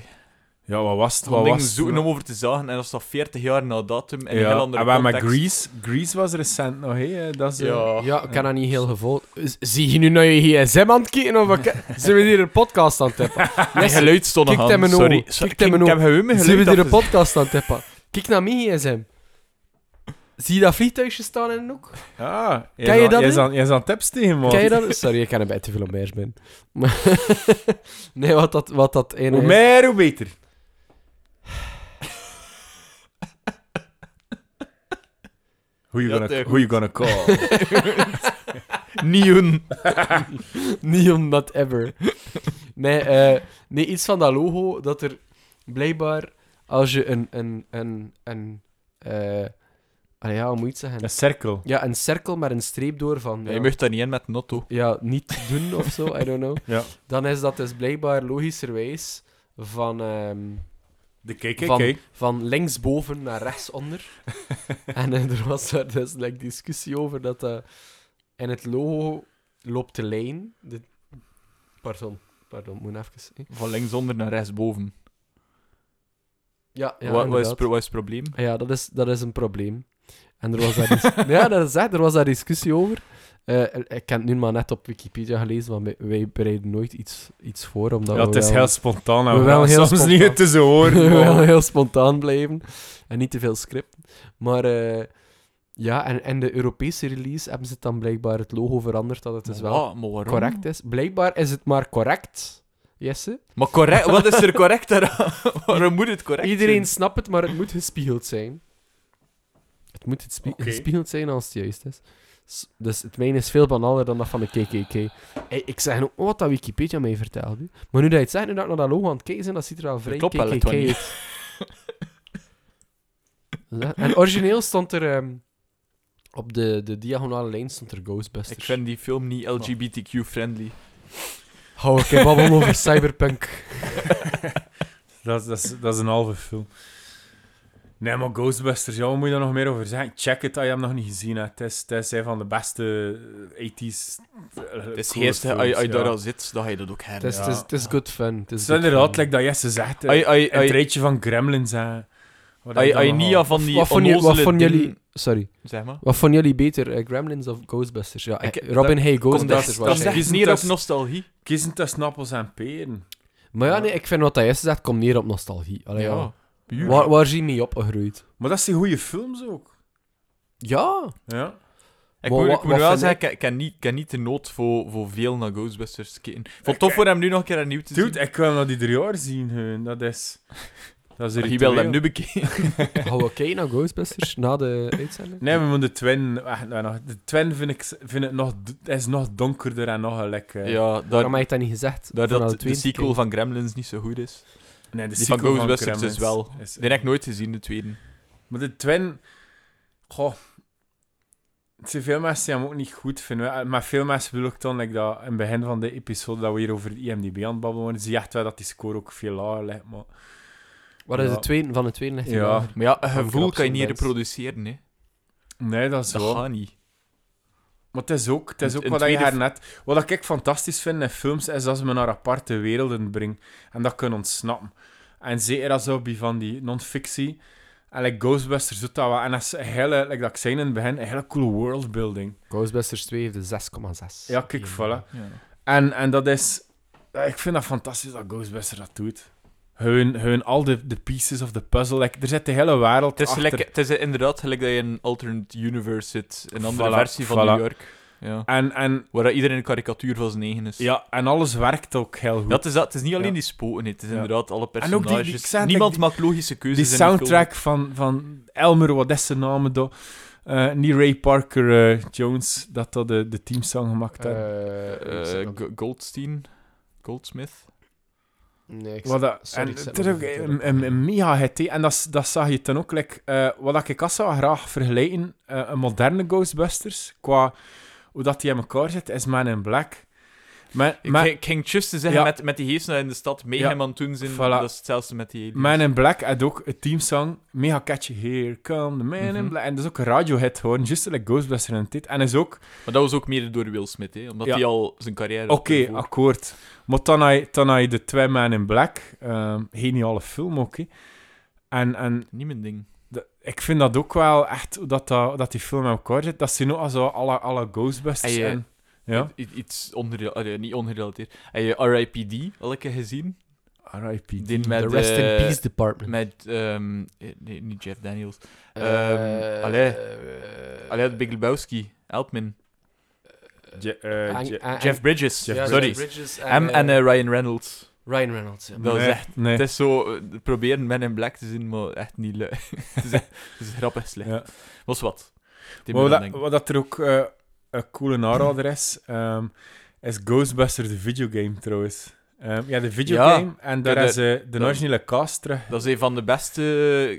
Speaker 3: Ja, wat was het?
Speaker 2: Gewoon
Speaker 3: Wat
Speaker 2: dingen
Speaker 3: was
Speaker 2: zoeken om over te zagen, en dat is dat 40 jaar na datum, en een heel andere
Speaker 3: en waar met
Speaker 2: context.
Speaker 3: ah, Grease? Grease was recent nog, hé. eh, Dat is, eh,
Speaker 2: Ja.
Speaker 1: Ja, ik kan dat niet heel gevolgd. Z- Zie je nu naar je gsm aan het kijken? Of wat? zijn we hier een podcast aan het tippen?
Speaker 2: Mijn geluid stond nog
Speaker 1: Kijk hem
Speaker 2: aan,
Speaker 1: in
Speaker 2: sorry.
Speaker 1: ogen.
Speaker 2: Sorry,
Speaker 1: Kijk hem in
Speaker 2: Ik heb
Speaker 1: ogen.
Speaker 2: gewoon mijn
Speaker 1: Zijn we
Speaker 2: geluid
Speaker 1: hier een
Speaker 2: afgezet.
Speaker 1: podcast aan het tippen? Kijk naar mijn gsm. Zie je dat vliegtuigje staan in een hoek?
Speaker 3: Ah, jij
Speaker 1: Ken
Speaker 3: is
Speaker 1: je
Speaker 3: aan-
Speaker 1: dat,
Speaker 3: Jij is
Speaker 1: hè?
Speaker 3: aan- jij is aan tips tegen, man.
Speaker 1: Ken je dat? Sorry, ik kan een beetje veel om beers ben. Maar- nee, wat dat, wat dat ene
Speaker 3: Hoe
Speaker 1: is-
Speaker 3: meer, hoe beter. Who you
Speaker 2: Ja,
Speaker 3: gonna,
Speaker 2: het, eh,
Speaker 3: who you gonna call?
Speaker 2: Neon.
Speaker 1: Neon Not Ever. Nee, eh, nee, iets van dat logo dat er blijkbaar als je een. een, een, een eh, allee, ja, hoe moet je het zeggen?
Speaker 3: Een cirkel.
Speaker 1: Ja, een cirkel met een streep door van.
Speaker 2: Nee,
Speaker 1: ja,
Speaker 2: je mag daar niet in met Notto.
Speaker 1: ja, niet doen of zo, I don't know.
Speaker 3: Ja.
Speaker 1: Dan is dat dus blijkbaar logischerwijs van, ehm,
Speaker 3: De
Speaker 1: Van, van linksboven naar rechtsonder. en eh, er was daar dus like, discussie over dat eh, in het logo loopt de lijn. De... Pardon, pardon, moet even. eh.
Speaker 2: Van linksonder naar rechtsboven.
Speaker 1: Ja, ja,
Speaker 2: wat, wat, is,
Speaker 1: inderdaad.
Speaker 2: het pro- wat is het probleem?
Speaker 1: Ja, dat is, dat is een probleem. En er was daar, dis- ja, dat is echt, er was daar discussie over. Eh, ik heb het nu maar net op Wikipedia gelezen, want wij, wij bereiden nooit iets, iets voor. Omdat
Speaker 3: Ja,
Speaker 1: we
Speaker 3: het is
Speaker 1: wel-
Speaker 3: heel spontaan. en
Speaker 1: we
Speaker 3: We
Speaker 1: wel
Speaker 3: gaan
Speaker 1: heel
Speaker 3: soms
Speaker 1: spontaan.
Speaker 3: niet tussen horen.
Speaker 1: We
Speaker 3: maar-
Speaker 1: willen heel spontaan blijven en niet te veel scripten. Maar eh, ja, en, en de Europese release hebben ze dan blijkbaar het logo veranderd dat het dus wel
Speaker 2: Ah, maar waarom?
Speaker 1: correct is. Blijkbaar is het maar correct, Jesse.
Speaker 2: Maar correct, wat is er correct daaraan? Waarom moet het correct
Speaker 1: Iedereen
Speaker 2: zijn?
Speaker 1: snapt het, maar het moet gespiegeld zijn. Het moet het spie-
Speaker 3: Oké.
Speaker 1: gespiegeld zijn als het juist is. S- Dus het mijne is veel banaler dan dat van de KKK. Ey, ik zeg ook wat dat Wikipedia mij vertelde. Maar nu dat je het zegt, nu dat ik naar dat logo aan het kijken ben, dat ziet er al vrij
Speaker 2: klopt wel,
Speaker 1: KKK
Speaker 2: het
Speaker 1: uit.
Speaker 2: wel niet.
Speaker 1: Dus dat- en origineel stond er... ehm, op de, de diagonale lijn stond er Ghostbusters.
Speaker 2: Ik vind die film niet LGBTQ-friendly.
Speaker 1: Hou ik babbel over cyberpunk.
Speaker 3: Dat, is- dat, is, dat is een halve film. Nee, maar Ghostbusters, ja, wat moet je daar nog meer over zeggen? Check het, als je hem nog niet gezien hebt. Het is, het is een van de beste eh, 80s.
Speaker 2: Het is eerst, hè, als je als je daar al zit, dan ga je dat ook
Speaker 1: Het is,
Speaker 2: her.
Speaker 1: het is, het is good fun. Het is
Speaker 3: Het is
Speaker 1: good
Speaker 3: inderdaad,
Speaker 1: fun.
Speaker 3: like dat Jesse zegt, eh,
Speaker 2: Ai, ai,
Speaker 3: het
Speaker 2: ai.
Speaker 3: rijtje van Gremlins. hè. Wat heb
Speaker 2: Als je-
Speaker 3: je
Speaker 2: als je
Speaker 3: nog
Speaker 2: niet
Speaker 3: al?
Speaker 2: af van die
Speaker 1: wat vonden jullie- wat
Speaker 2: onnozele
Speaker 1: vonden jullie...
Speaker 2: dingen-
Speaker 1: Sorry.
Speaker 2: Zeg maar.
Speaker 1: Wat vonden jullie beter, eh, Gremlins of Ghostbusters? Ja,
Speaker 2: Ik-
Speaker 1: eh, Robin,
Speaker 2: dat-
Speaker 1: hey,
Speaker 2: Kom, dat,
Speaker 1: Ghostbusters
Speaker 2: is-
Speaker 1: was
Speaker 2: dat
Speaker 1: hij.
Speaker 2: zegt neer op nostalgie.
Speaker 3: Kiezen tussen appels en peren.
Speaker 1: Maar ja, nee, ik vind wat hij is, dat komt neer op nostalgie. Allee, ja.
Speaker 2: Puur.
Speaker 1: Waar, waar zie je mee opgegroeid?
Speaker 3: Maar dat zijn goede films ook.
Speaker 1: Ja.
Speaker 3: Ja.
Speaker 2: Ik
Speaker 1: Wa-
Speaker 2: moet,
Speaker 1: wa-
Speaker 2: ik moet
Speaker 1: wat
Speaker 2: wel
Speaker 1: vind
Speaker 2: zeggen, ik ik heb niet, ik heb niet de nood voor, voor veel naar Ghostbusters te kijken. Ik vond het tof
Speaker 3: Ik-
Speaker 2: voor hem nu nog een keer opnieuw te zien.
Speaker 3: Dude, ik wil dat die drie jaar zien. hè. Dat is... Dat is
Speaker 2: Maar
Speaker 3: er
Speaker 2: je wil hem nu bekijken.
Speaker 1: Gaan we kijken naar Ghostbusters na de uitzending?
Speaker 3: Nee, we moeten de twin... Wacht, nou, nog- de twin vind ik, vind ik nog, d- is nog donkerder en nog eh, lekker.
Speaker 2: Ja,
Speaker 1: Waarom
Speaker 2: daar,
Speaker 1: heb je dat niet gezegd?
Speaker 2: daar
Speaker 1: Vanaf
Speaker 2: dat de
Speaker 1: tweede
Speaker 2: sequel
Speaker 1: keer.
Speaker 2: van Gremlins niet zo goed is.
Speaker 3: Nee, de
Speaker 2: Die van
Speaker 3: sequel
Speaker 2: Ghostbusters
Speaker 3: Gremlins
Speaker 2: is wel.
Speaker 3: is-
Speaker 2: Die heb ik nooit gezien, de tweede.
Speaker 3: Maar de twin... Goh. Het zijn veel mensen die hem ook niet goed vinden. Eh, Maar veel mensen willen ook dan, like dat, in het begin van de episode dat we hier over de IMDb aan het babbelen waren, zie je echt wel dat die score ook veel lager ligt. Maar...
Speaker 1: Wat is
Speaker 3: Ja.
Speaker 1: de tweede? Van de tweede ligt hij
Speaker 3: Ja.
Speaker 1: lager.
Speaker 2: Maar ja, een
Speaker 1: Van
Speaker 2: gevoel kan je niet
Speaker 1: Grapsonbens.
Speaker 2: reproduceren, hè.
Speaker 3: Nee, dat is
Speaker 2: Dat
Speaker 3: wel...
Speaker 2: gaat niet.
Speaker 3: Maar het is ook, het is
Speaker 2: In-
Speaker 3: ook
Speaker 2: in
Speaker 3: wat je
Speaker 2: tweede f-
Speaker 3: daarnet... Wat ik fantastisch vind in films, is dat ze me naar aparte werelden brengen. En dat kunnen ontsnappen. En zeker als zo bij van die non-fictie. En like Ghostbusters doet dat wel. En dat is een hele, like dat ik zei in het begin, een hele cool worldbuilding.
Speaker 1: Ghostbusters 2 heeft de 6,6.
Speaker 3: Ja, kijk,
Speaker 1: Eh,
Speaker 3: voilà.
Speaker 2: Ja.
Speaker 3: En, en dat is... ja, Ik vind dat fantastisch dat Ghostbusters dat doet. Hun, hun al de, de pieces of the puzzle. like, er zit de hele wereld
Speaker 2: Het is,
Speaker 3: achter.
Speaker 2: gelijk, het is inderdaad gelijk dat je in een alternate universe zit. Een andere
Speaker 3: Voilà,
Speaker 2: versie van
Speaker 3: voilà.
Speaker 2: New York. Ja.
Speaker 3: En, en,
Speaker 2: Waar dat iedereen een karikatuur van zijn eigen is.
Speaker 3: ja, en alles werkt ook heel goed.
Speaker 2: Dat is, dat, het is niet alleen
Speaker 3: Ja.
Speaker 2: die spoten, het is
Speaker 3: Ja.
Speaker 2: inderdaad alle
Speaker 3: En ook die-
Speaker 2: personages.
Speaker 3: die- ik zei het,
Speaker 2: Niemand
Speaker 3: like,
Speaker 2: maakt logische keuzes
Speaker 3: Die
Speaker 2: in die film.
Speaker 3: soundtrack van, van Elmer, wat is zijn naam? do- eh, niet Ray Parker eh, Jones, dat dat de, de teamsong gemaakt had.
Speaker 2: Eh,
Speaker 1: Eh, ik
Speaker 2: Go- Goldstein? Goldsmith?
Speaker 1: Nee, ik
Speaker 3: wat dat,
Speaker 1: sorry,
Speaker 3: en
Speaker 1: ik zet
Speaker 3: het is
Speaker 1: nog
Speaker 3: ook
Speaker 1: een
Speaker 3: een, een, een mega hit. hè. En dat, is- dat zag je ten ook. Like, eh, wat ik als zou graag vergelijken, eh, een moderne Ghostbusters, qua hoe dat die in elkaar zit, is Man in Black. Man,
Speaker 2: Ik
Speaker 3: Man-
Speaker 2: ging- ik ging juist te zeggen
Speaker 3: Ja.
Speaker 2: met, met die geesten in de stad mee
Speaker 3: Ja.
Speaker 2: hem aan het doen zijn.
Speaker 3: Voilà.
Speaker 2: Dat is hetzelfde met die aliens.
Speaker 3: Man in Black had ook een teamsong. Mega catchy. Here come the man
Speaker 2: Mhm.
Speaker 3: in black. En dat is ook een radiohit gewoon. Just like Ghostbusters en dit. En is ook...
Speaker 2: Maar dat was ook meer door Will Smith, hè, omdat
Speaker 3: Ja.
Speaker 2: hij al zijn carrière...
Speaker 3: Oké,
Speaker 2: ervoor-
Speaker 3: akkoord. Maar dan had je- dan had je de twee Man in Black. ehm, geniale film ook. hè. En, en
Speaker 2: Niet mijn ding.
Speaker 3: de- ik vind dat ook wel echt... hoe Dat, dat, hoe dat die film in elkaar zit. Dat zijn ook al zo alle, alle Ghostbusters.
Speaker 2: En je-
Speaker 3: en- ja.
Speaker 2: I- Iets onrela- allee, niet ongerelateerd. Heb je R.I.P.D. al een keer gezien?
Speaker 3: R.I.P.
Speaker 2: Die met...
Speaker 1: De Rest in
Speaker 2: eh,
Speaker 1: Peace Department.
Speaker 2: Met... ehm, eh, nee, niet Jeff Daniels.
Speaker 1: Eh,
Speaker 2: ehm, allee.
Speaker 1: eh,
Speaker 2: Allee, Big Lebowski. Eltman.
Speaker 3: Je- eh,
Speaker 1: Ang-
Speaker 3: je-
Speaker 1: Ang-
Speaker 2: Jeff Bridges.
Speaker 3: Jeff
Speaker 1: Ja,
Speaker 2: Sorry.
Speaker 1: Jeff Bridges
Speaker 2: Hem en
Speaker 1: eh,
Speaker 2: eh, Ryan Reynolds.
Speaker 1: Ryan Reynolds. ja.
Speaker 2: Dat is
Speaker 3: nee,
Speaker 2: echt...
Speaker 3: nee.
Speaker 2: Het is zo... eh, proberen Men in Black te zien, maar echt niet leuk. het, is, echt- het is grappig slecht.
Speaker 3: Ja.
Speaker 2: Was wat. Die moet
Speaker 3: Maar wat,
Speaker 2: aan
Speaker 3: dat,
Speaker 2: denken.
Speaker 3: wat dat er ook eh, een coole aanrader is, ehm, is Ghostbusters de videogame trouwens. Ehm, ja, de videogame. En daar
Speaker 2: Ja, de-
Speaker 3: is eh, de
Speaker 2: dat-
Speaker 3: originele cast terug.
Speaker 2: Dat is een van de beste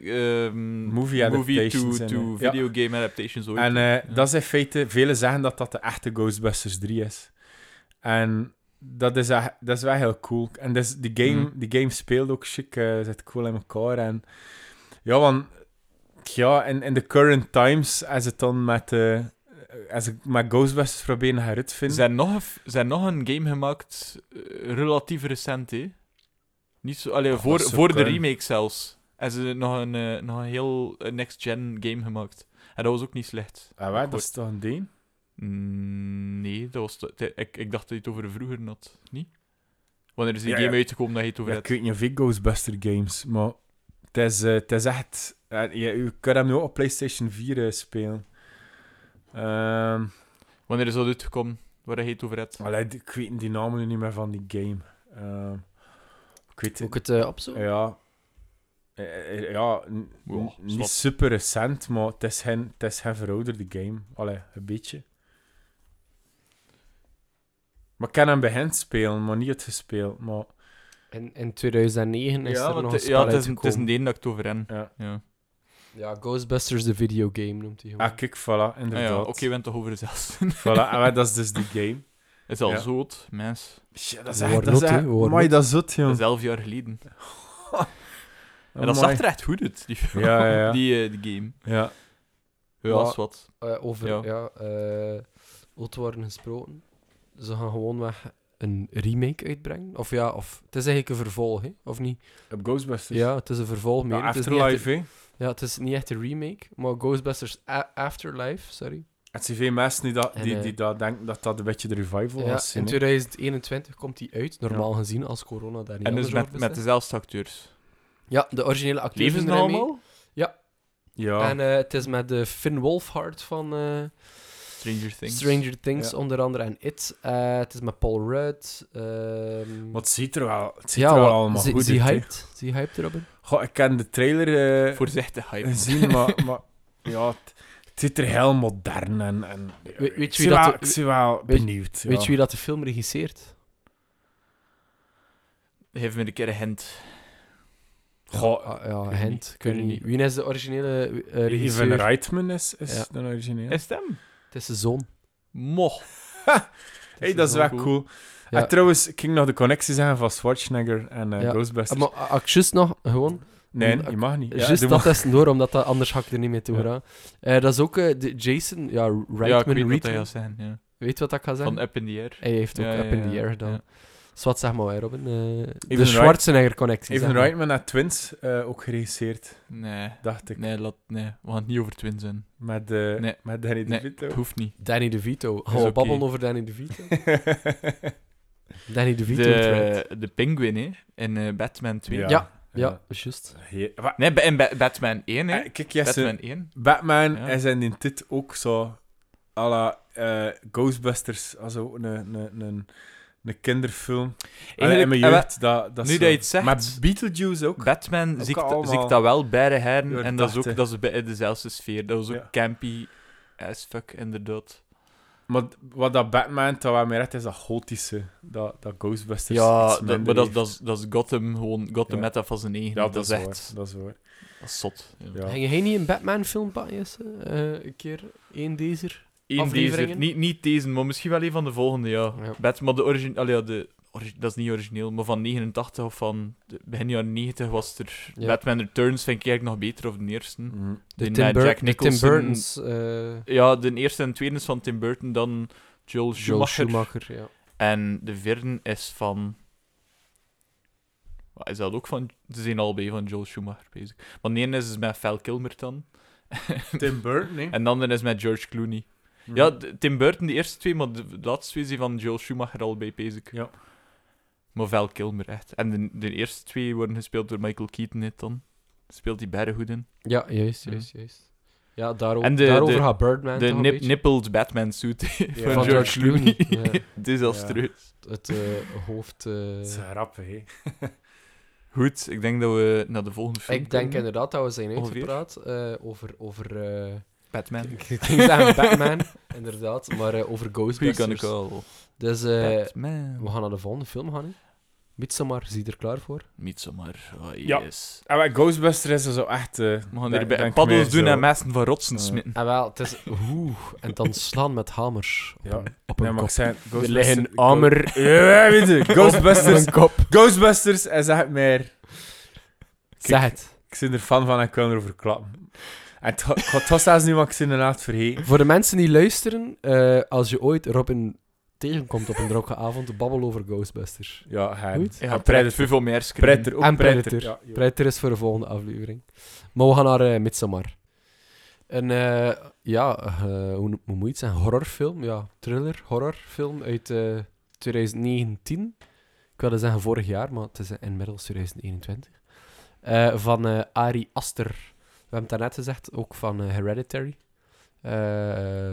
Speaker 2: ehm,
Speaker 3: Movie adaptations
Speaker 2: to,
Speaker 3: en,
Speaker 2: to
Speaker 3: eh, ja.
Speaker 2: video game adaptations ooit.
Speaker 3: En eh,
Speaker 2: Ja.
Speaker 3: dat is in feite, velen zeggen dat dat de echte Ghostbusters 3 is. En dat is, echt- dat is wel heel cool. En dus die, game,
Speaker 2: Mhm.
Speaker 3: die game speelt ook chic, eh, zit cool in elkaar. En ja, want ja, in, in de current times, als het dan met, eh, als ik met Ghostbusters proberen eruit te
Speaker 2: er
Speaker 3: vinden.
Speaker 2: zijn nog, een f- zijn nog een game gemaakt, eh, relatief recent, hè? Niet zo, allee,
Speaker 3: Ah,
Speaker 2: voor,
Speaker 3: dat zou
Speaker 2: voor de
Speaker 3: kunnen.
Speaker 2: remake zelfs. En ze nog een, eh, nog een heel eh, next-gen game gemaakt. En dat was ook niet slecht.
Speaker 3: Ah, wat? dat is toch een ding?
Speaker 2: Mm, nee, dat was te- te- ik, ik dacht dat je het over vroeger had. Niet? Wanneer is die
Speaker 3: Ja,
Speaker 2: game
Speaker 3: ja.
Speaker 2: uitgekomen dat je het over
Speaker 3: Ja, ik
Speaker 2: hebt?
Speaker 3: weet niet of ik Ghostbuster games, maar het is, eh, het is echt... eh, je, je kan hem nu ook op PlayStation 4 eh, spelen. Ehm,
Speaker 2: Wanneer is dat uitgekomen waar je het over hebt?
Speaker 3: allee, d- ik weet die namen nu niet meer van die game. Ehm, ik weet
Speaker 1: Moet ik
Speaker 3: het...
Speaker 1: het eh, opzoeken?
Speaker 3: Ja... Eh, eh, Ja, n-
Speaker 2: Ja,
Speaker 3: n-
Speaker 2: snap.
Speaker 3: niet super recent, maar het is geen, het is geen verouderde game. Allee, een beetje. Maar ik kan hem begin spelen, maar niet uitgespeeld. Maar
Speaker 1: In, in 2009 is
Speaker 2: ja,
Speaker 1: er nog
Speaker 2: want
Speaker 1: een
Speaker 2: het-
Speaker 1: spel
Speaker 2: ja, het is, een- het is
Speaker 1: uitgekomen.
Speaker 2: een deen dat ik het over heb.
Speaker 3: Ja.
Speaker 2: ja. Ah
Speaker 1: Ja, Ghostbusters de videogame noemt hij gewoon.
Speaker 3: Ah, kijk, voilà,
Speaker 2: Ah
Speaker 3: inderdaad.
Speaker 2: ja, oké, we hebben het toch over zelfs.
Speaker 3: Voilà, en dat is dus die game.
Speaker 2: Het is al
Speaker 3: Ja.
Speaker 2: zoot, mens.
Speaker 3: Shit, dat is
Speaker 1: We
Speaker 3: echt...
Speaker 1: worden
Speaker 3: Dat is
Speaker 1: nat, hè,
Speaker 3: echt
Speaker 1: we worden
Speaker 3: amai,
Speaker 1: nat.
Speaker 3: dat is zot,
Speaker 2: Dat is
Speaker 3: jong.
Speaker 2: elf jaar geleden. En dat
Speaker 3: Amai.
Speaker 2: zag er echt goed uit, die film.
Speaker 3: Ja, ja, ja.
Speaker 2: Die, eh, die game.
Speaker 3: Ja.
Speaker 2: Ja,
Speaker 1: Ja.
Speaker 2: is wat.
Speaker 1: Eh, over,
Speaker 2: Ja.
Speaker 1: ja, eh, oud worden gesproken. Ze gaan gewoon weg een remake uitbrengen. Of ja, of... Het is eigenlijk een vervolg, hè? Of niet?
Speaker 3: Op Ghostbusters.
Speaker 1: Ja, het is een vervolg meer.
Speaker 3: Ja,
Speaker 1: het is niet echt een-
Speaker 3: Afterlife, hè.
Speaker 1: Ja, het is niet echt een remake, maar Ghostbusters A- Afterlife, sorry.
Speaker 3: Het zijn veel mensen die, dat,
Speaker 1: En,
Speaker 3: die,
Speaker 1: eh,
Speaker 3: die dat denken dat dat een beetje de revival
Speaker 1: Ja,
Speaker 3: was.
Speaker 1: in
Speaker 3: hè.
Speaker 1: 2021 komt die uit, normaal gezien, als corona daar niet
Speaker 2: En dus
Speaker 1: anders
Speaker 2: met,
Speaker 1: over
Speaker 2: met
Speaker 1: beslist.
Speaker 2: dezelfde acteurs.
Speaker 1: Ja, de originele acteurs
Speaker 2: Leven ze
Speaker 1: doen erin
Speaker 2: allemaal?
Speaker 1: mee.
Speaker 3: Ja.
Speaker 1: En eh, het is met de Finn Wolfhard van eh,
Speaker 2: Stranger Things.
Speaker 1: Stranger Things,
Speaker 3: Ja.
Speaker 1: onder andere, en It. Eh, het is met Paul Rudd. ehm,
Speaker 3: Maar het ziet er wel, het ziet er
Speaker 1: wat-
Speaker 3: wel allemaal
Speaker 1: ze-
Speaker 3: goed
Speaker 1: ze
Speaker 3: uit, hè.
Speaker 1: hyped. Ze hyped, Robin.
Speaker 3: Goh, ik ken de trailer eh,
Speaker 2: Voorzichtig hype.
Speaker 3: gezien, maar, maar ja, het, het zit er heel modern en... en
Speaker 1: weet je
Speaker 3: ik
Speaker 1: wie
Speaker 3: ben
Speaker 1: dat-
Speaker 3: wel- Ik ben wel
Speaker 1: weet-
Speaker 3: benieuwd.
Speaker 1: Weet
Speaker 3: ja.
Speaker 1: je wie dat de film regisseert?
Speaker 2: Geef me een keer een hint.
Speaker 3: Goh,
Speaker 1: Ah, ja,
Speaker 3: weet
Speaker 1: Hent.
Speaker 3: niet,
Speaker 1: kun je
Speaker 3: weet
Speaker 1: niet.
Speaker 3: niet.
Speaker 1: Wie is de originele eh,
Speaker 3: Ivan
Speaker 1: regisseur?
Speaker 3: Reitman is, is
Speaker 1: Ja.
Speaker 3: de origineel.
Speaker 2: Is het hem?
Speaker 1: Het is zijn zoon.
Speaker 2: Moch.
Speaker 3: hey, dat is
Speaker 2: wel
Speaker 3: wel
Speaker 2: cool.
Speaker 3: cool.
Speaker 1: Ja.
Speaker 3: En trouwens, ik ging nog de connectie zeggen van Schwarzenegger en eh,
Speaker 1: Ja.
Speaker 3: Ghostbusters.
Speaker 1: Maar ah, ah, ik juist nog, gewoon,
Speaker 3: nee,
Speaker 1: maar-
Speaker 3: je mag niet. Ja,
Speaker 1: juist dat
Speaker 3: doe maar.
Speaker 1: testen door, omdat dat, anders ga ik er niet mee toe
Speaker 3: Ja.
Speaker 1: geraken. Eh, dat is ook eh, de Jason, ja, Reitman,
Speaker 2: ja, ik weet wat
Speaker 1: Reitman.
Speaker 2: hij gaat zijn. Ja.
Speaker 1: Weet wat ik ga zeggen?
Speaker 2: Van Up in the Air.
Speaker 1: Hij heeft ook
Speaker 2: Ja,
Speaker 1: Up
Speaker 2: ja,
Speaker 1: in the
Speaker 2: ja,
Speaker 1: Air gedaan.
Speaker 2: ja.
Speaker 1: Dus wat zeg maar, hè, Robin? Eh, de
Speaker 3: Wright-
Speaker 1: Schwarzenegger-connectie.
Speaker 3: Ivan
Speaker 1: zeg maar.
Speaker 3: Reitman had Twins eh, ook geregisseerd,
Speaker 2: Nee.
Speaker 3: dacht ik.
Speaker 2: Nee, laat, nee, we gaan het niet over twins zijn.
Speaker 3: Met, eh
Speaker 2: Nee.
Speaker 3: met Danny
Speaker 2: Nee.
Speaker 3: DeVito.
Speaker 2: Het hoeft niet.
Speaker 1: Danny DeVito. Gaan
Speaker 2: Is
Speaker 1: we
Speaker 2: oké.
Speaker 1: Oh, babbelen over Danny DeVito? Danny DeVito. thread.
Speaker 2: De, de penguin, hè. In eh, Batman 2.
Speaker 1: Ja. Ja, juist.
Speaker 3: Heer- wa-
Speaker 2: Nee, ba- in Ba- Batman 1, hè.
Speaker 3: eh, kijk, Jesse,
Speaker 2: Batman 1.
Speaker 3: Batman,
Speaker 2: Ja.
Speaker 3: is in die tit ook zo à la eh, Ghostbusters, als ook een, een, een, een kinderfilm. Allee, in mijn
Speaker 2: eh,
Speaker 3: jeugd, dat, dat
Speaker 2: nu
Speaker 3: zo.
Speaker 2: dat je het zegt-
Speaker 3: Maar Beetlejuice ook.
Speaker 2: Batman
Speaker 3: Ook
Speaker 2: ziet
Speaker 3: allemaal-
Speaker 2: ziet dat wel bij de heren.
Speaker 3: Ja,
Speaker 2: en dat is ook
Speaker 3: dacht,
Speaker 2: dat is bij- in dezelfde sfeer. Dat was ook
Speaker 3: Ja.
Speaker 2: campy as fuck, inderdaad.
Speaker 3: Maar wat dat Batman dat wel meer recht is, dat gotische, dat, dat Ghostbusters iets
Speaker 2: ja, dat,
Speaker 3: minder
Speaker 2: maar dat,
Speaker 3: heeft.
Speaker 2: dat, is, dat is Gotham gewoon. Gotham
Speaker 3: Ja.
Speaker 2: met dat van zijn eigen.
Speaker 3: Ja,
Speaker 2: dat, is
Speaker 3: waar,
Speaker 2: echt
Speaker 3: Dat is waar.
Speaker 2: dat is zot. Ja.
Speaker 3: Ja.
Speaker 1: Ging jij niet een Batman-film pakken, Jesse? Eh, een keer één deze?
Speaker 2: Eén deze,
Speaker 1: Afleveringen?
Speaker 2: niet, niet deze, maar misschien wel een van de volgende, ja.
Speaker 1: Ja.
Speaker 2: Batman, de origine, allee, ja, de origi- dat is niet origineel, maar van 89 of van de- begin jaren 90 was er
Speaker 1: Ja.
Speaker 2: Batman Returns, vind ik eigenlijk nog beter, of de eerste.
Speaker 3: Mm.
Speaker 1: De
Speaker 2: Die
Speaker 1: Tim,
Speaker 2: met
Speaker 1: Bur-
Speaker 2: Jack
Speaker 1: de Tim
Speaker 2: Nicholson.
Speaker 1: Burton's eh
Speaker 2: Ja, de eerste en tweede is van Tim Burton, dan
Speaker 1: Joel
Speaker 2: Joel Schumacher.
Speaker 1: Schumacher. Ja.
Speaker 2: En de vierde is van... Wat Is dat ook van... Ze zijn allebei van Joel Schumacher bezig. Want de ene is dus met Val Kilmer dan.
Speaker 3: Tim Burton, hè?
Speaker 2: En de andere is met George Clooney.
Speaker 3: Mhm.
Speaker 2: Ja, de- Tim Burton, de eerste twee, maar de de laatste twee zijn van Joel Schumacher al bij bezig.
Speaker 3: Ja.
Speaker 2: Maar Val Kilmer, echt. En de, de eerste twee worden gespeeld door Michael Keaton, net dan. Speelt die bergen goed in.
Speaker 1: ja, juist,
Speaker 2: Ja.
Speaker 1: juist, juist. Ja, daarover,
Speaker 2: En de-
Speaker 1: daarover
Speaker 2: de-
Speaker 1: gaat Birdman
Speaker 2: de
Speaker 1: toch een
Speaker 2: nip,
Speaker 1: beetje?
Speaker 2: nippled Batman suit van,
Speaker 1: van
Speaker 2: George, Clooney.
Speaker 1: Ja,
Speaker 2: Desastreus.
Speaker 1: het eh, hoofd... eh,
Speaker 3: Dat is grappig, hè?
Speaker 2: Goed, ik denk dat we naar de volgende film
Speaker 1: ik denk
Speaker 2: kunnen.
Speaker 1: inderdaad dat we zijn
Speaker 2: Ongeveer.
Speaker 1: uitgepraat eh, over... over eh,
Speaker 2: Batman.
Speaker 1: ik ging zeggen Batman, inderdaad, maar eh, over
Speaker 2: Goeie kan
Speaker 1: Ghostbusters.
Speaker 2: ik al.
Speaker 1: Dus eh, we
Speaker 2: Batman.
Speaker 1: gaan naar de volgende film gaan. hè. Midsommar, zie je er klaar voor?
Speaker 2: Midsommar. Oh,
Speaker 3: Ja.
Speaker 2: yes.
Speaker 3: En wat Ah, Ghostbusters is er zo echt... eh,
Speaker 2: We gaan
Speaker 3: denk-
Speaker 2: er bij
Speaker 3: denk
Speaker 2: paddels
Speaker 3: mij
Speaker 2: doen
Speaker 3: zo-
Speaker 2: en messen van rotsen
Speaker 3: Eh,
Speaker 2: smitten.
Speaker 1: En Ah, wel, het is... Oeh, en dan slaan met hamers op
Speaker 3: Ja.
Speaker 1: een, op een
Speaker 3: Nee, maar
Speaker 1: kop.
Speaker 3: ik zei...
Speaker 1: Er
Speaker 3: Ghostbusters-
Speaker 1: liggen hamer...
Speaker 3: Ja, weet je, Ghostbusters,
Speaker 1: Op een kop.
Speaker 3: Ghostbusters is echt meer...
Speaker 1: Zeg het.
Speaker 3: Ik ben er fan van en ik wil erover klappen. En het- het was zelfs niet wat ik inderdaad vergeten.
Speaker 1: Voor de mensen die luisteren, eh, als je ooit Robin tegenkomt op een droge avond, babbel over Ghostbusters.
Speaker 3: Ja, hij...
Speaker 1: Goed.
Speaker 2: Ja,
Speaker 3: en
Speaker 2: Predator.
Speaker 3: Predator.
Speaker 2: Veel meer screen.
Speaker 3: Predator, ook
Speaker 1: En
Speaker 3: Predator.
Speaker 1: Predator.
Speaker 3: Ja, joh.
Speaker 1: Predator is voor de volgende aflevering. Maar we gaan naar eh Midsommar. Een, eh, ja, eh, hoe, hoe moet je het zeggen? Horrorfilm, ja. Thriller, horrorfilm uit eh, 2019. Ik wilde zeggen vorig jaar, maar het is eh, inmiddels 2021. Eh, van eh, Ari Aster. We hebben het daarnet gezegd, ook van eh, Hereditary. Eh,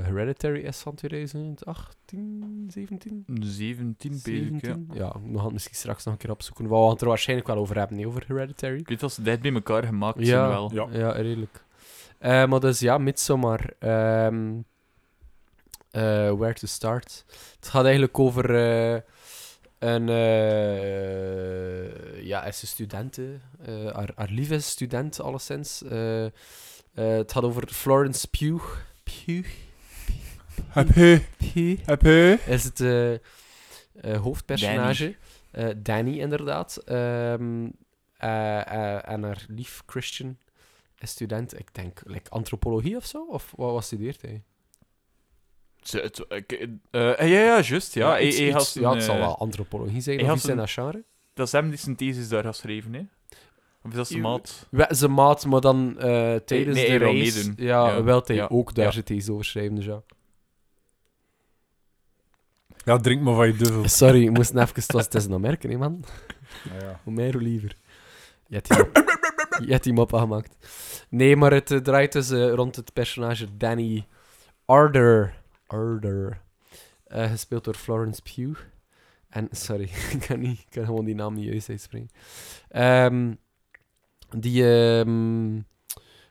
Speaker 1: Hereditary is van 2018, 17?
Speaker 2: 17 bezig, ja.
Speaker 1: 17? Ja, we gaan het misschien straks nog een keer opzoeken. We gaan het er waarschijnlijk wel over hebben, niet over Hereditary.
Speaker 2: Ik weet dat ze dicht bij elkaar gemaakt
Speaker 1: Ja.
Speaker 2: zijn wel.
Speaker 3: Ja.
Speaker 1: Ja, redelijk. Eh, maar dus ja, Midsommar. Ehm, eh, where to start? Het gaat eigenlijk over eh, een... eh ja, hij is een student. hè. Eh, haar, haar lief is student, alleszins. Eh, eh, het gaat over Florence Pugh. Pugh?
Speaker 3: Heb je...
Speaker 1: Pugh?
Speaker 3: Heb je...
Speaker 1: is het eh, eh, hoofdpersonage, Danny, Danny inderdaad. Ehm, eh, eh, en haar lief Christian is student, ik denk, like, antropologie of zo? Of wat, wat studeert hij?
Speaker 2: Ze- het- ik- eh, eh, ja, ja, juist. Ja, Hij-
Speaker 1: iets-
Speaker 2: hij
Speaker 1: iets-
Speaker 2: had zijn,
Speaker 1: ja, het zal
Speaker 2: eh,
Speaker 1: wel antropologie zijn,
Speaker 2: hij
Speaker 1: of
Speaker 2: had
Speaker 1: iets in
Speaker 2: een-
Speaker 1: dat genre.
Speaker 2: Dat is hem die zijn thesis daar had geschreven, hè? Of is dat zijn
Speaker 1: Uw-
Speaker 2: maat?
Speaker 1: We- Ze maat, maar dan eh, tijdens
Speaker 2: nee,
Speaker 1: de
Speaker 2: hij wil
Speaker 1: race...
Speaker 2: meedoen.
Speaker 1: Ja,
Speaker 2: Ja,
Speaker 1: wel hij
Speaker 2: ja,
Speaker 1: ook daar
Speaker 2: ja.
Speaker 1: zit hij over schrijven, dus ja.
Speaker 3: Ja, drink maar van je duvel.
Speaker 1: Sorry, ik moest even... Het was- het is een Amerikaan, hè, man. Hoe meer, hoe liever. Je hebt die mop, je hebt die mop aangemaakt. Nee, maar het eh, draait dus eh, rond het personage Danny Arder. Arder. Eh, gespeeld door Florence Pugh. En, sorry, ik kan, niet, ik kan gewoon die naam niet juist uitspreken. Ehm, Die, ehm,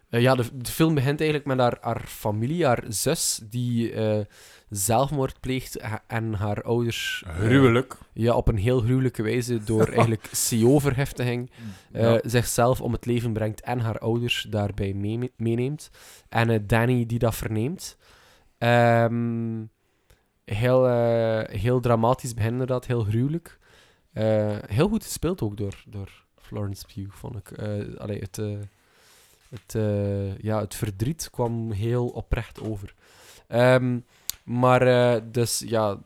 Speaker 1: eh, ja, de, de film begint eigenlijk met haar, haar familie, haar zus, die eh, zelfmoord pleegt ha- en haar ouders eh,
Speaker 3: Gruwelijk.
Speaker 1: ja, op een heel gruwelijke wijze door eigenlijk CO-verheftiging eh,
Speaker 3: Ja.
Speaker 1: zichzelf om het leven brengt en haar ouders daarbij mee- meeneemt. En eh, Danny die dat verneemt. Ehm, heel, eh, heel dramatisch begint inderdaad, heel gruwelijk. Eh, heel goed gespeeld ook door, door Florence Pugh, vond ik. Eh, allee, het, eh, het, eh, ja, het verdriet kwam heel oprecht over. Ehm, maar eh, dus ja,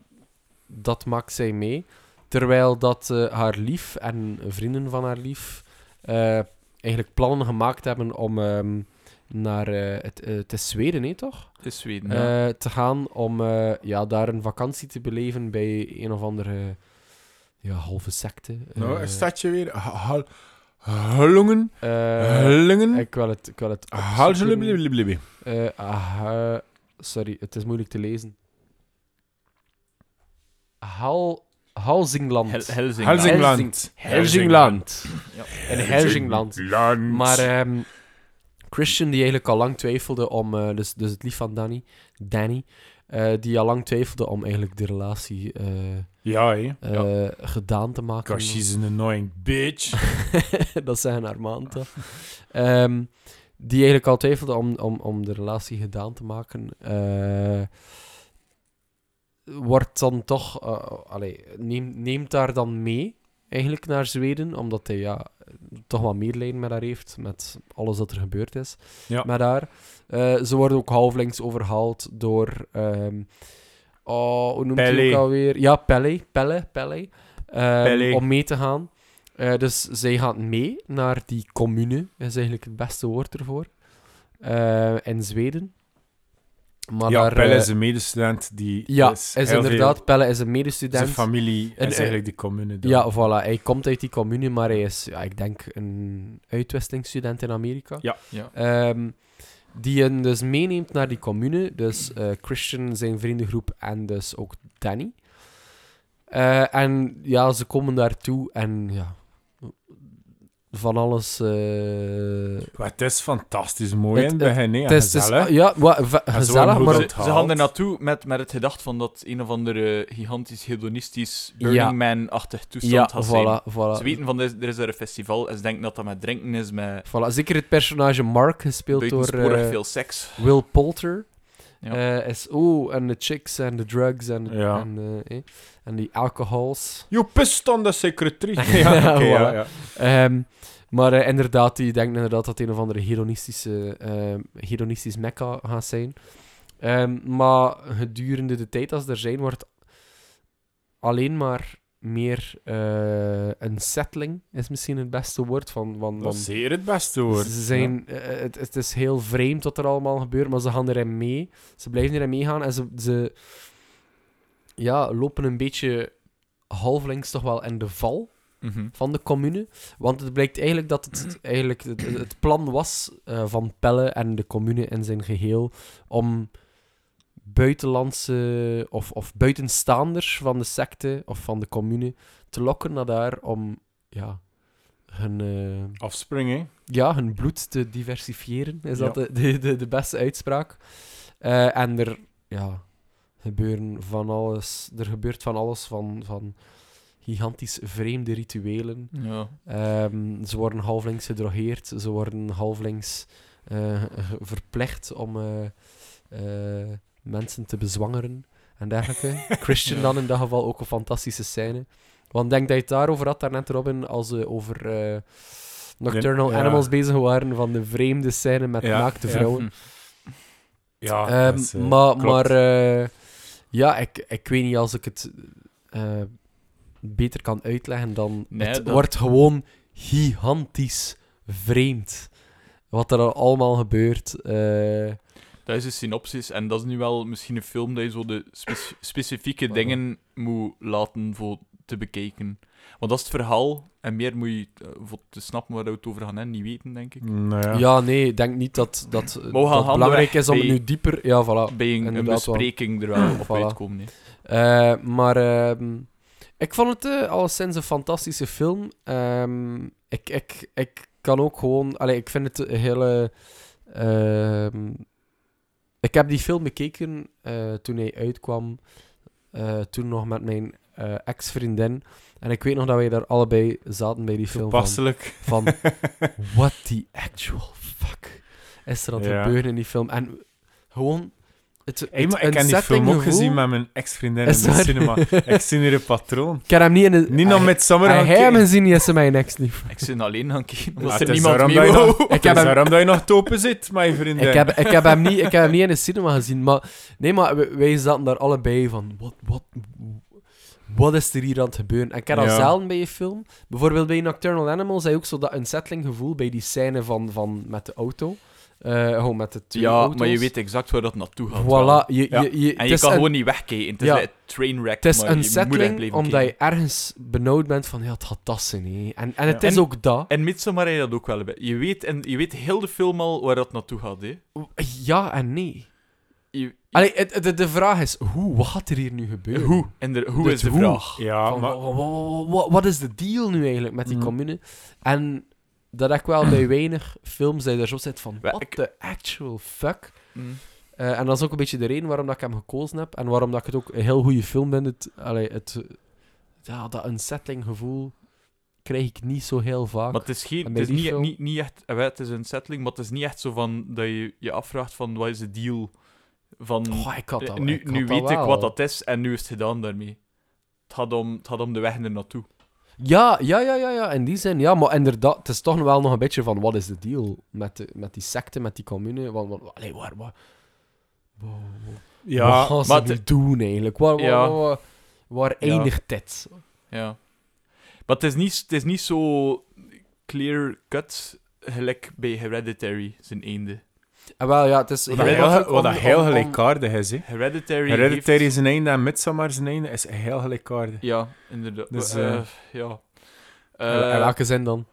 Speaker 1: dat maakt zij mee. Terwijl dat eh, haar lief en vrienden van haar lief eh, eigenlijk plannen gemaakt hebben om ehm, naar eh, het, eh, het is Zweden, hè, toch?
Speaker 2: Het is Zweden. ja.
Speaker 1: eh, te gaan om eh, ja, daar een vakantie te beleven bij een of andere ja, halve secte.
Speaker 5: Nou,
Speaker 1: Eh,
Speaker 5: een stadje weer. Ha- ha- Hullingen.
Speaker 1: eh,
Speaker 5: Hullingen.
Speaker 1: ik wil het, ik wil het opzoeken.
Speaker 5: Halseliblibliblibli.
Speaker 1: Eh, ah, sorry, het is moeilijk te lezen. Hal, Halsingland.
Speaker 2: Hel- Helsingland.
Speaker 1: Helsing-
Speaker 5: Helsingland.
Speaker 1: Helsingland.
Speaker 2: Ja.
Speaker 1: In Helsingland.
Speaker 3: Land.
Speaker 1: Maar ehm, Christian, die eigenlijk al lang twijfelde om... eh, dus, dus het lief van Danny, Danny eh, die al lang twijfelde om eigenlijk de relatie eh,
Speaker 3: Ja, hé.
Speaker 1: eh, gedaan te maken.
Speaker 3: Because she's an annoying bitch.
Speaker 1: dat zijn haar maanden. Ehm, die eigenlijk al twijfelde om, om, om de relatie gedaan te maken. eh, wordt dan toch... eh, allee, neem, neemt daar dan mee, eigenlijk, naar Zweden. Omdat hij ja, toch wat medelijden met haar heeft. Met alles wat er gebeurd is
Speaker 3: Ja.
Speaker 1: met haar. Eh, ze worden ook halflinks overhaald door... ehm, oh, hoe noemt hij
Speaker 3: Pelle.
Speaker 1: ook alweer? Ja, Pelle. Pelle, Pelle. Ehm,
Speaker 3: Pelle.
Speaker 1: Om mee te gaan. Eh, dus zij gaat mee naar die commune, is eigenlijk het beste woord ervoor, eh, in Zweden. Maar
Speaker 3: ja,
Speaker 1: daar,
Speaker 3: Pelle
Speaker 1: eh,
Speaker 3: is een medestudent die...
Speaker 1: ja,
Speaker 3: dus
Speaker 1: is,
Speaker 3: heel
Speaker 1: inderdaad,
Speaker 3: veel-
Speaker 1: Pelle is een
Speaker 3: Zijn
Speaker 1: medestudent.
Speaker 3: familie
Speaker 1: En,
Speaker 3: is
Speaker 1: eh,
Speaker 3: eigenlijk de commune. dan.
Speaker 1: Ja, voilà. Hij komt uit die commune, maar hij is, ja, ik denk, een uitwisselingsstudent in Amerika.
Speaker 3: Ja.
Speaker 2: Ja.
Speaker 1: Ehm, die hem dus meeneemt naar die commune. Dus eh, Christian, zijn vriendengroep en dus ook Danny. Eh, en ja, ze komen daartoe en ja... Van alles... eh,
Speaker 3: Maar het is fantastisch mooi
Speaker 1: Het-
Speaker 3: in het begin, hè.
Speaker 1: het is- het is-
Speaker 3: Gezellig.
Speaker 1: ja, wa- va-
Speaker 3: En zo
Speaker 1: gezellig,
Speaker 3: een
Speaker 1: maar...
Speaker 3: hoedel.
Speaker 2: Ze,
Speaker 3: het
Speaker 2: ze
Speaker 3: haalt.
Speaker 2: gaan er naartoe met, met het gedacht van dat een of andere gigantisch hedonistisch Burning
Speaker 1: Ja.
Speaker 2: Man-achtig toestand
Speaker 1: Ja,
Speaker 2: gaat
Speaker 1: voilà,
Speaker 2: zijn.
Speaker 1: voilà.
Speaker 2: Ze weten van, er is- er is daar een festival en ze denken dat dat met drinken is, met
Speaker 1: Voilà, Zeker het personage Mark, gespeeld door
Speaker 2: buitensporig
Speaker 1: eh,
Speaker 2: veel seks.
Speaker 1: Will Poulter.
Speaker 2: Ja.
Speaker 1: Eh, is, oh, en de chicks en de drugs en
Speaker 3: Ja.
Speaker 1: en, eh, eh, en die alcohols.
Speaker 3: Je pist aan de secretarie. ja, oké, ja,
Speaker 1: Voilà.
Speaker 3: ja.
Speaker 1: Ehm, maar eh, inderdaad, die denkt inderdaad dat het een of andere hedonistische, ehm, hedonistisch mecca gaat zijn. Ehm, maar gedurende de tijd als ze er zijn, wordt alleen maar meer eh, een settling, is misschien het beste woord. Van, van,
Speaker 3: Dat
Speaker 1: van,
Speaker 3: is zeer het beste, hoor.
Speaker 1: ze zijn, eh, het, het is heel vreemd wat er allemaal gebeurt, maar ze gaan erin mee. Ze blijven erin meegaan en ze, ze ja, lopen een beetje halflinks toch wel in de val
Speaker 2: Mhm.
Speaker 1: van de commune. Want het blijkt eigenlijk dat het, eigenlijk het, het plan was eh, van Pelle en de commune in zijn geheel om buitenlandse of, of buitenstaanders van de secte of van de commune te lokken naar daar om ja, hun, eh,
Speaker 3: Afspringen, hè.
Speaker 1: ja, hun bloed te diversifiëren. Is dat
Speaker 3: Ja.
Speaker 1: de, de, de, de beste uitspraak? Eh, en er ja, gebeuren van alles. Er gebeurt van alles van, van gigantisch vreemde rituelen.
Speaker 2: Ja.
Speaker 1: Ehm, ze worden halflinks gedrogeerd, ze worden halflinks eh, verplicht om eh, eh, mensen te bezwangeren en dergelijke. Christian
Speaker 2: Ja.
Speaker 1: dan in dat geval ook een fantastische scène. Want ik denk dat je het daarover had, daarnet Robin, als we over eh, Nocturnal
Speaker 3: De- ja.
Speaker 1: Animals bezig waren, van de vreemde scène met
Speaker 3: Ja,
Speaker 1: naakte
Speaker 3: ja. Mhm.
Speaker 1: vrouwen.
Speaker 2: Hm.
Speaker 3: Ja,
Speaker 1: Ehm,
Speaker 3: dat is, eh,
Speaker 1: maar
Speaker 3: klopt.
Speaker 1: maar eh, ja, ik, ik weet niet als ik het eh, beter kan uitleggen dan...
Speaker 2: Nee,
Speaker 1: het
Speaker 2: dat-
Speaker 1: wordt gewoon gigantisch vreemd. Wat er allemaal gebeurt. eh,
Speaker 2: Dat is de synopsis en dat is nu wel misschien een film dat je zo de spec- specifieke
Speaker 1: Waarom?
Speaker 2: dingen moet laten voor te bekijken. Want dat is het verhaal en meer moet je eh, voor te snappen waar we het over gaan hebben, niet weten, denk ik.
Speaker 3: Nou ja.
Speaker 1: ja. nee, ik denk niet dat dat, dat
Speaker 2: gaan handenweg
Speaker 1: belangrijk is om
Speaker 2: bij-
Speaker 1: nu dieper... Ja, voilà.
Speaker 2: Bij een, een
Speaker 1: inderdaad wel.
Speaker 2: bespreking er wel op
Speaker 1: Voilà.
Speaker 2: uitkomen. hè.
Speaker 1: Eh, maar ehm, ik vond het eh alleszins een fantastische film. Ehm, ik, ik, ik kan ook gewoon... Allee, ik vind het een hele... ehm, ik heb die film bekeken eh, toen hij uitkwam. eh, toen nog met mijn eh, ex-vriendin. En ik weet nog dat wij daar allebei zaten bij die film. Van,
Speaker 3: Toepasselijk.
Speaker 1: van what the actual fuck is er aan het
Speaker 3: Ja.
Speaker 1: gebeuren in die film? En gewoon... Het, het,
Speaker 3: Hey, maar ik
Speaker 1: een
Speaker 3: heb die film ook
Speaker 1: settinggevoel-
Speaker 3: gezien met mijn ex-vriendin in
Speaker 1: Is
Speaker 3: de
Speaker 1: waar?
Speaker 3: cinema. ik zie hier een patroon.
Speaker 1: Ik heb hem niet in de...
Speaker 3: Nina
Speaker 1: Ah,
Speaker 3: met Summer
Speaker 1: Hij
Speaker 3: gaan
Speaker 1: heeft hem
Speaker 3: kijken.
Speaker 1: gezien, niet is mijn ex niet.
Speaker 2: Ik zit alleen aan het kijken,
Speaker 3: Ah,
Speaker 2: omdat
Speaker 3: het
Speaker 2: er
Speaker 3: is
Speaker 2: niemand
Speaker 3: daarom
Speaker 2: mee
Speaker 3: dat je
Speaker 2: wou.
Speaker 3: nog-
Speaker 1: Ik
Speaker 3: Ik
Speaker 1: heb
Speaker 3: heb
Speaker 1: hem-
Speaker 3: waarom dat je nog topen zit, mijn vriendin.
Speaker 1: Ik heb, ik, heb hem niet, ik heb hem niet in de cinema gezien, maar... Nee, maar wij- wij zaten daar allebei van... Wat, wat, wat is er hier aan het gebeuren? En ik heb dat
Speaker 3: Ja.
Speaker 1: zelden bij je film. Bijvoorbeeld bij Nocturnal Animals heb je ook zo dat unsettling gevoel bij die scène van, van met de auto. Eh, gewoon met de twee
Speaker 2: Ja,
Speaker 1: auto's.
Speaker 2: maar je weet exact waar dat naartoe gaat. wel.
Speaker 1: Voilà. Je, je,
Speaker 3: Ja.
Speaker 1: je, het
Speaker 2: En je
Speaker 1: is
Speaker 2: kan
Speaker 1: een-
Speaker 2: gewoon niet wegkijken. Het is
Speaker 1: Ja.
Speaker 2: een trainwreck,
Speaker 1: Het is
Speaker 2: maar je moet echt
Speaker 1: unsettling,
Speaker 2: blijven
Speaker 1: omdat
Speaker 2: kijken.
Speaker 1: je ergens benauwd bent van... Ja, het gaat dat zijn, hé. En, en het
Speaker 3: Ja.
Speaker 1: is
Speaker 2: En-
Speaker 1: ook dat.
Speaker 2: En Midsommar heb je dat ook wel bij. Je weet, en, je weet heel de film al waar dat naartoe gaat, hè.
Speaker 1: Ja en nee.
Speaker 2: Je-
Speaker 1: Allee, het- het- de, de vraag is, hoe? Wat gaat er hier nu gebeuren?
Speaker 2: hoe? En de, hoe
Speaker 1: Het
Speaker 2: is de
Speaker 1: hoe.
Speaker 2: vraag?
Speaker 3: Ja,
Speaker 1: Van,
Speaker 3: maar...
Speaker 1: wa- wa- wa- wa- wat is de deal nu eigenlijk met die
Speaker 3: Mm.
Speaker 1: commune? En dat heb ik wel bij weinig films dat je daar zo zit van,
Speaker 2: Wel,
Speaker 1: what
Speaker 2: ik-
Speaker 1: the actual fuck?
Speaker 2: Hm.
Speaker 1: Eh, en dat is ook een beetje de reden waarom dat ik hem gekozen heb en waarom dat ik het ook een heel goede film vind. Het, allee, het, eh, ja, dat unsettling gevoel krijg ik niet zo heel vaak.
Speaker 2: Maar het is, geen,
Speaker 1: En
Speaker 2: het
Speaker 1: bij
Speaker 2: is
Speaker 1: die
Speaker 2: niet,
Speaker 1: film-
Speaker 2: niet, niet echt... eh, wel, Het is een settling, maar het is niet echt zo van... Dat je je afvraagt van, wat is de deal? Van,
Speaker 1: Oh, ik had
Speaker 2: eh,
Speaker 1: dat,
Speaker 2: nu
Speaker 1: ik had
Speaker 2: nu
Speaker 1: dat
Speaker 2: weet ik
Speaker 1: wel.
Speaker 2: wat dat is en nu is het gedaan daarmee. Het gaat om, het gaat om de weg er naartoe.
Speaker 1: Ja, ja, ja, ja, ja, in die zin, ja. Maar inderdaad, het is toch wel nog een beetje van, wat is de deal met, de- met die secte, met die commune? Want, want allee, waar, waar... Wow, wow.
Speaker 3: Ja,
Speaker 1: wat gaan ze
Speaker 2: maar
Speaker 1: nu
Speaker 2: de-
Speaker 1: doen eigenlijk? Waar, waar,
Speaker 2: Ja.
Speaker 1: waar, waar- waar
Speaker 2: Ja.
Speaker 1: eindigt dit?
Speaker 2: Ja. Maar het is niet, het is niet zo clear-cut gelijk bij Hereditary, zijn einde.
Speaker 1: En Ah, wel, ja, het is...
Speaker 3: Wat
Speaker 1: ja,
Speaker 3: dat
Speaker 1: wat-
Speaker 3: heel, wat
Speaker 1: om-
Speaker 3: dat heel
Speaker 1: om- om-
Speaker 3: gelijkaardig is, hè.
Speaker 2: Hereditary,
Speaker 3: Hereditary
Speaker 2: heeft-
Speaker 3: zijn einde en Midsommar zijn einde is heel gelijkaardig.
Speaker 2: Ja, inderdaad.
Speaker 3: Dus,
Speaker 2: Eh,
Speaker 3: eh,
Speaker 2: ja.
Speaker 1: Eh, in
Speaker 2: Eh,
Speaker 1: welke zin dan?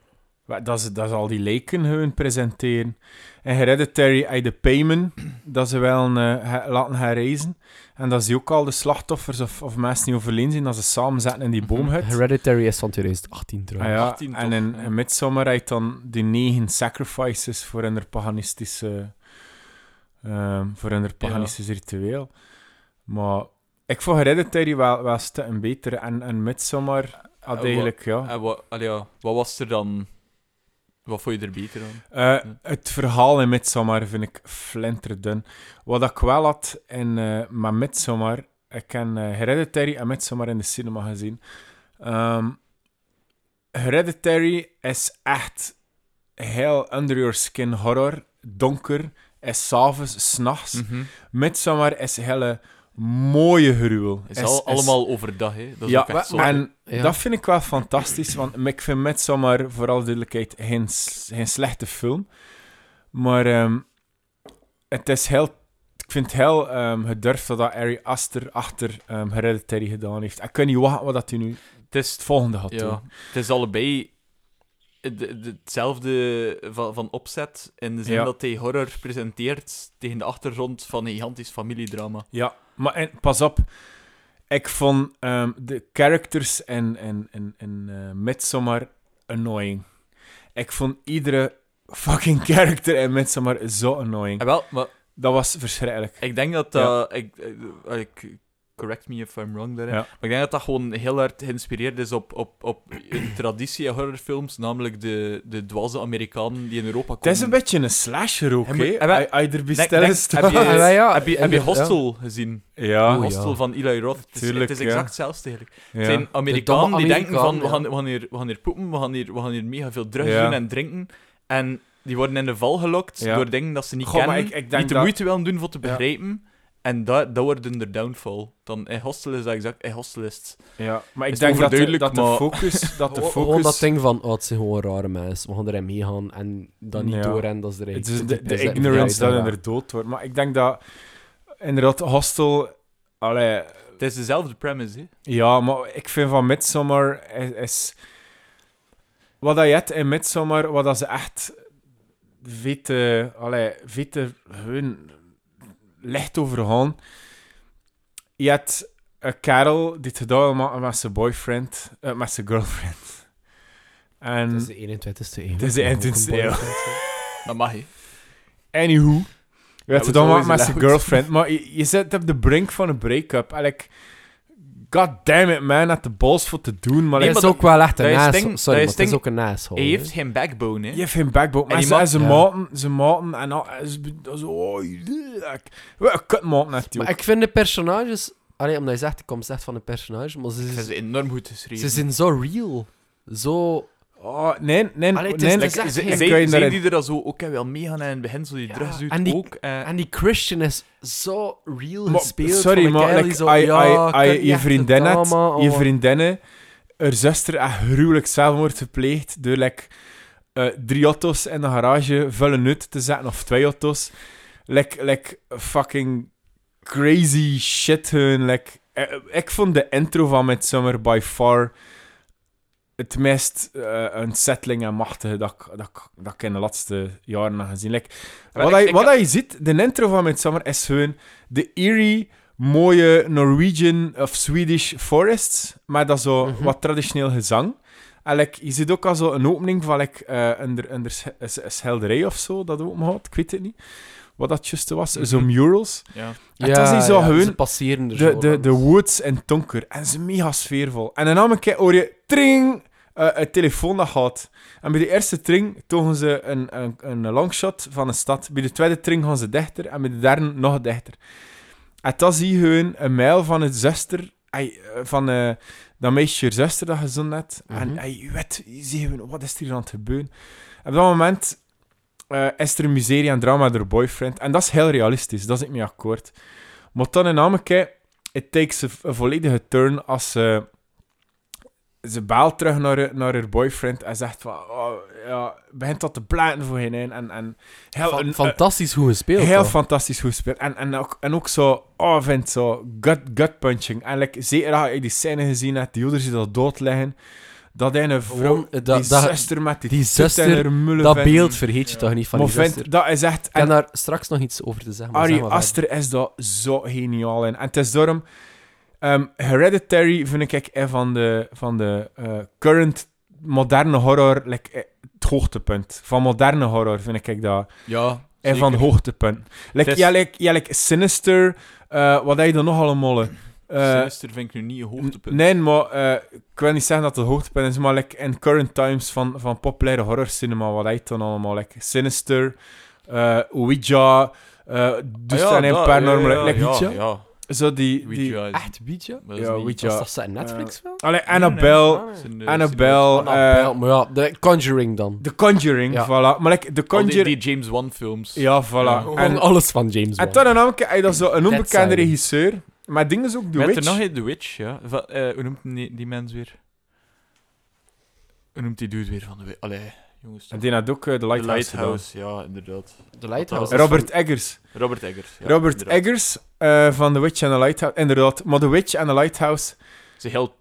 Speaker 3: Wa- Dat ze, dat ze al die lijken hun presenteren. En Hereditary uit eh, de payment, dat ze wel een, eh, he- laten herreizen. En dat ze ook al de slachtoffers of, of mensen die overleden zijn, dat ze samen zetten in die
Speaker 2: Mhm.
Speaker 3: boomhut.
Speaker 1: Hereditary is van 2018
Speaker 3: Ah
Speaker 1: trouwens.
Speaker 3: ja,
Speaker 2: 18 toch,
Speaker 3: en in,
Speaker 2: ja.
Speaker 3: in Midsommar heb je dan die negen sacrifices voor hun paganistische, ehm, voor hun paganistische ritueel. Maar ik vond Hereditary wel, wel stukken beter. En, en Midsommar
Speaker 2: Eh,
Speaker 3: had
Speaker 2: wa-
Speaker 3: eigenlijk, ja...
Speaker 2: En wat, allee, ja, wat was er dan... Wat vond je er beter aan?
Speaker 3: Eh, het verhaal in Midsommar vind ik flinterdun. Wat ik wel had in, eh met Midsommar... Ik heb eh, Hereditary en Midsommar in de cinema gezien. Ehm, Hereditary is echt heel under your skin horror. Donker. Is s'avonds, s'nachts.
Speaker 2: Hm.
Speaker 3: Midsommar is hele mooie gruwel.
Speaker 2: Het is, al, allemaal overdag, hè? Dat is
Speaker 3: ja,
Speaker 2: ook echt zo.
Speaker 3: en
Speaker 1: Ja.
Speaker 3: dat vind ik wel fantastisch, want ik vind Midsommar, voor alle duidelijkheid, geen, s- geen slechte film. Maar ehm, het is heel... Ik vind het heel ehm, gedurfd dat dat Ari Aster achter ehm, Hereditary gedaan heeft. Ik kan niet wachten wat dat hij nu
Speaker 2: het is
Speaker 3: het volgende gaat
Speaker 2: Ja,
Speaker 3: doen.
Speaker 2: het is allebei het- het- hetzelfde van, van opzet. In de zin
Speaker 3: Ja.
Speaker 2: dat hij horror presenteert tegen de achtergrond van een gigantisch familiedrama.
Speaker 3: Ja, maar en, pas op. Ik vond ehm, de characters in, in, in, in eh, Midsommar annoying. Ik vond iedere fucking character in Midsommar zo annoying.
Speaker 2: En wel, maar
Speaker 3: Dat was verschrikkelijk.
Speaker 2: ik denk dat dat. Ik, ik- eh, ik- correct me if I'm wrong daarin.
Speaker 3: Ja.
Speaker 2: Maar ik denk dat dat gewoon heel hard geïnspireerd is op, op, op een traditie in horrorfilms, namelijk de, de dwaze Amerikanen die in Europa komen.
Speaker 3: Het is een beetje een slasher ook,
Speaker 2: En moet-
Speaker 3: hè?
Speaker 2: en wel-
Speaker 3: Hij- Hij erbij
Speaker 2: Denk-
Speaker 3: stellen
Speaker 2: denk-
Speaker 3: staat.
Speaker 2: heb je-
Speaker 1: Ah, wel, ja,
Speaker 2: heb je, heb je
Speaker 1: inderdaad.
Speaker 2: Hostel gezien?
Speaker 3: Ah, Ja,
Speaker 1: Oei.
Speaker 2: Hostel
Speaker 1: ja.
Speaker 2: van Eli Roth. Het is-
Speaker 3: Tuurlijk,
Speaker 2: het is
Speaker 3: ja.
Speaker 2: exact hetzelfde eigenlijk.
Speaker 3: ja.
Speaker 2: Het zijn Amerikanen
Speaker 1: domme
Speaker 2: die denken van, we
Speaker 1: Amerikanen,
Speaker 2: gaan, we, gaan hier, we gaan hier poepen, we gaan hier, we gaan hier mega veel drugs
Speaker 3: Ja.
Speaker 2: doen en drinken. En die worden in de val gelokt
Speaker 3: Ja.
Speaker 2: door dingen dat ze niet
Speaker 3: Goh, maar
Speaker 2: kennen,
Speaker 3: ik- ik denk
Speaker 2: die de
Speaker 3: dat-
Speaker 2: moeite willen doen voor te
Speaker 3: Ja.
Speaker 2: begrijpen. En dat, dat wordt hun downfall. Dan in Hostel is dat exact, in Hostel is het.
Speaker 3: ja. Maar ik
Speaker 2: is
Speaker 3: denk dat de,
Speaker 2: overduidelijk,
Speaker 3: dat de
Speaker 2: maar-
Speaker 3: focus... Dat de
Speaker 1: Gewoon- Gewoon oh, dat
Speaker 3: focus
Speaker 1: ding van, oh, het zijn gewoon rare mensen, we gaan erin meegaan en dan niet
Speaker 3: Ja.
Speaker 1: door en dat is er
Speaker 3: het
Speaker 1: eigenlijk
Speaker 3: is de,
Speaker 1: te
Speaker 3: de
Speaker 1: diep is dat-
Speaker 3: ignorance
Speaker 1: Ja,
Speaker 3: dat
Speaker 1: ja.
Speaker 3: in er dood wordt. Maar ik denk dat... Inderdaad, Hostel... Allee,
Speaker 2: Het is dezelfde premise, hè.
Speaker 3: ja, maar ik vind van Midsommar is... is- wat dat je hebt in Midsommar, wat dat ze echt... Vete... Allee, vete... Hun... Licht overgaan. Je hebt een kerel die het gedaan wil maken met zijn boyfriend... eh, met zijn girlfriend. En
Speaker 1: Het is de 21ste eeuw.
Speaker 3: Het is de 21ste eeuw.
Speaker 2: Dat mag je.
Speaker 3: Anywho, we
Speaker 2: was
Speaker 3: hadden dan
Speaker 2: always
Speaker 3: maar met zijn
Speaker 2: loud.
Speaker 3: girlfriend. Maar je, je zit op de brink van een break-up. En ik... God damn it, man. Had de balls voor te doen. Maar
Speaker 1: Maar
Speaker 2: Nee,
Speaker 1: dat
Speaker 3: like,
Speaker 1: is ook wel echt
Speaker 2: dat
Speaker 1: een
Speaker 2: is
Speaker 1: ass. Sorry,
Speaker 2: ding- dat
Speaker 1: maar
Speaker 2: is
Speaker 1: het is
Speaker 2: ding-
Speaker 1: ook een asshole.
Speaker 2: Hij
Speaker 1: hè.
Speaker 2: heeft geen backbone, hè.
Speaker 3: je hebt geen backbone. Maar
Speaker 2: die
Speaker 3: ze,
Speaker 2: man-
Speaker 3: ze
Speaker 1: ja.
Speaker 3: maten, ze maten. En al, en ze, dat zo... Oh, ik, kut
Speaker 1: Maar
Speaker 3: maten natuurlijk.
Speaker 1: ik vind de personages... Allee, omdat je zegt, ik kom slecht van een personage, maar ze,
Speaker 2: Ze is enorm goed geschreven.
Speaker 1: ze zijn zo real. Zo...
Speaker 3: Oh, nee, nee,
Speaker 1: Allee, het is
Speaker 3: nee.
Speaker 1: dus
Speaker 3: ik-
Speaker 2: Like,
Speaker 1: echt
Speaker 2: ze-
Speaker 1: geen-
Speaker 2: zij-
Speaker 3: Ik weet
Speaker 2: zij
Speaker 3: dat-
Speaker 2: die er dan zo ook wel mee gaan in het begin, zo die
Speaker 1: Ja,
Speaker 2: drugs doet
Speaker 1: en die-
Speaker 2: ook. eh.
Speaker 1: En die Christian is zo real
Speaker 3: Maar,
Speaker 1: gespeeld.
Speaker 3: sorry,
Speaker 1: van de
Speaker 3: maar
Speaker 1: kerel die
Speaker 3: like,
Speaker 1: zo,
Speaker 3: ai-
Speaker 1: ja,
Speaker 3: ai-
Speaker 1: ik kan
Speaker 3: ai-
Speaker 1: niet
Speaker 3: je
Speaker 1: echt een
Speaker 3: vriendin had,
Speaker 1: drama, oh.
Speaker 3: je vriendinnen, haar zuster, echt gruwelijk zelfmoord gepleegd door like, eh, drie auto's in de garage vullen nut te zetten, of twee auto's. Like, like fucking crazy shit. Hun, like, eh, ik vond de intro van Midsummer by far het meest eh unsettling en machtige dat ik, dat, ik- dat ik in de laatste jaren heb gezien. Like,
Speaker 2: Wel,
Speaker 3: wat
Speaker 2: ik-
Speaker 3: hij-
Speaker 2: ik
Speaker 3: wat
Speaker 2: had-
Speaker 3: hij ziet, de intro van Midsummer is gewoon de eerie, mooie Norwegian of Swedish forests, maar dat zo
Speaker 1: Mhm.
Speaker 3: wat traditioneel gezang. En like, je ziet ook al zo een opening van like, eh, een, er- een, er sch- een, sch- een schilderij of zo, dat ook had. Ik weet het niet. Wat dat juist was.
Speaker 2: Mhm.
Speaker 3: Zo murals.
Speaker 2: ja.
Speaker 3: het was niet zo gewoon
Speaker 1: Ze passeren er
Speaker 3: De,
Speaker 1: zo
Speaker 3: de, de
Speaker 1: langs.
Speaker 3: woods en donker. En ze mega sfeervol. En dan een keer hoor je tring, eh, een telefoon dat gaat. En bij de eerste tring togen ze een, een, een longshot van een stad. Bij de tweede tring gaan ze dichter. En bij de derde nog dichter. En dan zie je gewoon een mijl van het zuster... ei, eh, van eh, dat meisje, je zuster, dat je zo net. En
Speaker 1: Mhm.
Speaker 3: ei, je weet, je ziet gewoon, wat is er hier aan het gebeuren? En op dat moment eh, is er een miserie en drama door boyfriend. En dat is heel realistisch, daar zit ik mee akkoord. Maar dan in Ameke, it takes a, een volledige turn als ze... Ze baalt terug naar, haar- naar haar boyfriend en zegt van... Oh, ja, begint dat te blaten voor hen. En, en heel,
Speaker 1: Fa-
Speaker 3: een-
Speaker 1: Fantastisch hoe gespeeld.
Speaker 3: Heel
Speaker 1: hoor.
Speaker 3: fantastisch goed gespeeld. En, en, ook, en ook zo, oh, vindt zo, gut, gut punching. En like, zeker als je die scène gezien hebt, die ouder ziet dat dood liggen. Dat hij een vrouw,
Speaker 1: Gewoon, eh,
Speaker 3: die
Speaker 1: dat- dat-
Speaker 3: zuster met die,
Speaker 1: die
Speaker 3: toet in
Speaker 1: zuster,
Speaker 3: haar mullen
Speaker 1: Dat
Speaker 3: vindt.
Speaker 1: beeld vergeet je
Speaker 2: Ja.
Speaker 1: toch niet van
Speaker 3: Maar
Speaker 1: die
Speaker 3: vindt-
Speaker 1: zuster. Ik
Speaker 3: dat is echt...
Speaker 1: heb
Speaker 3: En
Speaker 1: daar straks nog iets over te zeggen. maar
Speaker 3: Ari
Speaker 1: zeg maar verder.
Speaker 3: Aster is daar zo geniaal in. En het is daarom... ehm, Hereditary vind ik een van de, van de eh, current moderne horror... Like, eh, het hoogtepunt. Van moderne horror vind ik dat...
Speaker 2: Ja,
Speaker 3: En van
Speaker 2: zeker.
Speaker 3: hoogtepunt. Like,
Speaker 2: Het is-
Speaker 3: ja, like, ja, like Sinister. eh, wat heb je dan nog allemaal? eh? Eh,
Speaker 2: Sinister vind ik nu niet een hoogtepunt.
Speaker 3: Nee, maar eh, ik wil niet zeggen dat het een hoogtepunt is, maar like, in current times van, van populaire horror cinema, wat heb je dan allemaal? Like, Sinister, eh Ouija, eh
Speaker 2: Ah,
Speaker 3: Doest
Speaker 2: dat,
Speaker 3: en
Speaker 2: ja,
Speaker 3: Paranormal.
Speaker 2: ja,
Speaker 3: like,
Speaker 2: ja,
Speaker 3: Ouija?
Speaker 2: Ja,
Speaker 3: Zo die... die
Speaker 2: Ouija is-
Speaker 1: Echt, Ouija?
Speaker 2: dat is
Speaker 3: ja,
Speaker 2: niet-
Speaker 3: Ouija. eh,
Speaker 1: Was dat een Netflix-film?
Speaker 3: Allee,
Speaker 2: Nee, nee,
Speaker 3: Annabelle,
Speaker 2: dat is een, eh,
Speaker 3: Annabelle,
Speaker 2: cinema-
Speaker 1: Annabelle, maar ja, de Conjuring dan.
Speaker 3: The Conjuring,
Speaker 1: Ja.
Speaker 3: voilà. Maar like, The
Speaker 2: Al die-
Speaker 3: Conjuring...
Speaker 2: Die James Wan films.
Speaker 3: Ja, voilà.
Speaker 2: Ja.
Speaker 1: En
Speaker 3: En,
Speaker 1: alles van James
Speaker 3: en
Speaker 1: Bond.
Speaker 3: toen namelijk heb je dan zo een onbekende
Speaker 1: Silence.
Speaker 3: regisseur, maar dingen is ook The
Speaker 2: Met
Speaker 3: Witch.
Speaker 2: er nog een The Witch, ja. Va- eh, hoe noemt die, die mens weer? Hoe noemt die dude weer van de Witch? Allee, jongens.
Speaker 3: En
Speaker 2: toch.
Speaker 3: die had ook eh, The
Speaker 2: The
Speaker 3: Lighthouse, gedaan.
Speaker 2: Lighthouse, ja, inderdaad.
Speaker 1: De Lighthouse.
Speaker 2: Dat is
Speaker 3: Robert Eggers.
Speaker 2: Robert Eggers. ja,
Speaker 3: Robert
Speaker 2: inderdaad.
Speaker 3: Eggers eh, van The Witch and the Lighthouse. Inderdaad, maar The Witch and the Lighthouse
Speaker 2: Het is een heel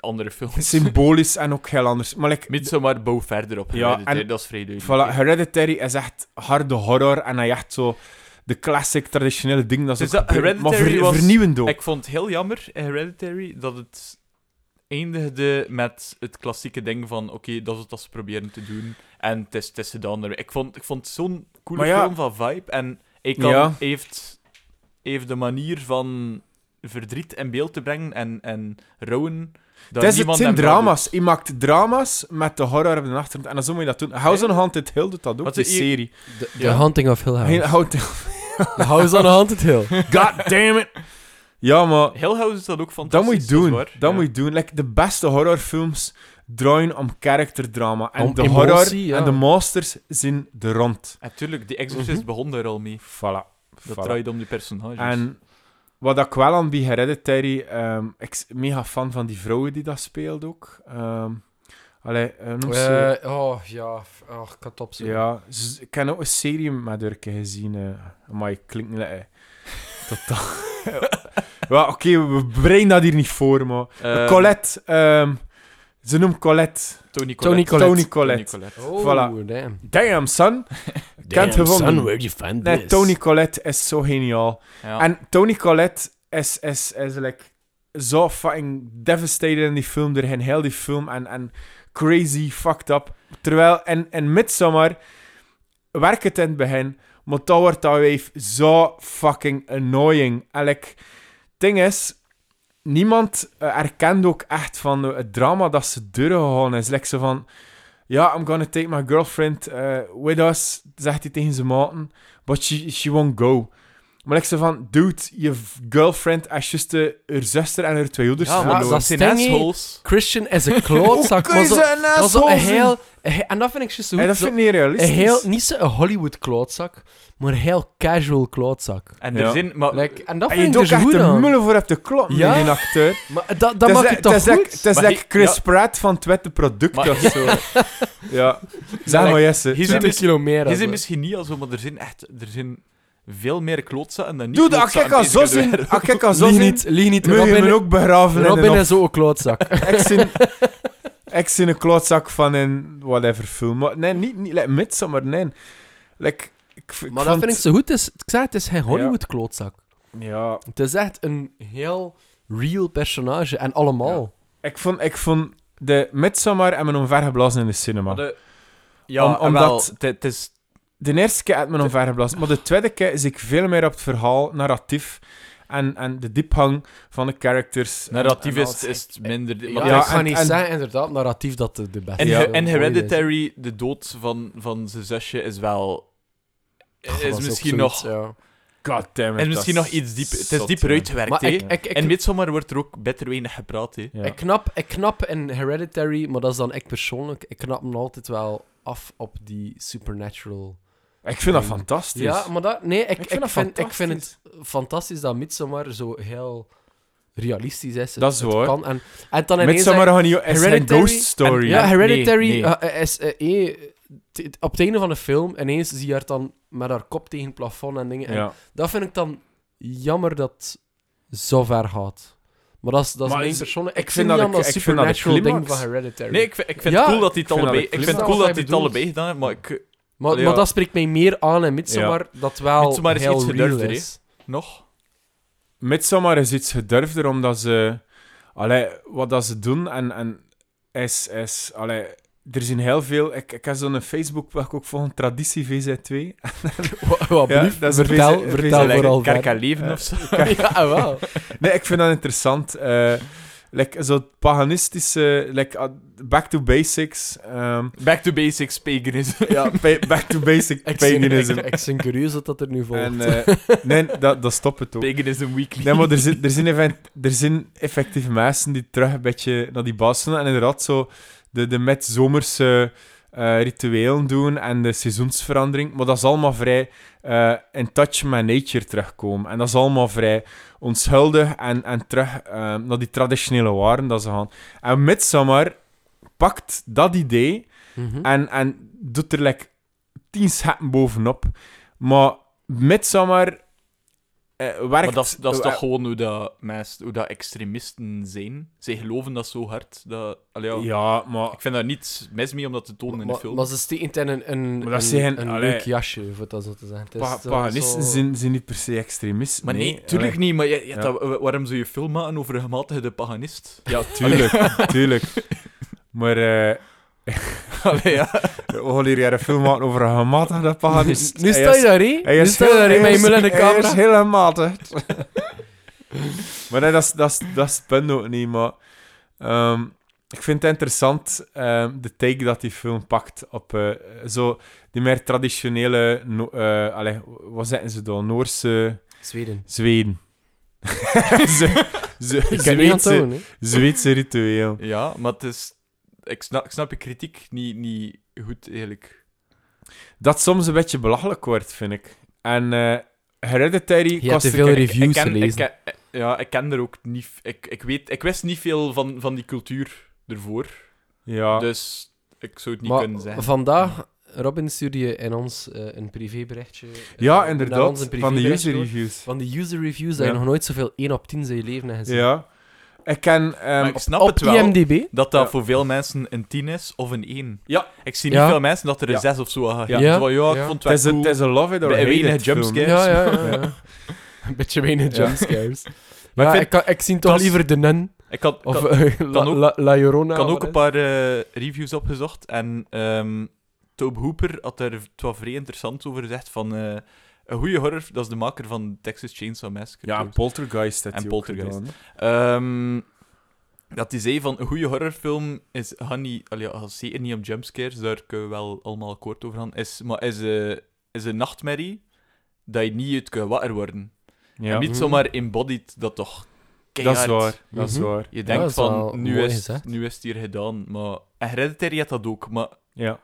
Speaker 2: andere film.
Speaker 3: symbolisch en ook heel anders. Maar like,
Speaker 2: Midsommar bouw verder op.
Speaker 3: Ja,
Speaker 2: Ja,
Speaker 3: en-
Speaker 2: dat is vrij duidelijk.
Speaker 3: voilà, Hereditary is echt harde horror en hij echt zo de classic traditionele ding dat ze
Speaker 2: Dus dat
Speaker 3: ook gebruiken, maar
Speaker 2: Hereditary was-
Speaker 3: vernieuwend ook.
Speaker 2: Ik vond het heel jammer in Hereditary dat het eindigde met het klassieke ding van oké, dat is wat ze proberen te doen en het is, het is gedaan. ermee. Ik vond, ik vond het zo'n coole
Speaker 3: Maar ja.
Speaker 2: film van vibe en hij kan,
Speaker 3: Ja.
Speaker 2: heeft, heeft de manier van verdriet in beeld te brengen en, en rouwen dat
Speaker 3: Het, is, het
Speaker 2: niemand
Speaker 3: zijn
Speaker 2: hem wel
Speaker 3: drama's. Je maakt drama's met de horror op de achtergrond. En dan zo moet je dat doen. House on Haunted Hill doet dat ook,
Speaker 2: Wat
Speaker 3: die
Speaker 2: is hier-
Speaker 3: serie.
Speaker 1: De, de
Speaker 2: Ja.
Speaker 1: Hunting of Hill
Speaker 3: Heel,
Speaker 1: House.
Speaker 3: Haunted-
Speaker 1: De House on Haunted Hill.
Speaker 3: God damn it! Ja, maar...
Speaker 2: doet. Hill House is dat ook
Speaker 3: Dat moet
Speaker 2: fantastisch.
Speaker 3: je doen.
Speaker 2: is
Speaker 3: Dat,
Speaker 2: waar,
Speaker 3: moet je doen. Like, de beste horrorfilms draaien om characterdrama. En
Speaker 1: Om
Speaker 3: de
Speaker 1: emotie,
Speaker 3: horror
Speaker 1: ja.
Speaker 3: en de monsters zijn de rond.
Speaker 2: Natuurlijk, The Exorcist begon daar al mee.
Speaker 3: Voilà.
Speaker 2: Dat
Speaker 3: Mhm. Voilà.
Speaker 2: draait om die personages.
Speaker 3: En wat ik wel aan bij Hereditary... ehm ik ben mega fan van die vrouwen die dat speelt ook. Ehm allee, eh, noem ze...
Speaker 1: Eh, oh, ja. f- Oh, ik had het opzoeken.
Speaker 3: ja, ze- ik heb ook een serie met haar een keer gezien. eh maar ik klink niet... eh, Totaal. Ja, Oké, we brengen dat hier niet voor, maar...
Speaker 2: Eh,
Speaker 3: Colette... ehm, ze noemt Colette...
Speaker 2: Tony Collette.
Speaker 1: Tony Collette.
Speaker 3: Tony Collette.
Speaker 1: Oh,
Speaker 3: Voilà.
Speaker 1: damn.
Speaker 3: Damn, son. Kent gevonden.
Speaker 1: you find
Speaker 3: Nee, Tony Collette is zo geniaal.
Speaker 2: Ja.
Speaker 3: En Tony Collette is, is, is like, zo fucking devastated in die film. Er ging heel die film. En, en crazy, fucked up. Terwijl in, in Midsommar werkt het in het begin, maar dat wordt dat wijf zo fucking annoying. En like, ding is, niemand eh, herkent ook echt van eh, het drama dat ze doorgegaan is. Like zo van, ja, I'm gonna take my girlfriend eh, with us, zegt hij tegen zijn maten, but she, she won't go. Maar like zo van, dude, je v- girlfriend is just eh, haar zuster en haar twee ouders
Speaker 2: Ja, maar
Speaker 1: verloren.
Speaker 2: dat zijn
Speaker 1: Dus Stingy.
Speaker 2: assholes.
Speaker 1: Christian is een klootzak.
Speaker 3: Hoe kun je
Speaker 1: was
Speaker 3: ze een
Speaker 1: was zo
Speaker 3: asshole
Speaker 1: een
Speaker 3: zijn?
Speaker 1: heel, een he- en dat vind ik zo
Speaker 3: En
Speaker 1: goed.
Speaker 3: dat
Speaker 1: zo-
Speaker 3: vind ik niet realistisch.
Speaker 1: een heel, niet zo een Hollywood klootzak, maar een heel casual klootzak.
Speaker 2: En
Speaker 3: Ja.
Speaker 2: er zijn... Maar,
Speaker 1: Like, en dat
Speaker 3: Oh, en je
Speaker 1: vind ik er
Speaker 3: doet ook
Speaker 1: zo
Speaker 3: echt
Speaker 1: goed
Speaker 3: de
Speaker 1: aan.
Speaker 3: mullen voor op de klok
Speaker 1: Ja?
Speaker 3: met die acteur.
Speaker 1: Maar dat, dat
Speaker 3: Het is
Speaker 1: maakt
Speaker 3: li-
Speaker 1: het toch
Speaker 3: is like-
Speaker 1: goed?
Speaker 3: Het is
Speaker 2: Maar
Speaker 3: like
Speaker 2: je-
Speaker 3: Chris
Speaker 2: ja.
Speaker 3: Pratt van Twitter Product
Speaker 2: Maar-
Speaker 3: of zo. ja. Zeg
Speaker 2: like,
Speaker 3: maar, Jesse.
Speaker 2: hier zijn
Speaker 1: 20
Speaker 2: misschien-
Speaker 1: kilo meer.
Speaker 2: Je
Speaker 1: als
Speaker 2: zijn
Speaker 1: we.
Speaker 2: misschien niet al zo, maar er zijn echt... Er zijn veel meer klootzakken dan niet
Speaker 3: Doe dat, als
Speaker 2: klootzakken
Speaker 3: ik al
Speaker 2: in
Speaker 3: zo
Speaker 2: deze
Speaker 3: zin,
Speaker 2: wereld.
Speaker 3: als ik al zo
Speaker 1: Lieg
Speaker 3: zin,
Speaker 1: niet, lieg niet.
Speaker 3: moet je
Speaker 1: Robin,
Speaker 3: me ook begraven in
Speaker 1: Robin
Speaker 3: een
Speaker 1: is ook een klootzak.
Speaker 3: Ik zin, ik zin een klootzak van een whatever film. Maar nee, niet, niet like Midsommar, nee. Like, ik, v- ik
Speaker 1: Maar dat
Speaker 3: vond-
Speaker 1: vind ik zo goed. Het is, ik zei, het is geen Hollywood-klootzak.
Speaker 3: Ja,
Speaker 1: Het is echt een heel real personage. En allemaal.
Speaker 3: ik vond, ik vond de Midsommar en mijn omvergeblazen in de cinema.
Speaker 2: Maar
Speaker 3: De...
Speaker 2: de- Ja,
Speaker 3: Om- omdat-
Speaker 2: omdat... Het is...
Speaker 3: eerste keer had mijn omvergeblazen, maar de tweede keer is ik veel meer op het verhaal, narratief en, en de diepgang van de characters. en-
Speaker 2: Narratief
Speaker 3: en
Speaker 2: is,
Speaker 3: alles.
Speaker 2: is het minder...
Speaker 1: Ja,
Speaker 2: Maar
Speaker 1: ik
Speaker 3: Ja,
Speaker 2: het is-
Speaker 1: ga
Speaker 3: en-
Speaker 1: niet
Speaker 3: en-
Speaker 1: zeggen, inderdaad, narratief dat de, de beste
Speaker 2: En,
Speaker 3: Ja.
Speaker 2: He-
Speaker 1: film
Speaker 2: en
Speaker 1: ooit
Speaker 2: Hereditary, de dood van, van zijn zusje, is wel.
Speaker 1: is. Goh, dat
Speaker 2: is
Speaker 1: ook
Speaker 2: misschien
Speaker 1: zoiets,
Speaker 2: nog.
Speaker 1: ja.
Speaker 3: God damn it,
Speaker 2: En misschien
Speaker 3: dat
Speaker 2: nog
Speaker 3: is
Speaker 2: iets diep. Het is
Speaker 3: zot,
Speaker 2: dieper
Speaker 3: ja.
Speaker 2: uitgewerkt.
Speaker 1: Maar
Speaker 2: hè.
Speaker 1: ik, ik, ik,
Speaker 2: En Midsommar wordt er ook beter weinig gepraat. hè.
Speaker 3: Ja.
Speaker 1: ik, knap, ik knap in Hereditary, maar dat is dan ik persoonlijk. Ik knap me altijd wel af op die supernatural.
Speaker 3: Ik vind dat fantastisch.
Speaker 1: Ja, maar dat... Nee, ik, ik,
Speaker 3: vind
Speaker 1: vind,
Speaker 3: dat
Speaker 1: ik vind het fantastisch dat Midsommar zo heel realistisch is. Het-
Speaker 3: Dat is
Speaker 1: het
Speaker 3: waar.
Speaker 1: Kan. En, en dan ineens...
Speaker 3: Midsommar gaan niet- is geen
Speaker 1: Hereditary-
Speaker 3: ghost story.
Speaker 1: Ja,
Speaker 2: Nee,
Speaker 1: Hereditary
Speaker 2: nee.
Speaker 1: eh, is eh, eh, t- op het einde van de film ineens zie je haar dan met haar kop tegen het plafond en dingen. En
Speaker 3: Ja.
Speaker 1: Dat vind ik dan jammer dat het zo ver gaat. Maar dat is, dat is
Speaker 3: Maar
Speaker 1: mijn
Speaker 3: is-
Speaker 1: persoonlijk...
Speaker 3: ik
Speaker 1: Ik
Speaker 3: vind
Speaker 1: vind niet
Speaker 3: dat de-
Speaker 1: aan dat
Speaker 3: ik vind dat de
Speaker 1: supernatural ding van
Speaker 3: climax-
Speaker 1: Hereditary.
Speaker 2: Nee, ik, vind- ik vind
Speaker 1: Ja,
Speaker 2: het cool dat hij
Speaker 3: ik
Speaker 2: het
Speaker 3: vind
Speaker 2: allebei,
Speaker 3: dat
Speaker 2: ik
Speaker 3: het
Speaker 2: vind het
Speaker 1: klinkt.
Speaker 2: cool
Speaker 1: Dat
Speaker 2: dat
Speaker 1: is
Speaker 2: hij het
Speaker 1: wat je
Speaker 2: allebei gedaan heeft, maar ik,
Speaker 1: maar,
Speaker 2: Ja.
Speaker 1: maar dat spreekt mij meer aan in Midsommar, dat wel
Speaker 2: Midsommar is
Speaker 1: heel
Speaker 2: iets
Speaker 1: real
Speaker 2: gedurfder, hè.
Speaker 1: is.
Speaker 2: nog.
Speaker 3: Midsommar is iets gedurfder, omdat ze... Allee, wat dat ze doen en... en is, is, allee, er zijn heel veel... Ik, ik heb zo'n Facebook, waar ik ook volg, een traditie VZ2.
Speaker 1: Wat,
Speaker 3: Ja,
Speaker 1: blieft,
Speaker 3: dat is een
Speaker 1: vertel,
Speaker 3: vreselijk-
Speaker 1: vertel
Speaker 3: vreselijk
Speaker 1: vooral
Speaker 2: Kerk
Speaker 1: verder.
Speaker 2: aan leven
Speaker 3: Eh,
Speaker 2: of zo.
Speaker 1: Ja, wel.
Speaker 3: Nee, ik vind dat interessant. Eh like, zo'n paganistische... Like, ah, back to basics. ehm,
Speaker 2: Back to basics, paganism.
Speaker 3: ja, pa- back to basic
Speaker 1: Ik ben, ik,
Speaker 3: paganism.
Speaker 1: ik ben curieus wat dat er nu volgt.
Speaker 3: En, eh, nee, dat, dat stopt het ook.
Speaker 2: Paganism weekly.
Speaker 3: Nee, maar er zijn, er, zijn event- er zijn effectief mensen die terug een beetje naar die baas gaan en inderdaad zo de, de met zomerse eh, rituelen doen en de seizoensverandering. Maar dat is allemaal vrij eh, in touch met nature terugkomen. En dat is allemaal vrij onschuldig en, en terug eh, naar die traditionele waren dat ze gaan. En Midsommar pakt dat idee
Speaker 1: Mhm.
Speaker 3: en, en doet er like tien scheppen bovenop. Maar Midsommar... eh, werkt,
Speaker 2: Maar dat, is- dat is
Speaker 3: eh,
Speaker 2: toch gewoon hoe dat, mensen, hoe dat extremisten zijn? Zij geloven dat zo hard. Dat, allee, ja.
Speaker 3: Ja, maar...
Speaker 2: Ik vind daar niets mis mee om dat te tonen in de
Speaker 1: maar,
Speaker 2: film.
Speaker 1: maar ze steken het in een, een,
Speaker 3: Maar dat
Speaker 1: een,
Speaker 3: zijn-
Speaker 1: een
Speaker 3: allee.
Speaker 1: leuk jasje, voor dat zo te zeggen. Het is
Speaker 3: Pa-
Speaker 1: zo-
Speaker 3: paganisten
Speaker 1: zo-
Speaker 3: zijn, zijn niet per se extremisten.
Speaker 2: Maar nee, tuurlijk niet. Maar je- je hebt dat- wa- waarom zou je film maken over een gematigde paganist?
Speaker 3: Ja, tuurlijk, tuurlijk. Maar eh
Speaker 2: Allee, ja.
Speaker 3: we gaan hier een film maken over een gematigde
Speaker 1: Nu,
Speaker 3: paganist.
Speaker 1: nu sta je daar, hè? Nu sta je daar, hè, met je mul in de
Speaker 3: Hij is
Speaker 1: camera.
Speaker 3: heel gematigd. maar nee, dat is, dat, is, dat is het punt ook niet, maar... ehm, ik vind het interessant, ehm, de take dat die film pakt op eh, zo die meer traditionele, no- eh, allee, wat zeggen ze dan, Noorse
Speaker 1: Zweden.
Speaker 3: Zweden. Ze- ze-
Speaker 1: Ik kan niet aan het
Speaker 3: Zweedse-
Speaker 1: houden, hè.
Speaker 3: Zweedse ritueel.
Speaker 2: ja, maar het is... Ik snap, ik snap je kritiek niet, niet goed, eigenlijk.
Speaker 3: Dat soms een beetje belachelijk wordt, vind ik. En eh Hereditary
Speaker 1: Je hebt
Speaker 3: kost
Speaker 1: te
Speaker 3: ik-
Speaker 1: veel
Speaker 3: ik-
Speaker 1: reviews
Speaker 2: ik ken, ik
Speaker 1: gelezen.
Speaker 2: ken- eh, ja, ik ken er ook niet... Ik, ik, weet, ik wist niet veel van, van die cultuur ervoor.
Speaker 3: Ja,
Speaker 2: Dus ik zou het niet kunnen
Speaker 1: Maar
Speaker 2: zeggen.
Speaker 1: vandaag, Robin, stuurde je in ons eh, een privéberichtje. eh,
Speaker 3: ja
Speaker 1: naar ons
Speaker 3: inderdaad.
Speaker 1: een
Speaker 3: Van de
Speaker 1: privéberichtje
Speaker 3: user
Speaker 1: door.
Speaker 3: reviews.
Speaker 1: Van de user reviews, dat je
Speaker 3: Ja.
Speaker 1: nog nooit zoveel 1 op 10 in je leven hebt gezien.
Speaker 3: Ja. Ik ken... ehm,
Speaker 2: Maar ik snap
Speaker 1: Op
Speaker 2: het wel.
Speaker 1: IMDb?
Speaker 2: Dat dat
Speaker 3: Ja.
Speaker 2: voor veel mensen een 10 is of een 1.
Speaker 3: Ja.
Speaker 2: Ik zie niet
Speaker 1: Ja.
Speaker 2: veel mensen dat er een
Speaker 3: Ja.
Speaker 2: 6 of zo aan
Speaker 1: Ja.
Speaker 2: Ja. Zo, van, ja,
Speaker 1: Ja.
Speaker 2: ik vond het
Speaker 3: het,
Speaker 2: wel
Speaker 3: is een,
Speaker 2: cool.
Speaker 3: het is een love it or
Speaker 2: Bij
Speaker 3: hate
Speaker 2: weinig
Speaker 3: it film.
Speaker 2: jumpscares.
Speaker 1: Ja, ja, ja. ja. Een beetje weinig
Speaker 3: Ja.
Speaker 1: jumpscares.
Speaker 3: Maar
Speaker 1: Maar
Speaker 3: ik
Speaker 1: ik,
Speaker 3: vind-
Speaker 1: kan- ik zie toch
Speaker 3: dat is-
Speaker 1: liever de nun.
Speaker 2: Ik had,
Speaker 1: Of
Speaker 2: kan,
Speaker 1: eh, La,
Speaker 2: ook-
Speaker 1: La, La Llorona.
Speaker 2: kan ook
Speaker 1: wat
Speaker 2: een paar eh, reviews opgezocht. En ehm Tobe Hooper had daar het wel vrij interessant over gezegd. Van, eh, een goede horror, dat is de maker van Texas Chainsaw Massacre.
Speaker 3: Ja,
Speaker 2: trouwens.
Speaker 3: Poltergeist had
Speaker 2: En
Speaker 3: hij ook
Speaker 2: Poltergeist.
Speaker 3: gedaan, hè.
Speaker 2: Ehm, dat hij zei van een goede horrorfilm is gaat niet, allee, ja, gaat zeker niet om jumpscares, daar kunnen we wel allemaal akkoord over gaan. Is, maar is, eh, is een nachtmerrie dat je niet uit kunt wakker worden. En
Speaker 6: Ja.
Speaker 2: niet zomaar embodied dat toch.
Speaker 6: Dat is
Speaker 2: keihard-
Speaker 6: waar, dat is
Speaker 1: Mhm.
Speaker 6: waar.
Speaker 2: Je
Speaker 1: Ja,
Speaker 2: denkt
Speaker 1: dat is wel
Speaker 2: van nu
Speaker 1: mooi
Speaker 2: is,
Speaker 1: gezegd.
Speaker 2: nu is het hier gedaan. Maar en Hereditary had dat ook, maar
Speaker 6: Ja.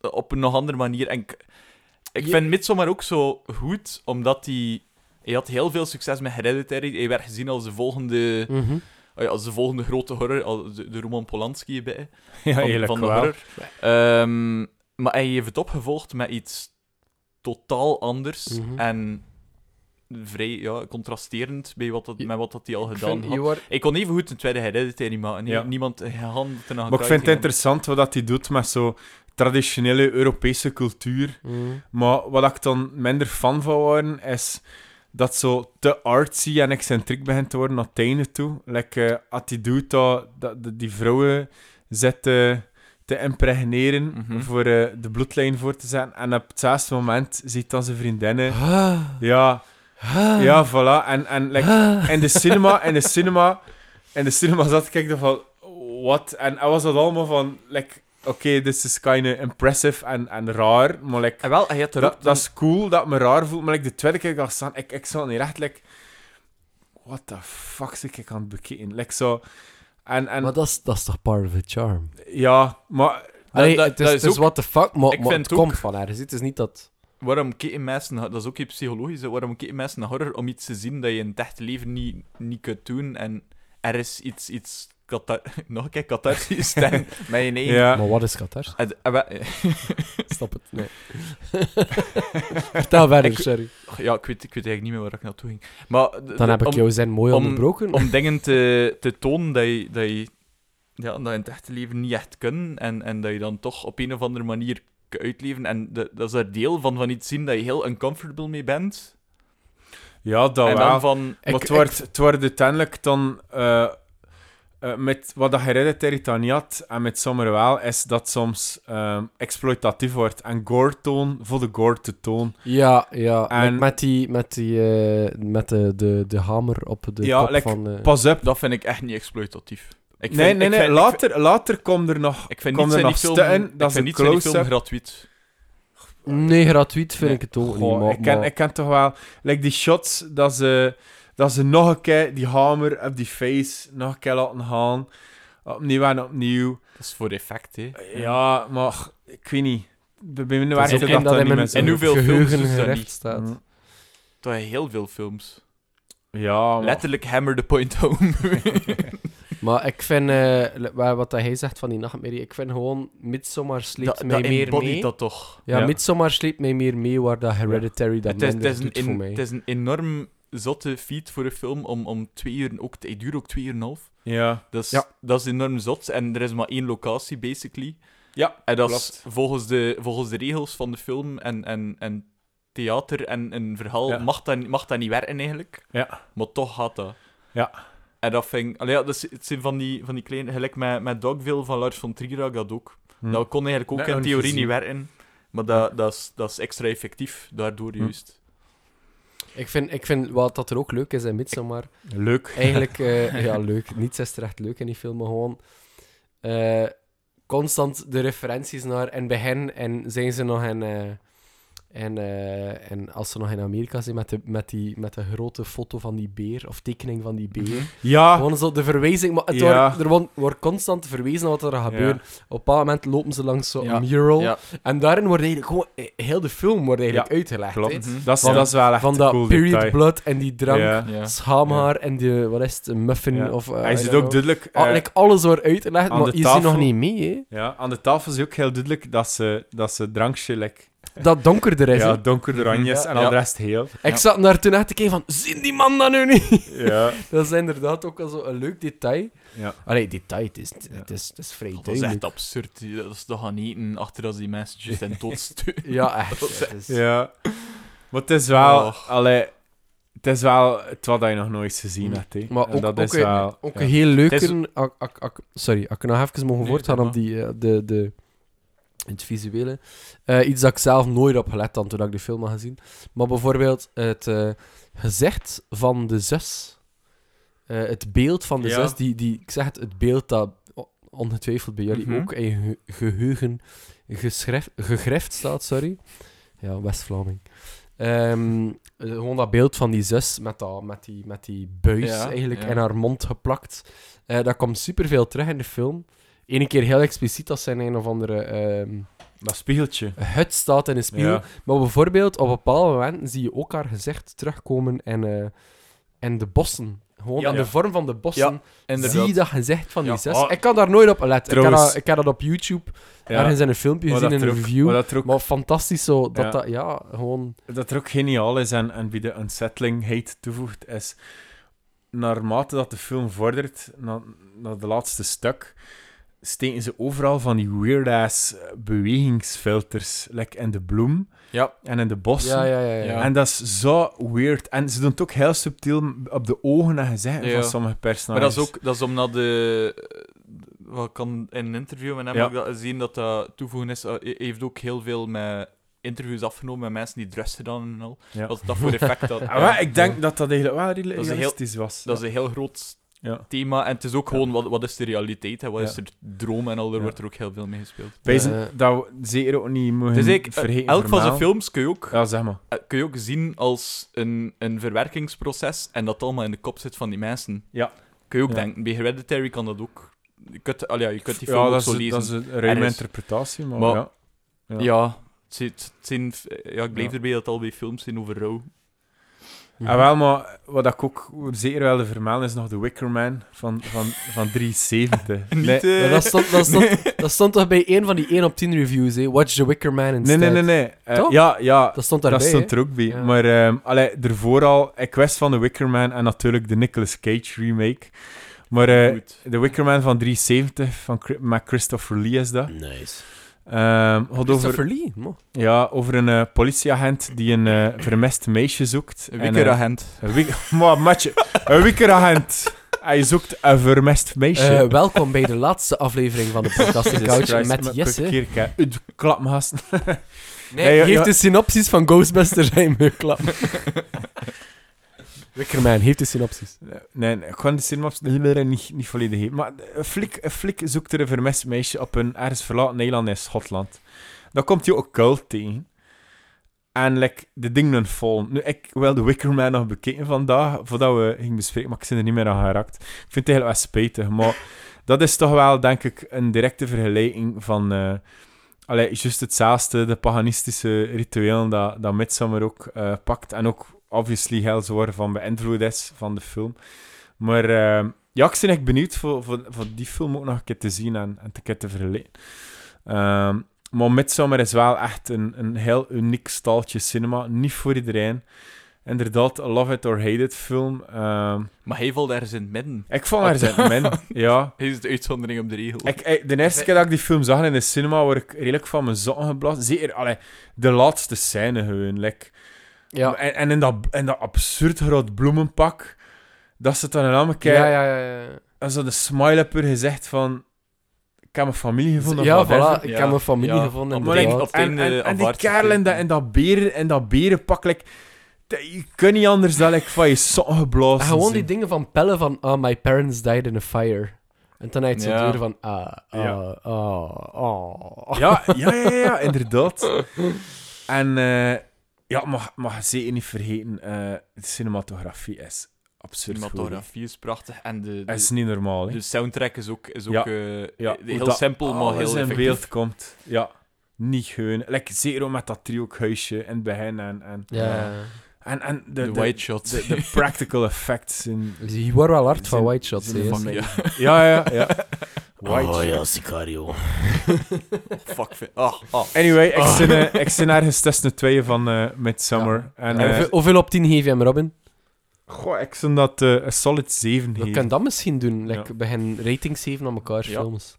Speaker 2: op een nog andere manier. En ik, ik
Speaker 1: Je-
Speaker 2: vind Midsommar ook zo goed, omdat hij. Hij had heel veel succes met Hereditary. Hij werd gezien als de volgende.
Speaker 1: Mhm.
Speaker 2: Ah ja, als de volgende grote horror, als de, de Roman Polanski bij,
Speaker 6: Ja,
Speaker 2: van,
Speaker 6: eerlijk
Speaker 2: van de
Speaker 6: wel.
Speaker 2: horror. Ehm, maar hij heeft het opgevolgd met iets totaal anders
Speaker 1: Mhm.
Speaker 2: en vrij ja, contrasterend bij wat dat,
Speaker 1: Je-
Speaker 2: met wat dat hij al
Speaker 1: Ik
Speaker 2: gedaan
Speaker 1: vind, je
Speaker 2: had.
Speaker 1: wordt-
Speaker 2: Ik kon even goed een tweede Hereditary maken. Nie-
Speaker 6: Ja.
Speaker 2: Niemand eh, handelt
Speaker 6: Maar
Speaker 2: ernaar
Speaker 3: Maar ik vind het
Speaker 2: gekruid,
Speaker 3: interessant wat dat hij doet met zo traditionele Europese cultuur.
Speaker 2: Mm.
Speaker 1: Mhm.
Speaker 3: Maar wat ik dan minder fan van word, is dat zo te artsy en excentriek begint te worden naar het einde toe. Like, eh, als hij doet dat, dat dat die vrouwen zit te- te impregneren
Speaker 2: Mhm.
Speaker 3: voor eh, de bloedlijn voor te zetten. En op het laatste moment ziet dan zijn vriendinnen...
Speaker 1: Ah,
Speaker 3: Ja,
Speaker 1: ah,
Speaker 3: ja, voilà. En, en like,
Speaker 1: ah.
Speaker 3: in de cinema, in de cinema, in de cinema zat ik dan van, wat? En hij was dat allemaal van, like, oké, this is kind of impressive en, en raar, maar like,
Speaker 2: En Ah, wel, hij had er
Speaker 3: dat,
Speaker 2: ook
Speaker 3: dat is cool dat het me raar voelt, maar like, de tweede keer dat ik dat staan, ik, ik zat niet echt, like, what the fuck zit ik aan het bekijken? Like, zo, en, en
Speaker 1: Maar dat is, dat is toch part of the charm?
Speaker 3: ja, maar,
Speaker 1: Nee,
Speaker 2: dat-
Speaker 1: het is,
Speaker 2: dat
Speaker 1: het
Speaker 2: is
Speaker 1: is
Speaker 2: ook-
Speaker 1: what the fuck, maar,
Speaker 2: Ik
Speaker 1: maar
Speaker 2: vind
Speaker 1: het
Speaker 2: ook-
Speaker 1: komt van ergens. Het is niet dat...
Speaker 2: Waarom kijken mensen, naar- dat is ook iets psychologisch, hè. waarom kijken mensen naar horror om iets te zien dat je in het echte leven niet, niet kunt doen en er is iets, iets kata- nog een keer catharsis dan met je eigen...
Speaker 3: ja.
Speaker 1: Maar wat is Qatar?
Speaker 2: En- eh, en we-
Speaker 1: Stop het. Nee. Vertel verder,
Speaker 2: Ik-
Speaker 1: sorry.
Speaker 2: Ja, ik weet, ik weet eigenlijk niet meer waar ik naartoe ging. Maar d-
Speaker 1: Dan
Speaker 2: d-
Speaker 1: heb ik
Speaker 2: om,
Speaker 1: jouw zin mooi
Speaker 2: om-
Speaker 1: onderbroken.
Speaker 2: om dingen te, te tonen dat je, dat, je, ja, dat je in het echte leven niet echt kunt en, en dat je dan toch op een of andere manier kunt uitleven en de- dat is er deel van, van iets zien dat je heel uncomfortable mee bent.
Speaker 3: ja, dat
Speaker 2: en
Speaker 3: wel.
Speaker 2: dan van...
Speaker 1: Ik-
Speaker 3: maar het wordt, het wordt uiteindelijk dan... eh, eh, met wat dat Hereditary dan niet had, en met Sommer wel, is dat soms ehm, exploitatief wordt. En gore-toon voor de gore te toon.
Speaker 1: Ja, ja.
Speaker 3: En-
Speaker 1: Met, met die, met, die, eh, met de, de, de hamer op de
Speaker 3: Ja,
Speaker 1: kop
Speaker 3: like,
Speaker 1: van... eh,
Speaker 3: Pas op.
Speaker 2: Dat vind ik echt niet exploitatief. Ik
Speaker 3: nee,
Speaker 2: vind-
Speaker 3: nee,
Speaker 2: ik
Speaker 3: nee.
Speaker 2: vind- ik
Speaker 3: later, later komt er nog...
Speaker 2: vind- Ik vind
Speaker 3: Kom
Speaker 2: niet
Speaker 3: er
Speaker 2: zijn die film,
Speaker 3: nog stukken,
Speaker 2: ik
Speaker 3: dat is
Speaker 2: vind
Speaker 3: een
Speaker 2: niet zijn die film
Speaker 3: close-up.
Speaker 2: gratuit.
Speaker 1: Nee, gratuit vind
Speaker 2: Nee.
Speaker 1: ik het ook
Speaker 3: Goh,
Speaker 1: niet. Maar,
Speaker 3: ik, ken,
Speaker 1: maar-
Speaker 3: ik ken toch wel... Like die shots, dat ze, dat ze nog een keer die hamer op die face nog een keer laten gaan. Opnieuw en opnieuw.
Speaker 2: Dat is voor effect, hè.
Speaker 3: Ja, maar ik weet niet. Bij bij mij
Speaker 1: Het is
Speaker 3: werkte
Speaker 1: ook
Speaker 3: dat
Speaker 1: in dat
Speaker 3: dan
Speaker 1: in
Speaker 3: niet
Speaker 1: mijn
Speaker 3: meer zo.
Speaker 2: En hoeveel films
Speaker 1: geheugen
Speaker 2: is dat
Speaker 1: gerecht
Speaker 2: niet?
Speaker 1: staat.
Speaker 3: Mm.
Speaker 2: Dat zijn heel veel films.
Speaker 3: Ja, maar...
Speaker 2: Letterlijk hammer the point home.
Speaker 1: Maar ik vind, eh, li- wa- wat dat hij zegt van die nachtmerrie, ik vind gewoon Midsommar sleept mij meer
Speaker 2: embodied
Speaker 1: mee.
Speaker 2: dat toch.
Speaker 1: Ja,
Speaker 3: Ja.
Speaker 1: Midsommar sleept mij meer mee waar dat Hereditary dat
Speaker 2: Het is, het,
Speaker 1: minder
Speaker 2: is een,
Speaker 1: doet voor
Speaker 2: in-
Speaker 1: mij.
Speaker 2: het is een enorm zotte feat voor een film om, om twee uur... Ook, het duurt ook twee uur en een half.
Speaker 3: Ja.
Speaker 2: Dat is,
Speaker 1: Ja.
Speaker 2: dat is enorm zot. En er is maar één locatie, basically.
Speaker 3: Ja,
Speaker 2: En dat is
Speaker 3: klopt.
Speaker 2: volgens de, volgens de regels van de film en, en, en theater en een verhaal
Speaker 3: Ja.
Speaker 2: mag, dat, mag dat niet werken, eigenlijk.
Speaker 3: Ja.
Speaker 2: Maar toch gaat dat.
Speaker 3: Ja.
Speaker 2: En dat vind ik... allee, ja, dat is, het zijn van die, van die kleine... Gelijk met, met Dogville van Lars von Trier had ik dat ook.
Speaker 3: Hm.
Speaker 2: Dat kon eigenlijk ook
Speaker 3: Nee,
Speaker 2: in
Speaker 3: nog niet
Speaker 2: theorie
Speaker 3: gezien.
Speaker 2: niet werken. Maar dat, dat, is, dat is extra effectief, daardoor
Speaker 3: Hm.
Speaker 2: juist.
Speaker 1: Ik vind, ik vind wat dat er ook leuk is in Midsommar,
Speaker 3: Leuk.
Speaker 1: eigenlijk, eh, ja, leuk. Niets is terecht leuk in die film, maar gewoon eh, constant de referenties naar. En bij hen en zijn ze nog in. eh, en, eh, en als ze nog in Amerika zijn met de, met, die, met de grote foto van die beer, of tekening van die beer.
Speaker 3: Ja.
Speaker 1: Gewoon zo de verwijzing. Maar het
Speaker 3: Ja.
Speaker 1: wordt, er wordt, wordt constant verwezen naar wat er gaat
Speaker 3: Ja.
Speaker 1: gebeuren. Op een bepaald moment lopen ze langs zo'n
Speaker 2: Ja.
Speaker 1: mural.
Speaker 2: Ja.
Speaker 1: En daarin wordt eigenlijk gewoon... eh, Heel de film wordt eigenlijk uitgelegd. hè.
Speaker 3: Klopt.
Speaker 2: Mhm.
Speaker 3: Dat is,
Speaker 1: Van-
Speaker 3: dat is wel echt
Speaker 1: Van
Speaker 3: een
Speaker 1: dat
Speaker 3: cool
Speaker 1: period
Speaker 3: detail.
Speaker 1: blood en die drank.
Speaker 3: Ja.
Speaker 2: Ja.
Speaker 1: Schaamhaar en die... Wat is het? Een muffin
Speaker 3: Ja.
Speaker 1: of... eh,
Speaker 3: Hij
Speaker 1: I
Speaker 3: zit
Speaker 1: don't
Speaker 3: ook
Speaker 1: know.
Speaker 3: duidelijk... eh,
Speaker 1: Ah, like alles wordt uitgelegd,
Speaker 3: aan
Speaker 1: maar je
Speaker 3: de
Speaker 1: ziet
Speaker 3: tafel.
Speaker 1: nog niet mee,
Speaker 3: ja, aan de tafel is ook heel duidelijk dat ze, dat ze drankje... Like,
Speaker 1: hè. Dat donkerder is, hè.
Speaker 3: ja, donker oranjes
Speaker 1: Mhm. Ja.
Speaker 3: en al
Speaker 2: Ja.
Speaker 3: de rest heel.
Speaker 1: Ik zat naar toen echt te kijken van... Zien die man dan nu niet?
Speaker 3: Ja.
Speaker 1: dat is inderdaad ook al zo'n leuk detail.
Speaker 3: Ja.
Speaker 1: Allee, detail, het is, het is, het is vrij
Speaker 2: Dat is
Speaker 1: duidelijk.
Speaker 2: echt absurd. die- Dat is toch gaan eten achter als die mensen just en tot
Speaker 1: Ja, echt. Het is...
Speaker 3: ja. Maar het is wel...
Speaker 2: Och.
Speaker 3: Allee, het het is wel het wat je nog nooit gezien hebt. hè.
Speaker 1: Mm. Maar
Speaker 3: En
Speaker 1: ook-
Speaker 3: dat
Speaker 1: ook
Speaker 3: is
Speaker 1: een-
Speaker 3: wel...
Speaker 1: Ook
Speaker 3: ja.
Speaker 1: een heel leuke...
Speaker 2: Het is-
Speaker 1: ak- ak- ak- sorry, als ik nog even mogen
Speaker 2: Nee,
Speaker 1: voortgaan
Speaker 2: doe
Speaker 1: op die, eh, de, de, het visuele. Eh, iets dat ik zelf nooit op gelet had toen ik de film had gezien. Maar bijvoorbeeld het eh, gezicht van de zus. Eh, het beeld van de
Speaker 2: Ja.
Speaker 1: zus, die, die, ik zeg het, het beeld dat o- ongetwijfeld bij jullie
Speaker 2: Mhm.
Speaker 1: ook in je ge- geheugen geschref- gegrift staat, sorry. Ja, West-Vlaming. Ehm, eh, gewoon dat beeld van die zus met, dat, met, die, met die buis
Speaker 2: Ja,
Speaker 1: eigenlijk
Speaker 2: ja.
Speaker 1: in haar mond geplakt. Eh, dat komt superveel terug in de film. Eén keer heel expliciet dat zijn een of andere ehm,
Speaker 3: Dat spiegeltje.
Speaker 1: hut staat in een spiegel.
Speaker 3: Ja.
Speaker 1: Maar bijvoorbeeld op bepaalde momenten zie je ook haar gezicht terugkomen en, eh en de bossen. Gewoon
Speaker 2: Ja.
Speaker 1: in de vorm van de bossen zie je dat gezicht van die
Speaker 2: Ja.
Speaker 1: zus.
Speaker 2: Ah.
Speaker 1: Ik kan daar nooit op letten. Ik heb,
Speaker 3: Trouwens.
Speaker 1: dat, ik heb dat op YouTube
Speaker 3: Ja.
Speaker 1: ergens in een filmpje
Speaker 3: Maar
Speaker 1: gezien, in
Speaker 3: dat
Speaker 1: een
Speaker 3: er ook-
Speaker 1: review.
Speaker 3: maar
Speaker 1: Maar,
Speaker 3: dat er ook
Speaker 1: fantastisch zo, dat
Speaker 3: Ja.
Speaker 1: dat, ja, gewoon...
Speaker 3: dat er ook geniaal is en, en wie de unsettlingheid toevoegt, is naarmate dat de film vordert, na, naar de laatste stuk, steken ze overal van die weird-ass eh, bewegingsfilters. Like in de bloem
Speaker 2: Ja.
Speaker 3: en in de bossen.
Speaker 1: Ja, ja, ja. ja.
Speaker 2: Ja.
Speaker 3: En dat is zo weird. En ze doen het ook heel subtiel op de ogen en gezichten
Speaker 2: Ja.
Speaker 3: van sommige personages.
Speaker 2: Maar dat is ook dat is omdat de. eh, Ik kan in een interview met hem
Speaker 3: Ja.
Speaker 2: ook dat zien dat dat toevoegen is. eh, Hij heeft ook heel veel met interviews afgenomen met mensen die drugs gedaan en al.
Speaker 3: Ja.
Speaker 2: Wat dat voor effect had.
Speaker 3: Ah, wel, ik denk dat dat eigenlijk wel
Speaker 2: Dat is
Speaker 3: realistisch
Speaker 2: een heel-
Speaker 3: was.
Speaker 2: Dat is een heel groot
Speaker 3: Ja.
Speaker 2: thema. En het is ook gewoon wat, wat is de realiteit en wat
Speaker 3: Ja.
Speaker 2: is er droom en al. Daar
Speaker 3: Ja.
Speaker 2: wordt er ook heel veel mee gespeeld.
Speaker 3: Wezen
Speaker 1: Eh.
Speaker 3: dat we zeker ook niet mogen
Speaker 2: Het is eigenlijk, eh,
Speaker 3: vergeten.
Speaker 2: elk van zijn
Speaker 3: vermelden.
Speaker 2: films kun je ook,
Speaker 3: Ja, zeg maar.
Speaker 2: eh, kun je ook zien als een, een verwerkingsproces en dat allemaal in de kop zit van die mensen.
Speaker 3: Ja.
Speaker 2: Kun je ook
Speaker 3: Ja.
Speaker 2: denken. Bij Hereditary kan dat ook. Je kunt, allee, je kunt die film
Speaker 3: ja,
Speaker 2: ook
Speaker 3: dat,
Speaker 2: zo
Speaker 3: is,
Speaker 2: lezen.
Speaker 3: dat is een ruime
Speaker 2: Ergens.
Speaker 3: interpretatie, maar,
Speaker 2: Maar-
Speaker 3: ja. Ja.
Speaker 2: Ja, het zit- het zijn, ja ik bleef
Speaker 3: Ja.
Speaker 2: erbij dat het al bij films zijn over rouw.
Speaker 1: Mhm.
Speaker 3: En Ah, wel, maar wat ik ook zeker wilde vermelden is nog de Wicker Man van, van, van 370.
Speaker 2: Niet,
Speaker 3: nee.
Speaker 2: eh,
Speaker 1: Maar dat, stond, dat, stond, dat stond toch bij een van die 1 op 10 reviews, hè? Watch the Wicker Man
Speaker 3: nee,
Speaker 1: instead.
Speaker 3: nee, nee, nee. Eh,
Speaker 1: Toch?
Speaker 3: ja, ja.
Speaker 1: Dat stond daarbij,
Speaker 3: Dat stond
Speaker 1: hè.
Speaker 3: er ook bij.
Speaker 1: Ja.
Speaker 3: Maar ehm allee, ervoor al, ik wist van de Wicker Man en natuurlijk de Nicolas Cage remake. Maar eh,
Speaker 2: Goed.
Speaker 3: de Wicker Man van 370 van, Chri- met Christopher Lee is dat.
Speaker 1: Nice.
Speaker 3: Ehm, gaat over,
Speaker 1: Christopher Lee, man.
Speaker 3: ja, over een eh, politieagent die een eh, vermist meisje zoekt.
Speaker 2: Een
Speaker 3: En, eh,
Speaker 2: wikkeragent.
Speaker 3: Een wik- maar matje, een wikkeragent. Hij zoekt een vermest meisje.
Speaker 1: Eh, welkom bij de laatste aflevering van de podcast The
Speaker 3: Jesus
Speaker 1: Couch
Speaker 3: Christ,
Speaker 1: met Jesse.
Speaker 3: per keer, kijk, uit klap, gasten.
Speaker 1: Nee,
Speaker 3: Nee, ja,
Speaker 1: heeft
Speaker 3: ja.
Speaker 1: de synopsis van Ghostbusters zijn geklapt. Wickerman heeft de synopsis.
Speaker 3: Nee, nee, ik ga de cinemaps niet, niet volledig heen. Maar eh, een flik, een flik zoekt er een vermist meisje op een ergens verlaten eiland in Schotland. Dan komt hij ook cult tegen. En like, de dingen vallen. Nu, ik wil de Wicker Man nog bekeken vandaag, voordat we gingen bespreken, maar ik ben er niet meer aan geraakt. Ik vind het eigenlijk wel spijtig, maar dat is toch wel, denk ik, een directe vergelijking van... eh allee, juist hetzelfde, de paganistische rituelen dat, dat Midsommar ook eh, pakt. En ook, obviously, heel zwaar van beïnvloed is van de film. Maar ehm, ja, ik ben echt benieuwd voor, voor, voor die film ook nog een keer te zien en, en te keer te verleden. Ehm, maar Midsommar is wel echt een, een heel uniek staaltje cinema. Niet voor iedereen. Inderdaad, een love it or hate it film. Ehm,
Speaker 2: Maar hij valt ergens in het midden.
Speaker 3: ik vond haar zijn min. Ja.
Speaker 2: Hij is de uitzondering op de regel.
Speaker 3: Ik, ik- de eerste keer dat ik die film zag in de cinema, word ik redelijk van mijn zakken geblazen. Zeker allee, de laatste scène gewoon. like.
Speaker 1: Ja.
Speaker 3: En, en in, dat, in dat absurd groot bloemenpak, dat ze dan een andere keer...
Speaker 1: Ja, ja, ja. ja.
Speaker 3: En zo de smile op haar gezicht van... Ik heb mijn familie gevonden.
Speaker 1: ja,
Speaker 3: of whatever.
Speaker 1: voilà. Ik
Speaker 2: Ja.
Speaker 1: heb mijn familie
Speaker 2: Ja.
Speaker 1: gevonden.
Speaker 2: Maar
Speaker 3: Maar ik-
Speaker 1: inderdaad.
Speaker 2: op eh, het
Speaker 3: en,
Speaker 2: einde
Speaker 3: en, en die
Speaker 2: aanvaard ze
Speaker 3: kerel in dat,
Speaker 2: het.
Speaker 3: in dat, beren, in dat berenpak, like, dat- je kunt niet anders dan like, van je sokken geblazen
Speaker 1: En gewoon die
Speaker 3: zijn.
Speaker 1: dingen van pellen van, ah, my parents died in a fire. En dan uit zijn
Speaker 2: Ja.
Speaker 1: deur van, ah, ah,
Speaker 3: Ja.
Speaker 1: ah, ah.
Speaker 3: Ja, ja, ja, ja, ja, inderdaad. En eh, ja, mag, mag zeker niet vergeten, eh, de cinematografie is absurd goed.
Speaker 2: Cinematografie is prachtig. En de,
Speaker 3: Dat is
Speaker 2: de,
Speaker 3: niet normaal, hè.
Speaker 2: de soundtrack is ook, is ook
Speaker 3: Ja.
Speaker 2: eh,
Speaker 3: ja, hoe
Speaker 2: heel
Speaker 3: dat
Speaker 2: simpel, maar
Speaker 3: alles
Speaker 2: heel
Speaker 3: in
Speaker 2: effectief.
Speaker 3: beeld komt. Ja, niet gewoon. Lekker zero met dat driehoekhuisje in het begin en... En,
Speaker 1: Ja.
Speaker 3: en, en de,
Speaker 2: De,
Speaker 3: de,
Speaker 2: white shot.
Speaker 3: de, de practical effects in...
Speaker 1: Dus Je wordt wel hard van
Speaker 3: Zin-
Speaker 1: White Shots,
Speaker 3: zin-
Speaker 1: hè.
Speaker 3: fuck,
Speaker 2: ja.
Speaker 3: Ja, ja, ja. White
Speaker 1: Sicario.
Speaker 2: Fuck. fi- Ah, ah.
Speaker 3: Anyway, ik zit eh, ik zit ergens tussen de tweeën van eh, Midsummer. En, eh,
Speaker 1: Hoeveel- Hoeveel op 10 geef je hem, Robin?
Speaker 3: goh, ik zou dat eh, een solid 7
Speaker 1: We
Speaker 3: geven.
Speaker 1: kunnen dat misschien doen. Like,
Speaker 3: Ja.
Speaker 1: Begin ratings geven aan elkaar,
Speaker 2: Ja.
Speaker 1: films.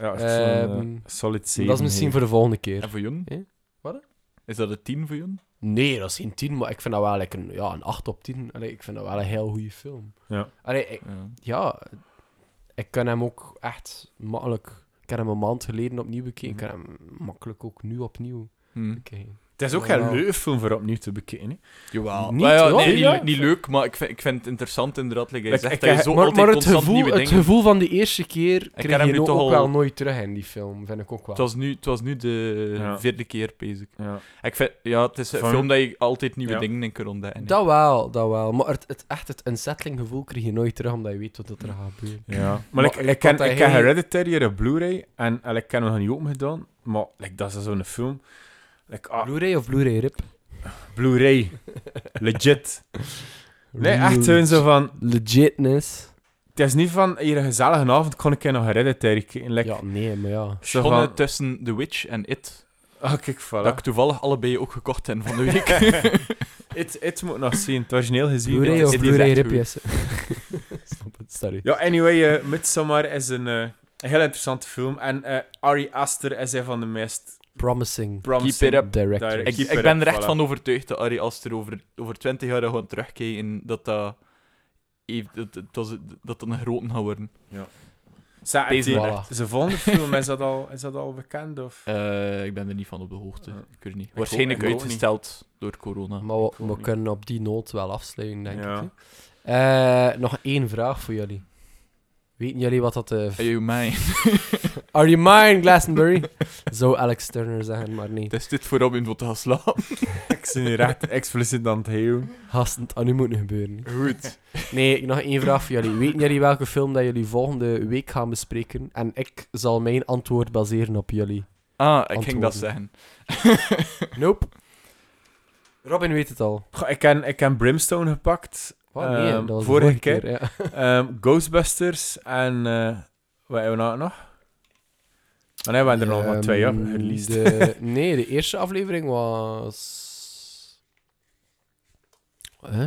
Speaker 3: Ja, ik zou een, eh,
Speaker 1: Ehm,
Speaker 3: solid 7
Speaker 1: Dat is misschien
Speaker 3: geven.
Speaker 1: voor de volgende
Speaker 2: En
Speaker 1: keer.
Speaker 2: voor Jun?
Speaker 1: Hé? Wat?
Speaker 2: Is dat een 10 voor Jun?
Speaker 1: Nee, dat is geen 10, maar ik vind dat wel like, een, ja, een 8 op 10. Allee, ik vind dat wel een heel goede film.
Speaker 3: Ja.
Speaker 1: Allee, ik-
Speaker 2: Ja.
Speaker 1: ja, ik kan hem ook echt makkelijk. Ik heb hem een maand geleden opnieuw bekeken. Ik kan hem makkelijk ook nu opnieuw
Speaker 2: Hm.
Speaker 1: bekijken.
Speaker 3: Het is ook
Speaker 1: Ja,
Speaker 3: geen
Speaker 1: wel.
Speaker 3: leuke film voor opnieuw te bekijken. hè.
Speaker 2: Jawel.
Speaker 1: Niet,
Speaker 2: Maar ja,
Speaker 1: hoor.
Speaker 2: nee, niet,
Speaker 1: Ja.
Speaker 2: le- niet leuk, maar ik vind, ik vind het interessant inderdaad. Like, hij
Speaker 3: Ik-
Speaker 2: zegt
Speaker 3: ik-
Speaker 2: dat je zo
Speaker 1: Maar,
Speaker 2: altijd
Speaker 1: maar het,
Speaker 2: constant
Speaker 1: gevoel,
Speaker 2: nieuwe
Speaker 1: het
Speaker 2: dingen...
Speaker 1: gevoel van de eerste keer
Speaker 2: heb hem
Speaker 1: kreeg
Speaker 2: nu
Speaker 1: je nou ook,
Speaker 2: toch al-
Speaker 1: wel nooit terug in die film, vind ik ook wel.
Speaker 2: Het was nu, het was nu de
Speaker 3: Ja.
Speaker 2: vierde keer, bezig.
Speaker 3: Ja.
Speaker 2: Ik vind, ja, het is een
Speaker 3: Van-
Speaker 2: film dat je altijd nieuwe
Speaker 3: Ja.
Speaker 2: dingen in kunt ontdekken.
Speaker 1: Dat wel, dat wel. Maar het, het, echt het unsettling gevoel kreeg je nooit terug, omdat je weet wat er
Speaker 2: Mhm.
Speaker 1: gaat gebeuren.
Speaker 3: Ja. Maar,
Speaker 1: Maar
Speaker 3: like,
Speaker 1: ik
Speaker 3: like, ik,
Speaker 1: had
Speaker 3: ken-
Speaker 1: dat
Speaker 3: ik heb
Speaker 1: heel-
Speaker 3: Hereditary hier op Blu-ray en, en ik heb hem nog niet open gedaan. Maar like, dat is zo'n film. Like, ah,
Speaker 1: Blu-ray of Blu-ray rip?
Speaker 3: Blu-ray. Legit. Nee, echt zo'n zo van...
Speaker 1: Legitness.
Speaker 3: Het is niet van, hier een gezellige avond kon ik nog Hereditary kijken. Like,
Speaker 1: Ja, nee, maar ja.
Speaker 3: zo
Speaker 2: Schonnen
Speaker 3: van,
Speaker 2: tussen The Witch en It.
Speaker 3: ah, kijk, voilà.
Speaker 2: Dat ik toevallig allebei ook gekocht heb van de week.
Speaker 3: It, it moet nog zien, het origineel gezien.
Speaker 1: Blu-ray
Speaker 3: het
Speaker 1: of
Speaker 3: is-
Speaker 2: echt
Speaker 1: Blu-ray rip,
Speaker 2: goed.
Speaker 1: yes. Snap het, sorry.
Speaker 3: Ja, anyway, eh Midsommar is een, eh, een heel interessante film. En eh, Ari Aster is een van de meest
Speaker 1: Promising
Speaker 3: promising...
Speaker 2: it up.
Speaker 1: director.
Speaker 3: Direct.
Speaker 2: ik,
Speaker 3: Keep
Speaker 2: ik
Speaker 3: it
Speaker 2: ben
Speaker 3: up,
Speaker 2: er echt
Speaker 3: voilà.
Speaker 2: van overtuigd dat Ari Aster over, over 20 jaar gewoon terugkijken dat dat, even- dat, dat, was- dat dat een grote gaat worden.
Speaker 3: Ze, en
Speaker 2: Deze
Speaker 3: die-
Speaker 1: wel echt.
Speaker 3: zijn volgende film, is dat al, is dat al bekend? Of?
Speaker 2: Eh, ik ben er niet van op de hoogte.
Speaker 3: Ja.
Speaker 2: Ik weet het niet.
Speaker 3: ook-
Speaker 2: Waarschijnlijk
Speaker 3: ik ook
Speaker 2: uitgesteld door corona.
Speaker 1: Maar we, we
Speaker 3: niet.
Speaker 1: kunnen op die noot wel afsluiten, denk
Speaker 3: Ja.
Speaker 1: ik. hè. Eh, nog één vraag voor jullie. Weten jullie wat dat... eh, v-
Speaker 2: Hey, you mij.
Speaker 1: Are you mine, Glastonbury? Zou Alex Turner zeggen, maar nee.
Speaker 2: Het is dit voor Robin wat te gaan slapen.
Speaker 3: Ik zit hier echt expliciet aan het heel.
Speaker 1: Gast, het had oh, nu moeten gebeuren. hè.
Speaker 2: Goed.
Speaker 1: Nee, nog één vraag voor jullie. Weten jullie welke film dat jullie volgende week gaan bespreken? En ik zal mijn antwoord baseren op jullie.
Speaker 2: Ah, ik ging dat
Speaker 1: Antwoorden.
Speaker 2: zeggen.
Speaker 1: Nope. Robin weet het al.
Speaker 3: Goh, Ik heb ik heb Brimstone gepakt,
Speaker 1: Wat? Nee,
Speaker 3: Ehm,
Speaker 1: dat was de
Speaker 3: vorige
Speaker 1: vorige, keer. ja.
Speaker 3: ehm, Ghostbusters en... eh wat hebben we nou nog? Maar nee, we hebben er nog maar twee op
Speaker 1: Ehm,
Speaker 3: gereleased.
Speaker 1: de- nee, de eerste aflevering was. Huh?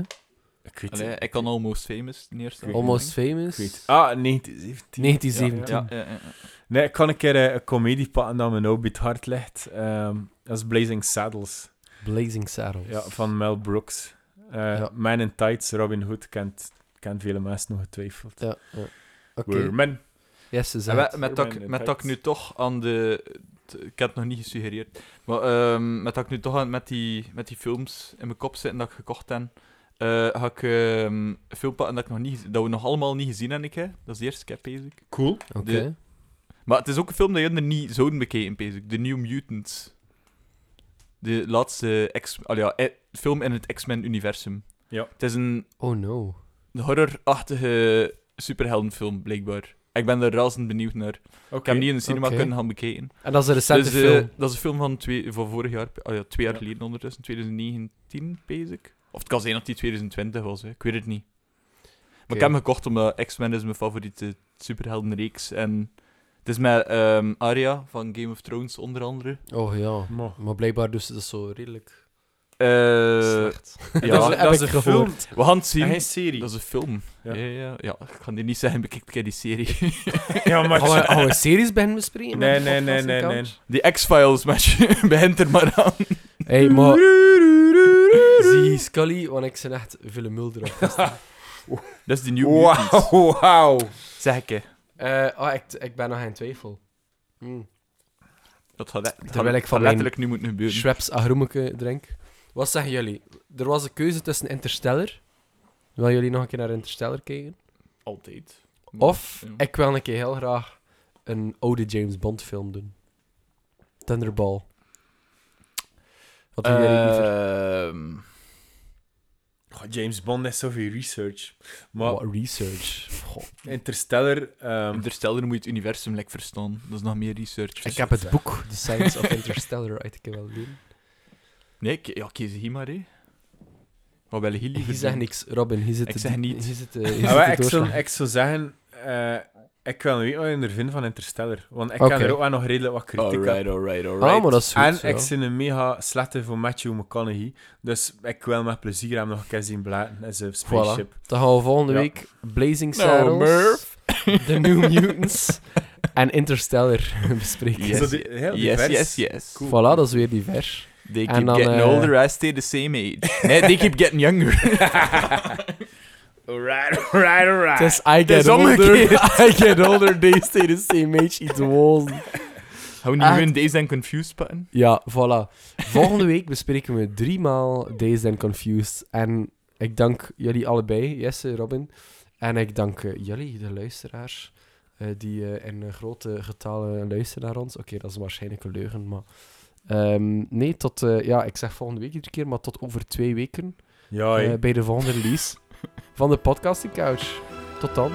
Speaker 3: Ik weet het
Speaker 2: Allee, ik kan Almost Famous neerst.
Speaker 3: Ik weet
Speaker 1: Almost Famous.
Speaker 3: Ik weet het. Ah, 1917.
Speaker 1: 1917.
Speaker 2: Ja, ja, ja, ja.
Speaker 3: Nee, ik kan een keer eh, een comedie pakken dat mijn no-beat hard ligt. Ehm, dat is Blazing Saddles.
Speaker 1: Blazing Saddles.
Speaker 3: Ja, van Mel Brooks. Eh,
Speaker 1: Ja.
Speaker 3: Man in Tights, Robin Hood, kent, kent vele mensen nog getwijfeld.
Speaker 1: Ja, ja. Oké.
Speaker 3: We're men.
Speaker 1: Yes, ze
Speaker 2: En
Speaker 1: zijn
Speaker 2: we-
Speaker 1: het.
Speaker 2: met, dat, ik-
Speaker 3: Superman
Speaker 2: met dat ik
Speaker 3: effect.
Speaker 2: nu toch aan de. t- Ik heb het nog niet gesuggereerd. Maar ehm, met dat ik nu toch aan, met, die, met die films in mijn kop zitten dat ik gekocht heb. eh, ga ik ehm, een film pakken dat, ik nog niet, dat we nog allemaal niet gezien hebben. Ik, hè. Dat is de eerste keer, Pees ik.
Speaker 3: Cool.
Speaker 1: Oké.
Speaker 2: de- Maar het is ook een film dat jullie er niet zouden bekeken, Pees ik. The New Mutants. De laatste X, al ja, eh, film in het X-Men-universum.
Speaker 3: Ja.
Speaker 2: Het is een
Speaker 1: Oh no.
Speaker 2: horrorachtige superheldenfilm, blijkbaar. Ik ben er razend benieuwd naar. Ik heb hem niet in de cinema
Speaker 1: Oké.
Speaker 2: kunnen gaan bekijken.
Speaker 1: En dat is een recente
Speaker 2: Dus, eh,
Speaker 1: film.
Speaker 2: dat is een film van, twee, van vorig jaar, ah ja, twee jaar
Speaker 3: Ja.
Speaker 2: geleden ondertussen, 2019, basic. Of het kan zijn dat die 2020 was, hè. ik weet het niet. Maar ik
Speaker 1: Oké.
Speaker 2: heb hem gekocht omdat X-Men is mijn favoriete superheldenreeks. En het is met ehm Arya van Game of Thrones onder andere.
Speaker 1: Oh ja.
Speaker 3: Mo.
Speaker 1: Maar blijkbaar dus dat zo redelijk
Speaker 2: Eh
Speaker 1: slecht.
Speaker 2: ja,
Speaker 1: dat
Speaker 3: dat
Speaker 1: heb
Speaker 3: is, dat is
Speaker 1: ik
Speaker 3: een
Speaker 1: gehoord.
Speaker 3: film.
Speaker 2: we gaan het zien.
Speaker 3: En geen serie.
Speaker 2: Dat is een film. Ja.
Speaker 3: Ja.
Speaker 2: Ja, ja, Ja, ik ga hier niet zeggen, bekijk een keer die serie.
Speaker 3: Ja, maar...
Speaker 1: Gaan we, gaan we series bij hem bespreken?
Speaker 3: Nee,
Speaker 1: met de
Speaker 3: nee, nee,
Speaker 1: podcast
Speaker 3: nee,
Speaker 1: account?
Speaker 3: nee.
Speaker 2: Die X-Files, match, begint er maar aan.
Speaker 1: Hey, maar... Zie Scully, want ik ben echt Willem Mulder op.
Speaker 2: Dat is die nieuwe Mutants.
Speaker 3: Wauw, wauw.
Speaker 2: Zeg ik, hè.
Speaker 1: Eh, ah, ik, ik ben nog in twijfel. Mm.
Speaker 3: Hmm.
Speaker 2: Dat had, dat
Speaker 1: Terwijl ik
Speaker 2: had
Speaker 1: van mijn-
Speaker 2: letterlijk nu moeten gebeuren.
Speaker 1: Schweppes agroemeke drink. Wat zeggen jullie? Er was een keuze tussen Interstellar. Wil jullie nog een keer naar Interstellar kijken?
Speaker 2: Altijd.
Speaker 1: Of
Speaker 2: Ja.
Speaker 1: ik wil een keer heel graag een oude James Bond film doen. Thunderball. Wat doen
Speaker 3: Eh,
Speaker 1: jullie liever?
Speaker 2: Ehm,
Speaker 3: Goh, James Bond is zoveel research. Maar
Speaker 1: Wat research. Goh.
Speaker 3: Interstellar... ehm,
Speaker 2: Interstellar moet je het universum lekker verstaan. Dat is nog meer research.
Speaker 1: Ik
Speaker 3: Ah,
Speaker 1: heb het boek The Science of Interstellar uit. Ik wel doen.
Speaker 2: Nee, ik- ja, kies hier maar, hè. Wat wil je liever
Speaker 1: Je
Speaker 2: doen?
Speaker 1: zegt niks, Robin. Je zit
Speaker 2: Ik
Speaker 1: te
Speaker 2: zeg
Speaker 1: diep-
Speaker 2: niet.
Speaker 1: Je zit, te- je zit
Speaker 3: Ah, wel,
Speaker 1: te
Speaker 3: ik, zou,
Speaker 1: doorslagen.
Speaker 3: ik zou zeggen, eh, ik wil weten wat je er vindt van Interstellar. Want ik
Speaker 1: Oké.
Speaker 3: kan er ook wel nog redelijk wat kritiek aan.
Speaker 2: Alright, alright, alright.
Speaker 1: Ah, maar dat is goed.
Speaker 3: En
Speaker 1: ja.
Speaker 3: ik ben een mega slechte voor Matthew McConaughey. Dus ik wil met plezier hem nog een keer zien blaten in zijn spaceship.
Speaker 1: Dan gaan we volgende
Speaker 3: Ja.
Speaker 1: week Blazing
Speaker 2: Nou,
Speaker 1: Saddles,
Speaker 2: Murph.
Speaker 1: The New Mutants en Interstellar bespreken.
Speaker 2: Yes.
Speaker 3: Zo die- heel
Speaker 2: Yes, yes,
Speaker 3: divers.
Speaker 2: yes.
Speaker 3: Cool.
Speaker 1: Voilà, dat is weer divers.
Speaker 2: They
Speaker 1: En
Speaker 2: keep
Speaker 1: dan,
Speaker 2: getting
Speaker 1: eh,
Speaker 2: older, I stay the same age. Nee, they keep getting younger.
Speaker 3: Alright, alright, alright.
Speaker 1: Het is I
Speaker 2: is
Speaker 1: get older,
Speaker 2: omgekeerd.
Speaker 1: I get older, they stay the same age, iets wolzen.
Speaker 2: Hou
Speaker 1: Ah,
Speaker 2: niet hun Days and Confused pakken.
Speaker 1: Ja, voilà. Volgende week bespreken we driemaal Days and Confused. En ik dank jullie allebei, Jesse, Robin. En ik dank eh, jullie, de luisteraars, eh, die eh, in eh, grote getalen luisteren naar ons. Oké, dat is waarschijnlijk een leugen, maar... ehm, nee, tot... eh, ja, ik zeg volgende week iedere keer, maar tot over twee weken
Speaker 3: Ja,
Speaker 1: eh, bij de volgende release van de Podcasting Couch. Tot dan.